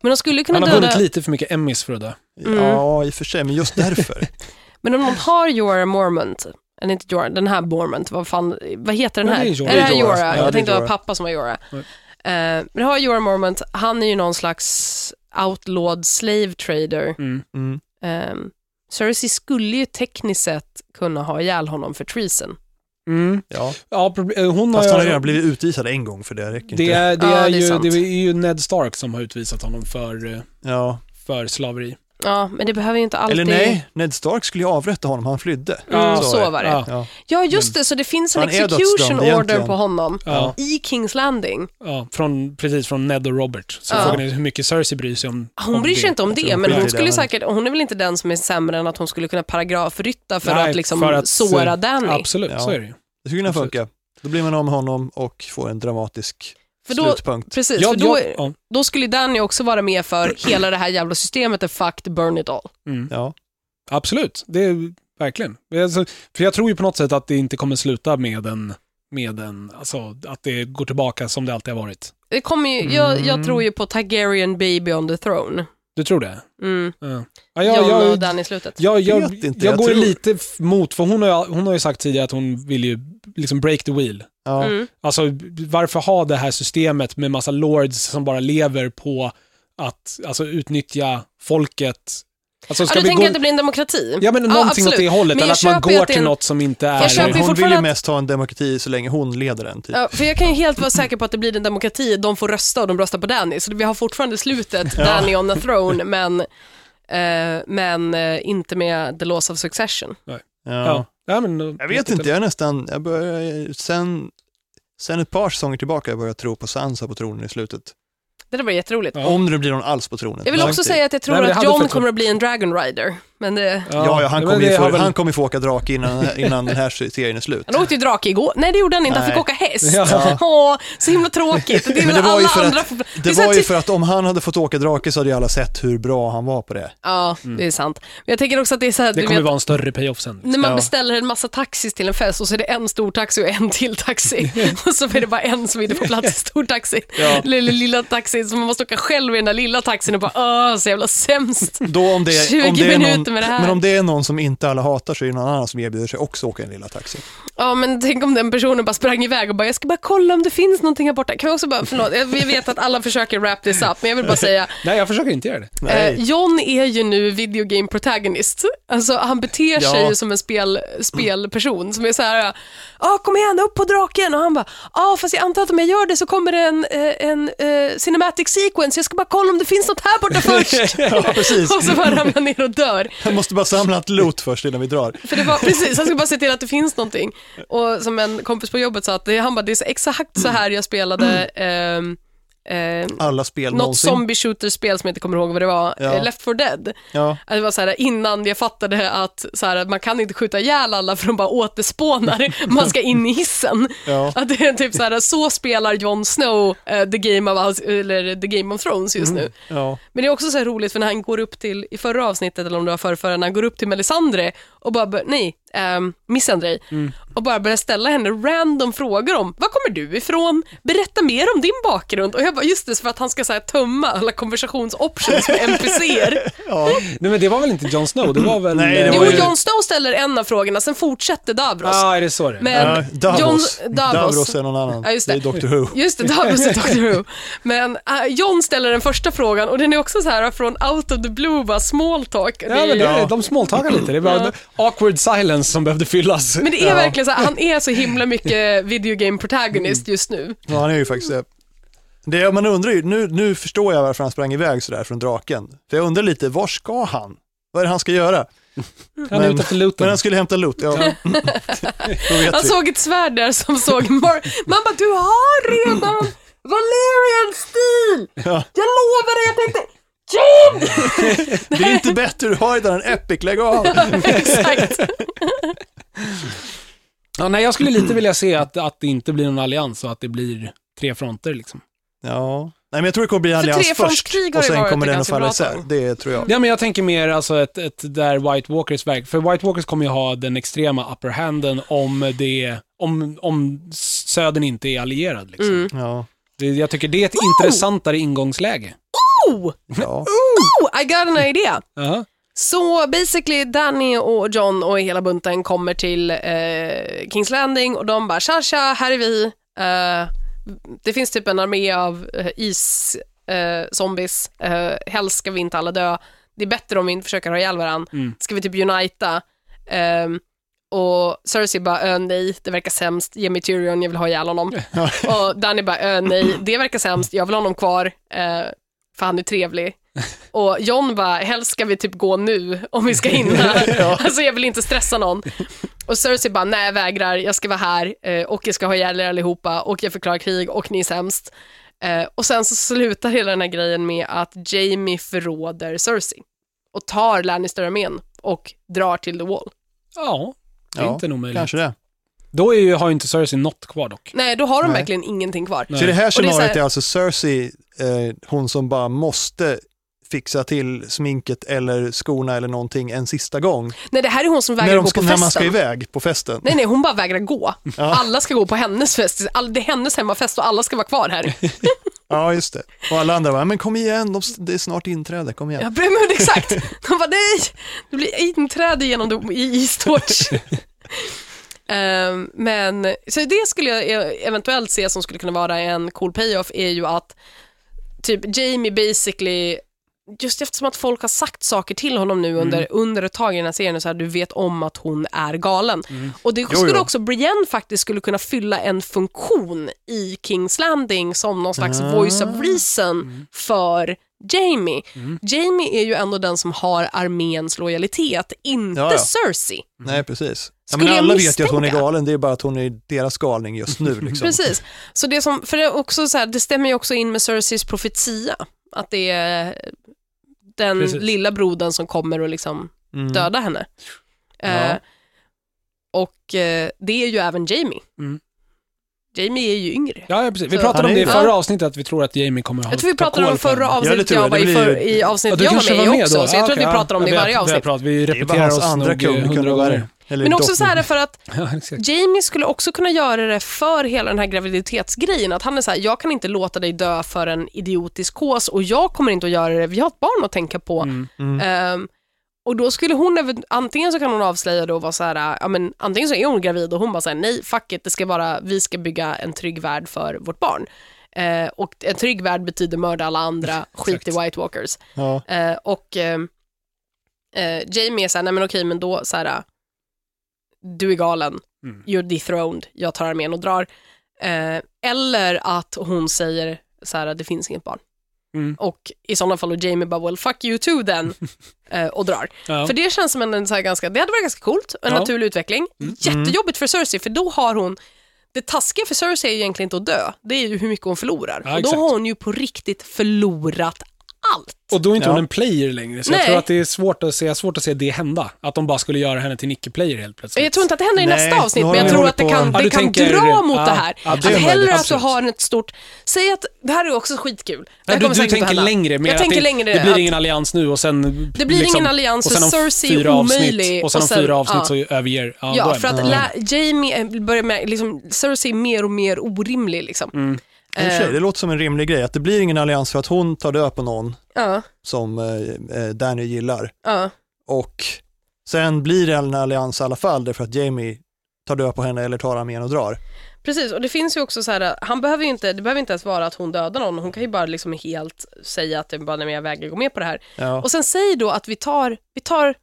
Men de skulle kunna Han har döda... vunnit lite för mycket Emmys för att dö. Mm. ja, i och för sig, men just (laughs) därför. Men om de har Jorah Mormont, eller inte Jorah, den här Mormont, vad fan, vad heter den Ja, här? det är Jorah. det här Det är Jorah. Jorah? Ja, det är jag tänkte det var Jorah. pappa som var Jorah. Nej. Eh, Men det har Jorah Mormont, han är ju någon slags outlawed slave trader. Mm. Um, Cersei skulle ju tekniskt sett kunna ha ihjäl honom för treason. Ja. Ja, proble- eh, hon Mm. Fast han har har redan blivit utvisad en gång för det, räcker det inte. är, det, Ja, är det är ju, sant. det är ju Ned Stark som har utvisat honom för, eh, Ja. för slaveri. Ja, men det behöver ju inte alltid... Eller nej, Ned Stark skulle ju avrätta honom, han flydde. Mm, Ja, så, så är det. var det. Ja, Ja. Ja, just det, så det finns en Han är execution dödsdömd order egentligen. på honom ja, i Kings Landing. ja, från, precis från Ned och Robert. Så Ja. frågan är hur mycket Cersei bryr sig om Hon om bryr sig det. inte om det, hon men skiter i hon det, skulle men- säkert, hon är väl inte den som är sämre än att hon skulle kunna paragrafrytta för Nej, att liksom för att- såra Danny. Absolut, Ja. så är det ju. Det skulle kunna Absolut. funka. Då blir man av med honom och får en dramatisk för då, slutpunkt. precis, Ja, för då, ja, ja. då skulle Danny också vara med för hela det här jävla systemet är fucked, burn it all. Mm. Ja. Absolut, det är verkligen. Alltså, För jag tror ju på något sätt att det inte kommer sluta med en, med en, alltså att det går tillbaka som det alltid har varit. Det kommer ju, jag, jag Mm. tror ju på Targaryen baby on the throne. Du tror det? Mm. Ja. Ja, Ja, jag, Jon jag, och Danny i slutet. jag, jag, vet inte, jag, jag går ju tror- lite f- mot, för hon har, ju- hon har ju sagt tidigare att hon vill ju liksom break the wheel. Ja. Mm. Alltså varför ha det här systemet med massa lords som bara lever på att alltså, utnyttja folket? Alltså, Ja, du tänker att det blir en demokrati? Ja, men Ja, någonting åt absolut. det hållet, Men eller jag att man köper ju går att det är till en- något som inte är... Jag köper ju Hon vill fortfarande ju att- mest ha en demokrati så länge hon leder den. Typ. Ja, för jag kan ju helt vara säker på att det blir en demokrati, de får rösta och de röstar på Danny, så vi har fortfarande slutet, Danny on the throne, men, eh, men eh, inte med the laws of succession. Ja. Ja. Ja, men, Jag vet inte, jag är nästan, jag börjar, sen, sen ett par säsonger tillbaka jag börjar jag tro på Sansa på tronen i slutet. Det där var jätteroligt. Ja. Om det blir någon alls på tronen. Jag vill Nej, också inte. säga att jag tror Nej, men det att hade John faktiskt- kommer att bli en dragon rider, men Men eh, det... Ja, ja, han men kommer ju det har få, väl- han kommer ju få åka drake innan, innan den här serien är slut. Han åkte ju drake igår. Nej, det gjorde han inte. Han fick Nej. åka häst. Ja. (laughs) Åh, så himla (laughs) tråkigt. Det är Men väl det var ju alla för andra... att, får- det är så här var ju typ- för att om han hade fått åka drake så hade ju alla sett hur bra han var på det. Ja, det är sant. Men jag tänker också att det är så här, Mm. Det du kommer vet, vara en större payoff sen. när man Ja. beställer en massa taxis till en fest och så är det en stor taxi och en (laughs) till taxi. och så är det bara en som inte får plats i stortaxin. Ja. Eller lilla, lilla taxin, så man måste åka själv i den där lilla taxin och bara åh, så jävla sämst. Då om det, 20 om det är minuter någon, med det här. Men om det är någon som inte alla hatar så är det någon annan som erbjuder sig också att åka i en lilla taxi. Ja, men tänk om den personen bara sprang iväg och bara, jag ska bara kolla om det finns någonting här borta. Kan vi också bara, förlåt, jag- vi vet att alla försöker wrap this up, men (laughs) jag vill bara säga, Nej, jag försöker inte göra det. Eh, John är ju nu video game protagonist. Alltså han beter sig Ja. ju som en spel, spelperson som är så här, ja kom igen upp på draken och han bara, ja fast jag antar att om jag gör det så kommer det en, eh, en eh, cinematic sequence, jag ska bara kolla om det finns något här (laughs) borta först. Ja, precis. och så bara ramlar han ner och dör. Jag måste bara samla allt (laughs) loot först innan vi drar. För det var precis, han ska bara se till att det finns någonting. Och som en kompis på jobbet sa, att det, han bara, det är så exakt så här jag spelade ehm, eh, Alla spel något någonsin. zombie shooter-spel som jag inte kommer ihåg vad det var, Ja. eh, Left 4 Dead. Ja. Att Äh, Det var så här, innan jag fattade att så här, man kan inte skjuta ihjäl alla för de bara återspånar, man ska in i hissen. Ja. Att det är typ så, här, så spelar Jon Snow eh, the, game of, Us- eller the Game of Thrones just nu. Ja. Men det är också så här roligt för när han går upp till, i förra avsnittet eller om det var förra, förra när han går upp till Melisandre och bara, bör- nej, um, Missandre, och bara börjar ställa henne random frågor om, var kommer du ifrån? Berätta mer om din bakgrund. Och jag bara, just det, så för att han ska så här, tömma alla konversationsoptions med NPCer. Ja. Nej, men det var väl inte Jon Snow? Det var väl... Nej, det eh, var Jo, ju- Jon Snow ställer en av frågorna, sen fortsätter Davros. Ja, är det så det är? Men Ja, Davros. Jon- Davros. Davros. är någon annan. Eh, Ja, just det. det. är Doctor Who. Just det, Davros och Dr. Who. Men äh, John ställer den första frågan och den är också så här från out of the blue, bara small talk. Det Ja, är- men det, är- de småltagar lite. Det var awkward silence som behövde fyllas. Men det är verkligen så här, han är så himla mycket video game protagonist just nu. Ja, han är ju faktiskt det. det. Man undrar ju, nu, nu förstår jag varför han sprang iväg sådär från draken. För jag undrar lite, var ska han? Vad är det han ska göra? Han är Men- ute efter Men looten. han skulle hämta loot, ja. (laughs) Då vet Han vi. såg ett svärd där som såg Mar- Man bara, du har redan Valerian stil! Ja. Jag lovar dig, jag tänkte John! Det är inte bättre du har utan en epic, lägg av. (laughs) Exakt. Ja, nej, jag skulle lite vilja se att, att det inte blir någon allians och att det blir tre fronter liksom. Ja. Nej, men jag tror det kommer bli en För allians först trefrontskrig har och ju sen varit kommer ett den att ganska falla bra isär. tag. Det tror jag. Ja, men jag tänker mer alltså ett, ett där White Walkers verk. För White Walkers kommer ju ha den extrema upper handen om det, om, om södern inte är allierad liksom. Mm. (laughs) Ja. Det, jag tycker det är ett intressantare ingångsläge. Oh, ja. oh, I got an idea. Jaha. Så basically Danny och John och hela bunten kommer till eh, Kings Landing och de bara tja tja, här är vi. Eh, det finns typ en armé av eh, is eh, zombies. Eh, helst ska vi inte alla dö. Det är bättre om vi inte försöker ha ihjäl varandra. Mm. Ska vi typ unita? Ehm, och Cersei bara, ö nej, det verkar sämst. Ge mig Tyrion, jag vill ha ihjäl honom. och Danny bara, ö nej, det verkar sämst. Jag vill ha honom kvar, eh, för han är trevlig. Och John bara, helst ska vi typ gå nu, om vi ska hinna. (laughs) Alltså jag vill inte stressa någon. Och Cersei bara, nej jag vägrar, jag ska vara här eh, och jag ska ha ihjäl er allihopa och jag förklarar krig och ni är sämst. Eh, och sen så slutar hela den här grejen med att Jamie förråder Cersei och tar Lannister-armén och drar till The Wall. Ja, det är Ja, inte en omöjlighet. Kanske det. Då är ju, har ju inte Cersei något kvar dock. Nej, då har de Nej. verkligen ingenting kvar. Nej. Så i det här Och det är så scenariot här- är alltså Cersei, eh, hon som bara måste fixa till sminket eller skorna eller någonting en sista gång. Nej, det här är hon som vägrar När, de gå ska, på när man ska festen. iväg på festen. Nej, nej, hon bara vägrar gå. Ja. Alla ska gå på hennes fest. All, det är hennes hemmafest och alla ska vara kvar här. Ja, just det. Och alla andra bara, men kom igen, de, det är snart inträde, kom igen. Ja, men exakt. De bara, nej, det blir inträde genom dem (laughs) i Eastwatch. Ehm, men, så det skulle jag e- eventuellt se som skulle kunna vara en cool payoff är ju att typ Jamie basically, just eftersom att folk har sagt saker till honom nu under, Mm. under ett tag i den här serien, så här, du vet om att hon är galen. Och det skulle Mm. jo. också Brienne faktiskt skulle kunna fylla en funktion i Kings Landing som någon slags Ah. Mm. voice of reason för Jamie. Mm. Jamie är ju ändå den som har arméns lojalitet, inte Ja, ja. Cersei. Mm. Nej, precis. Ja, Skulle men jag alla vet ju att hon är misstänka? galen, det är bara att hon är deras galning just (laughs) nu. Liksom. Precis. Så det, som, för det, är också så här, det stämmer ju också in med Cerseis profetia, att det är den Precis. lilla brodern som kommer och liksom Mm. döda henne. Eh, Ja. och eh, det är ju även Jamie. Mm. Jamie är ju yngre. Ja, ja, precis. Vi Så- pratade Han om är det i ju- förra avsnittet, att vi tror att Jamie kommer ha Jag tror vi pratade om alkohol för förra honom. Ja, det avsnittet tror jag jag. var Det i, blir ju- för, i avsnittet du jag kanske var med var i med också, då? så jag tror Ja, att vi okej. pratar om det i Ja, varje vi har- vi har avsnitt. pratat- Vi Det är bara repeterar hans oss andra nog eh, kung, hundra gånger. kungavarg. Eller Men också drottning. så här för att Ja, exakt. (laughs) Jamie skulle också kunna göra det för hela den här graviditetsgrejen. Att han är så här, jag kan inte låta dig dö för en idiotisk kås och jag kommer inte att göra det. Vi har ett barn att tänka på. Mm. Mm. Ehm, och då skulle hon, även- antingen så kan hon avslöja då och vara så här, ja men antingen så är hon gravid och hon bara säger nej, fuck it, det ska bara, vi ska bygga en trygg värld för vårt barn. Eh, och en trygg värld betyder mörda alla (laughs) andra, skit i Exakt. White Walkers. Ja. Eh, och ehm, eh, Jamie är så här, nej men okej, men då så här, du är galen, Mm. you're dethroned, jag tar armén och drar. Eh, eller att hon säger så här, det finns inget barn. Mm. Och i sådana fall, och Jamie bara, well fuck you too then, (laughs) eh, och drar. Ja. För det känns som en, en så här ganska, det hade varit ganska coolt, en Ja. Mm. naturlig utveckling. Jättejobbigt för Cersei, för då har hon, det taskiga för Cersei är ju egentligen inte att dö, det är ju hur mycket hon förlorar. Ja, och då exakt. har hon ju på riktigt förlorat allt. Och då är inte hon Ja. en player längre, så Nej. jag tror att det är svårt att se, svårt att se det hända. Att de bara skulle göra henne till en icke-player helt Och plötsligt. Jag tror inte att det händer i Nej, nästa avsnitt, nu har men jag vi tror hållit att det på- kan, Ja, det du kan tänker- dra mot ja, det här. ja, det att är möjligt, hellre att du absolut. har ett stort, säg att, det här är också skitkul. Det här Nej, du kommer du säkert inte tänker hända. längre, mer Jag att tänker det, längre det blir att- ingen allians nu och sen... liksom, Det blir ingen allians, och för sen om Cersei är fyra omöjlig, avsnitt, och och sen om sen- fyra avsnitt ja. så överger... Ja, då Ja, är för det- att lä- Jamie eh, börjar med, liksom, Cersei är mer och mer orimlig. Liksom. Mm. I och för sig, Eh, det låter som en rimlig grej, att det blir ingen allians för att hon tar död på någon ja, som eh, eh, Danny gillar. ja. Och sen blir det en allians i alla fall, därför att Jamie tar död på henne eller tar armén och drar. Precis, och det finns ju också så här, han behöver ju inte, det behöver inte ens vara att hon dödar någon, hon kan ju bara liksom helt säga att det är bara, nej, men jag vägrar gå med på det här. Ja. Och sen säg då att vi tar, vi tar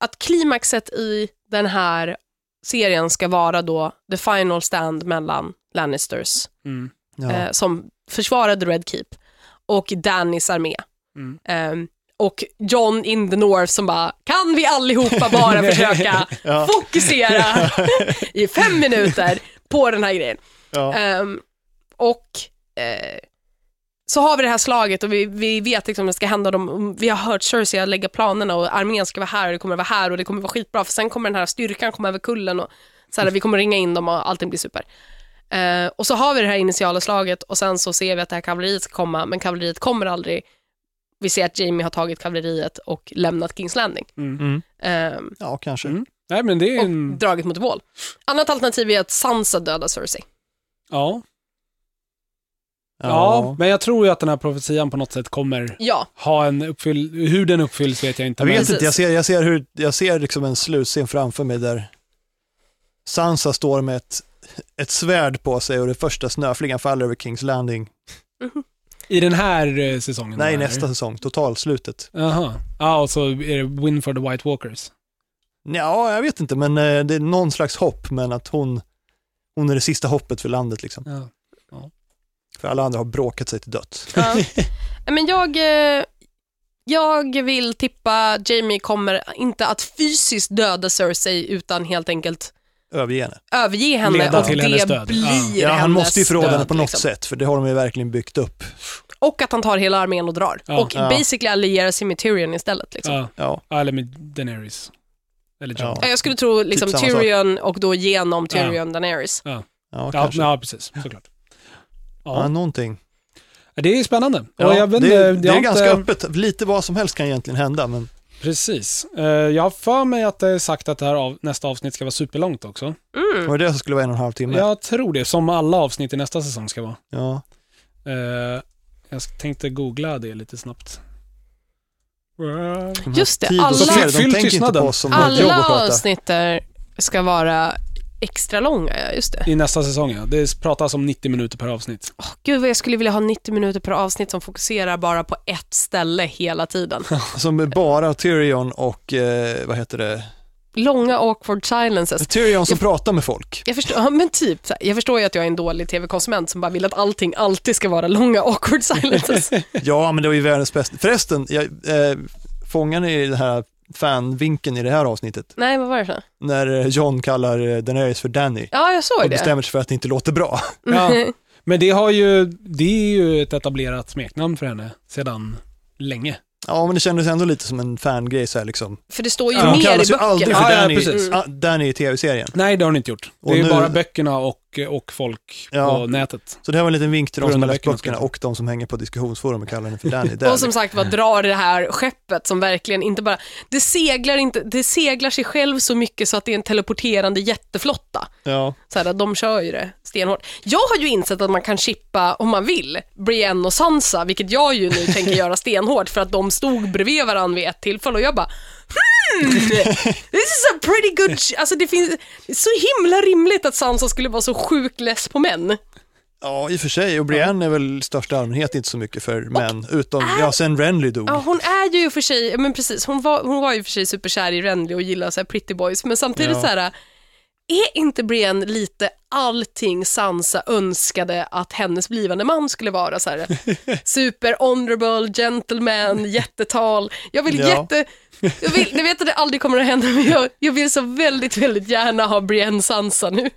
att klimaxet i den här serien ska vara då the final stand mellan Lannisters Mm. ja. eh, som försvarade Red Keep och Dannys armé. Mm. Ehm, och John in the North som bara, kan vi allihopa bara försöka (laughs) Ja. (laughs) fokusera i fem minuter på den här grejen. ja. Ehm, och eh, så har vi det här slaget och vi, vi vet liksom vad som ska hända. De, vi har hört Cersei lägga planerna och armén ska vara här och det kommer vara här och det kommer vara skitbra för sen kommer den här styrkan komma över kullen och så här, vi kommer ringa in dem och allting blir super. Eh, och så har vi det här initiala slaget och sen så ser vi att det här kavalleriet ska komma men kavalleriet kommer aldrig. Vi ser att Jamie har tagit kavalleriet och lämnat Kings Landing. Mm. Mm. Ehm, ja, kanske. Mm. Nej, men det är och en... dragit mot vål. Annat alternativ är att Sansa dödar Cersei. Ja. ja, men jag tror ju att den här profetian på något sätt kommer Ja, ha en uppfyll... Hur den uppfylls vet jag inte. Jag vet men... Precis. inte, jag ser, jag ser, hur, jag ser liksom en slutscen framför mig där Sansa står med ett, ett svärd på sig och det första snöflingan faller över Kings Landing. I den här eh, säsongen? Nej, eller? nästa säsong, totalslutet. Jaha. Ja, och så är det Win for the White Walkers. Ja, jag vet inte, men eh, det är någon slags hopp, men att hon, hon är det sista hoppet för landet liksom. Ja. För alla andra har bråkat sig till döds. (laughs) Ja. Nej, Men jag, eh, jag vill tippa Jamie kommer inte att fysiskt döda Cersei utan helt enkelt Överge henne. överge henne Leda och till det hennes död. blir Ja. Ja, han hennes måste ju förråda henne död, på något liksom. sätt, för det har de ju verkligen byggt upp. Och att han tar hela armén och drar. Ja. och Ja. basically allierar sig med Tyrion istället. Liksom. Ja. Ja, ja, eller med Daenerys. Eller Jon. Ja. Ja, Jag skulle tro liksom, Typ samma sak. Tyrion och då genom Tyrion Daenerys. ja Ja, kanske. Ja, ja, precis. Såklart. Ja. någonting. Det är spännande. Och Ja, jag vet, det, inte, är- jag det är har ganska inte, öppet, lite vad som helst kan egentligen hända, men Precis. Eh, Jag har för mig att det är sagt att det här av, nästa avsnitt ska vara superlångt också. Mm. var det det som skulle vara en och en halv timme? Jag tror det, som alla avsnitt i nästa säsong ska vara. Ja. Eh, Jag tänkte googla det lite snabbt. De här Just det, tid och alla- så fel, Fyll de tänker inte tystnaden. på oss som har ett jobb Alla att sköta. avsnitt där ska vara extra långa, ja, just det. I nästa säsong, ja. Det pratas om 90 minuter per avsnitt. Åh, Gud vad jag skulle vilja ha 90 minuter per avsnitt som fokuserar bara på ett ställe (laughs) hela tiden. Som är bara Tyrion och, eh, vad heter det, Långa awkward silences. Tyrion som pratar med folk. Jag förstår, ja, men typ, så här, jag förstår ju att jag är en dålig tv-konsument som bara vill att allting alltid ska vara långa (laughs) awkward silences. Ja, men det var ju världens bästa. Förresten, jag, eh, fångar ni den här fanvinkeln i det här avsnittet? Nej, vad var det för? När eh, John kallar eh, Daenerys för Danny Ja, jag såg och det. Mm. bestämmer sig för att det inte låter bra. Ja. Men det, har ju, det är ju ett etablerat smeknamn för henne sedan länge. Ja, men det kändes ändå lite som en fangrej så här liksom. (laughs) För det står ju Ja, De mer i kallas ju aldrig för böckerna. Ja, ja, Danny, precis. ah, Danny i tv-serien. Nej, det har ni inte gjort. Och det är nu- bara böckerna och, och folk Ja. på nätet. Så det här var en liten vink till På de som grund av har läst böckerna, böckerna ska jag och de som hänger på diskussionsforum och kallar henne (laughs) för Danny. Danny. Och som sagt var, drar det här skeppet som verkligen inte bara, det seglar, inte, det seglar sig själv så mycket så att det är en teleporterande jätteflotta. ja. Så här, de kör ju det stenhårt. Jag har ju insett att man kan chippa, om man vill, Brienne och Sansa, vilket jag ju nu tänker göra stenhårt för att de stod bredvid varandra vid ett tillfälle och jag bara Hmm, this is a pretty good... ch-" Alltså det finns det är så himla rimligt att Sansa skulle vara så sjukt less på män. ja, i och för sig. Och Brienne är väl i största allmänhet inte så mycket för män, utom, ja, sen Renly dog. Ja, hon är ju i och för sig, men precis, hon var, hon var ju för sig superkär i Renly och gillar så här pretty boys, men samtidigt Ja. så här, är inte Brienne lite allting Sansa önskade att hennes blivande man skulle vara? (laughs) Så här, super honorable, gentleman, jättetal. Jag vill Ja. jätte... Jag, vill, jag vet att det aldrig kommer att hända, men jag, jag vill så väldigt, väldigt gärna ha Brienne Sansa nu.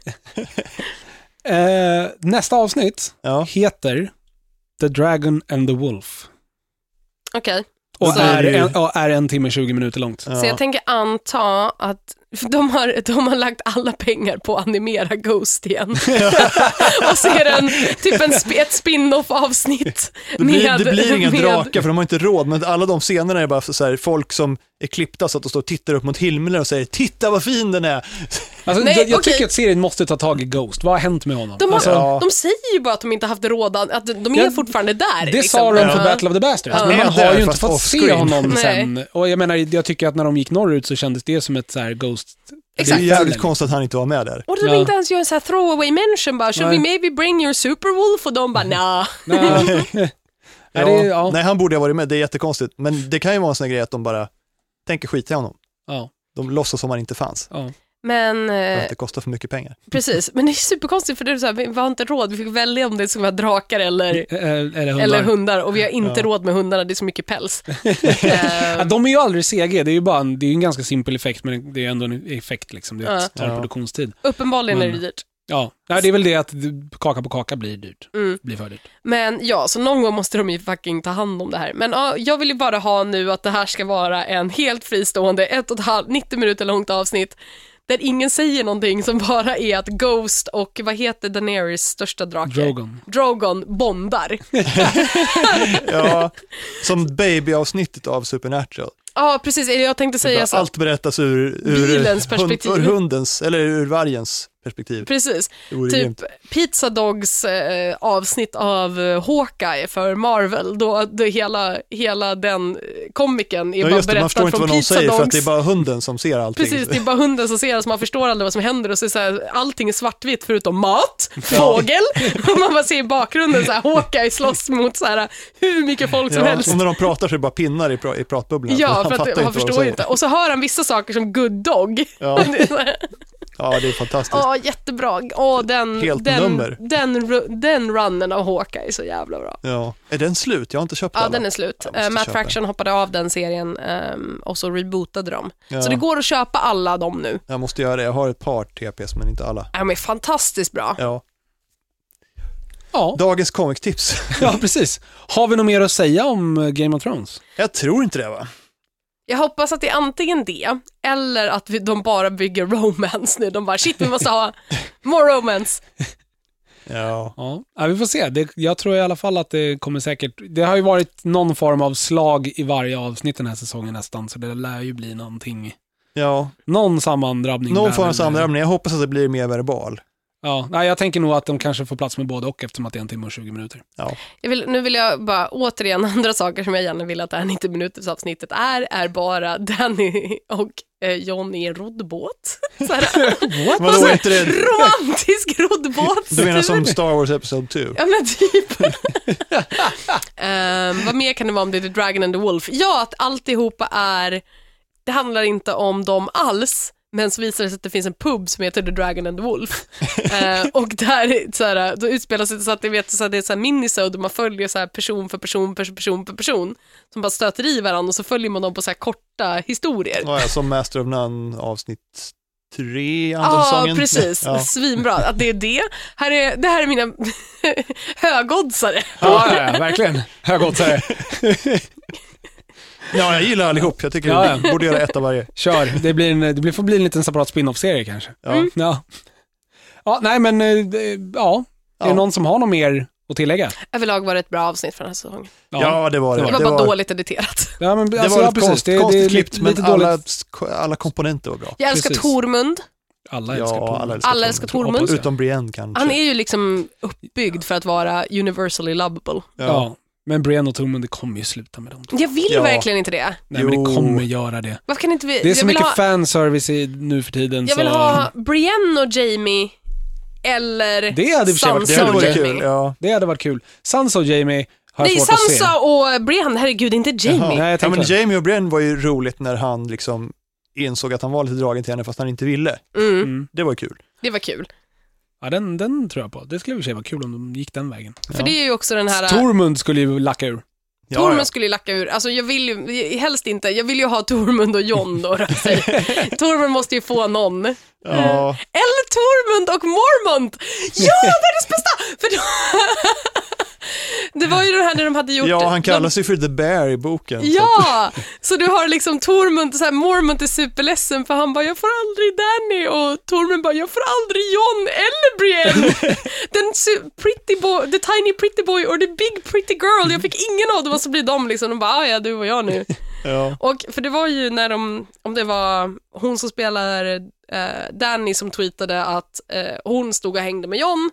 Eh, nästa avsnitt Ja. heter The Dragon and the Wolf. Okej, Och Så- är en, ja, är en timme 20 minuter långt. Ja. så jag tänker anta att (laughs) för de har, de har lagt alla pengar på att animera (laughs) Ghost igen. och ser en, typ en, sp- ett spin-off avsnitt. Det blir, med- det blir inga med- drakar för de har inte råd, men alla de scenerna är bara så här, folk som är klippta så att de står och tittar upp mot himlen och säger “Titta vad fin den är!” Alltså, Nej, jag jag okej. tycker att serien måste ta tag i Ghost. Vad har hänt med honom? De, har, alltså, Ja. de säger ju bara att de inte haft råd, att de är Ja, fortfarande där. liksom. det sa de på Ja. Battle of the Bastards, Ja. men man Med har där, ju inte fast fått se offscreen. honom Nej. sen. Och jag menar, jag tycker att när de gick norrut så kändes det som ett så här Ghost... Det är Exakt. ju jävligt konstigt att han inte var med där. Och de Ja. inte ens gör en sån här throwaway mention bara, should Nej. we maybe bring your superwolf? Och de bara, nah. Nej. (laughs) Nej, det är- ja. Nej, han borde ha varit med, det är jättekonstigt. Men det kan ju vara en sån här grej att de bara tänker skit i honom. Ja. De låtsas som han inte fanns, Ja. Men, för eh, att det kostar för mycket (laughs) pengar. precis. Men det är superkonstigt för det är så här, vi har inte råd, vi fick välja om det skulle vara drakar eller, Eh, Eller hundar. eller hundar och vi har inte Ja. råd med hundarna, det är så mycket päls. Eh, Ja, de är ju aldrig CG, det är ju bara en, det är ju en ganska simpel effekt, men det är ändå en effekt liksom. Det Ja. tar Ja. produktionstid. uppenbarligen är det Men- dyrt. Ja, Nej, det är väl det att kaka på kaka blir dyrt. Mm. Blir för dyrt. Men ja, så någon gång måste de ju fucking ta hand om det här. Men ja, jag vill ju bara ha nu att det här ska vara en helt fristående, ett och ett halvt, 90 minuter långt avsnitt där ingen säger någonting som bara är att Ghost och vad heter Daenerys största drake? Drogon. Drogon bondar. Ja, som babyavsnittet av Supernatural. Ja, precis. Jag tänkte säga så. Allt berättas ur, ur, Bilens perspektiv. ur hundens, eller ur vargens perspektiv. Precis. Det vore grymt. Typ Pizza Dogs eh, avsnitt av eh, Hawkeye för Marvel, då, då hela, hela den eh, komikern är Ja, bara just det, man berättad förstår inte från vad någon Pizza säger Dogs. för att det är bara hunden som ser allting. Precis, det är bara hunden som ser det, så man förstår aldrig vad som händer och så är så här, allting är svartvitt förutom (laughs) mat, fågel och man bara ser i bakgrunden så här, Hawkeye slåss mot så här, hur mycket folk som Ja, (laughs) helst. Och när de pratar så är det bara pinnar i, pra- i pratbubblan. Ja, han för att fattar han vad de förstår säger. inte. Och så hör han vissa saker som good dog. Ja. (laughs) Det är så här, ja, det är fantastiskt. Åh, jättebra. Åh, den, Helt den, nummer. den, ru- den runnen av Hawkeye är så jävla bra. Ja. Är den slut? Jag har inte köpt Ja, alla. den är slut. Jag måste Eh, Matt köpa. Fraction hoppade av den serien ehm, och så rebootade de. Ja. Så det går att köpa alla dem nu. Jag måste göra det. Jag har ett par TPs, men inte alla. De är fantastiskt bra. Ja. Ja. Dagens comictips. ja, precis. Har vi något mer att säga om eh, Game of Thrones? (laughs) Jag tror inte det, va? Jag hoppas att det är antingen det, eller att vi, de bara bygger (laughs) romance nu. De bara, shit vi (laughs) måste ha more romance. Ja. Ja, ja vi får se. Det, jag tror i alla fall att det kommer säkert... Det har ju varit någon form av slag i varje avsnitt den här säsongen nästan, så det lär ju bli någonting. ja. Någon sammandrabbning. Någon där, form av men- eh, samlarmning. Jag hoppas att det blir mer verbal. Ja, nej, jag tänker nog att de kanske får plats med både och eftersom att det är en timme och 20 minuter. Ja. Jag vill, nu vill jag bara återigen, (laughs) andra saker som jag gärna vill att det här 90 minuters avsnittet är, är bara Danny och eh, John i en roddbåt. (laughs) Så här, What? Vadå, är inte det... romantisk roddbåt. Du menar som Star Wars Episode 2? Ja men typ. Ehm, vad mer kan det vara om det är The Dragon and the Wolf? Ja, att alltihopa är, det handlar inte om dem alls, men så visar det sig att det finns en pub som heter The Dragon and (laughs) the Wolf. Eh, och där så här, då utspelar sig så att det, vet, så här, det är så här minisode och man följer så här person för person för person för person som bara stöter i varandra och så följer man dem på så här korta historier. Ja, ja, som Master of None avsnitt 3, andra Ja, säsongen. precis. Ja. Svinbra att det är det. Här är, det här är mina (laughs) högoddsare. Ja, ja, verkligen. Högoddsare. Ja, jag gillar allihop. Jag tycker Ja, vi borde göra ett av varje. Kör, det, blir en, det blir, får bli en liten separat spin-off-serie kanske. Ja. Mm. Ja. ja, nej men, eh, det- ja. Är det Ja. någon som har något mer att tillägga? Överlag var det ett bra avsnitt för den här säsongen. Ja, det var det. Det var bara dåligt editerat. Ja, men, det alltså, var ja, ett precis. konst, det, det är konstigt lite, klippt, men lite alla, dåligt. alla komponenter var bra. Jag älskar Precis. Tormund. Alla älskar Ja, Tormund. alla älskar, Alla älskar Tormund. Tormund. Hoppas jag. Utom Brienne kanske. Han är ju liksom uppbyggd för att vara universally lovable. Ja. Ja. men Brian och Tormund, det kommer ju sluta med dem. Jag vill ju Ja. verkligen inte det. Nej, men det Jo. kommer göra det. Varför kan inte vi... Det är så jag vill mycket ha, fanservice i, nu för tiden. Jag vill så... ha Brienne och Jamie eller Det hade i och för sig varit- Det Sansa hade hade och varit Jamie. kul. Ja. Det hade varit kul. Sansa och Jamie har jag Nej, svårt att se. Sansa och Brienne, herregud, inte Jamie. Nej, jag ja, men tänkte- Jamie och Brienne var ju roligt när han liksom insåg att han var lite dragen till henne fast han inte ville. Mm, Mm. Det var kul. det var kul. Ja, den, den tror jag på. Det skulle i och för sig vara kul om de gick den vägen. För det är ju också den här... Tormund skulle ju lacka ur. Ja, Tormund ja. skulle ju lacka ur. Alltså jag vill ju, helst inte, jag vill ju ha Tormund och John då. rör (laughs) sig. Tormund måste ju få någon. Ja. Eller Tormund och Mormont! Ja, världens bästa! För då... (laughs) Det var ju det här när de hade gjort... ja, han kallas ju för The Bear i boken. de... så att- Ja! (laughs) Så du har liksom Tormund, så här, Mormont är superledsen för han bara “jag får aldrig Danny” och Tormund bara “jag får aldrig John eller Brienne”. (laughs) Den su- pretty boy, the tiny pretty boy or the big pretty girl, jag fick ingen av dem och så blir de liksom, de bara “ah, ja, du och jag nu”. Ja. Och för det var ju när de, om det var hon som spelar eh, Danny som tweetade att eh, hon stod och hängde med John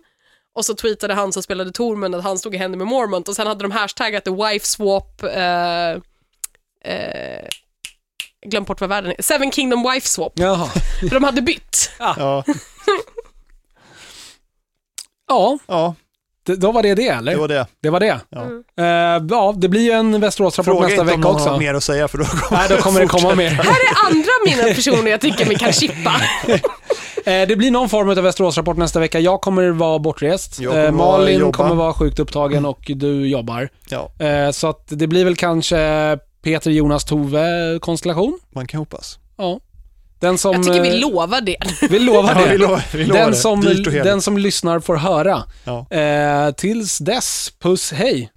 och så tweetade han som spelade Tormund att han stod och hängde med Mormont och sen hade de hashtaggat the wife swap eh, eh, glöm bort vad världen är, Seven Kingdom wife swap, Jaha. för de hade bytt. Ja. Ja, ja, det, då var det det eller? det var det. Det var det. Ja. Mm. Eh, ja, det blir ju en Västeråsrapport Fråga nästa inte om vecka någon har också. något mer att säga för då kommer Nej, då kommer det komma mer. Här är andra minnen personer jag tycker vi kan chippa. Eh, det blir någon form av Västeråsrapport nästa vecka. Jag kommer vara bortrest. Jag kommer Eh, Malin jobba. kommer vara sjukt upptagen och du jobbar. Ja, Eh, så att det blir väl kanske Peter Jonas Tove konstellation. man kan hoppas. Ja. Den som, Jag tycker vi eh, lovar det. vi lovar det. Ja, vi lovar, vi lovar den, det. som, Dyrt och heligt. den som lyssnar får höra. Ja. Eh, tills dess, puss hej.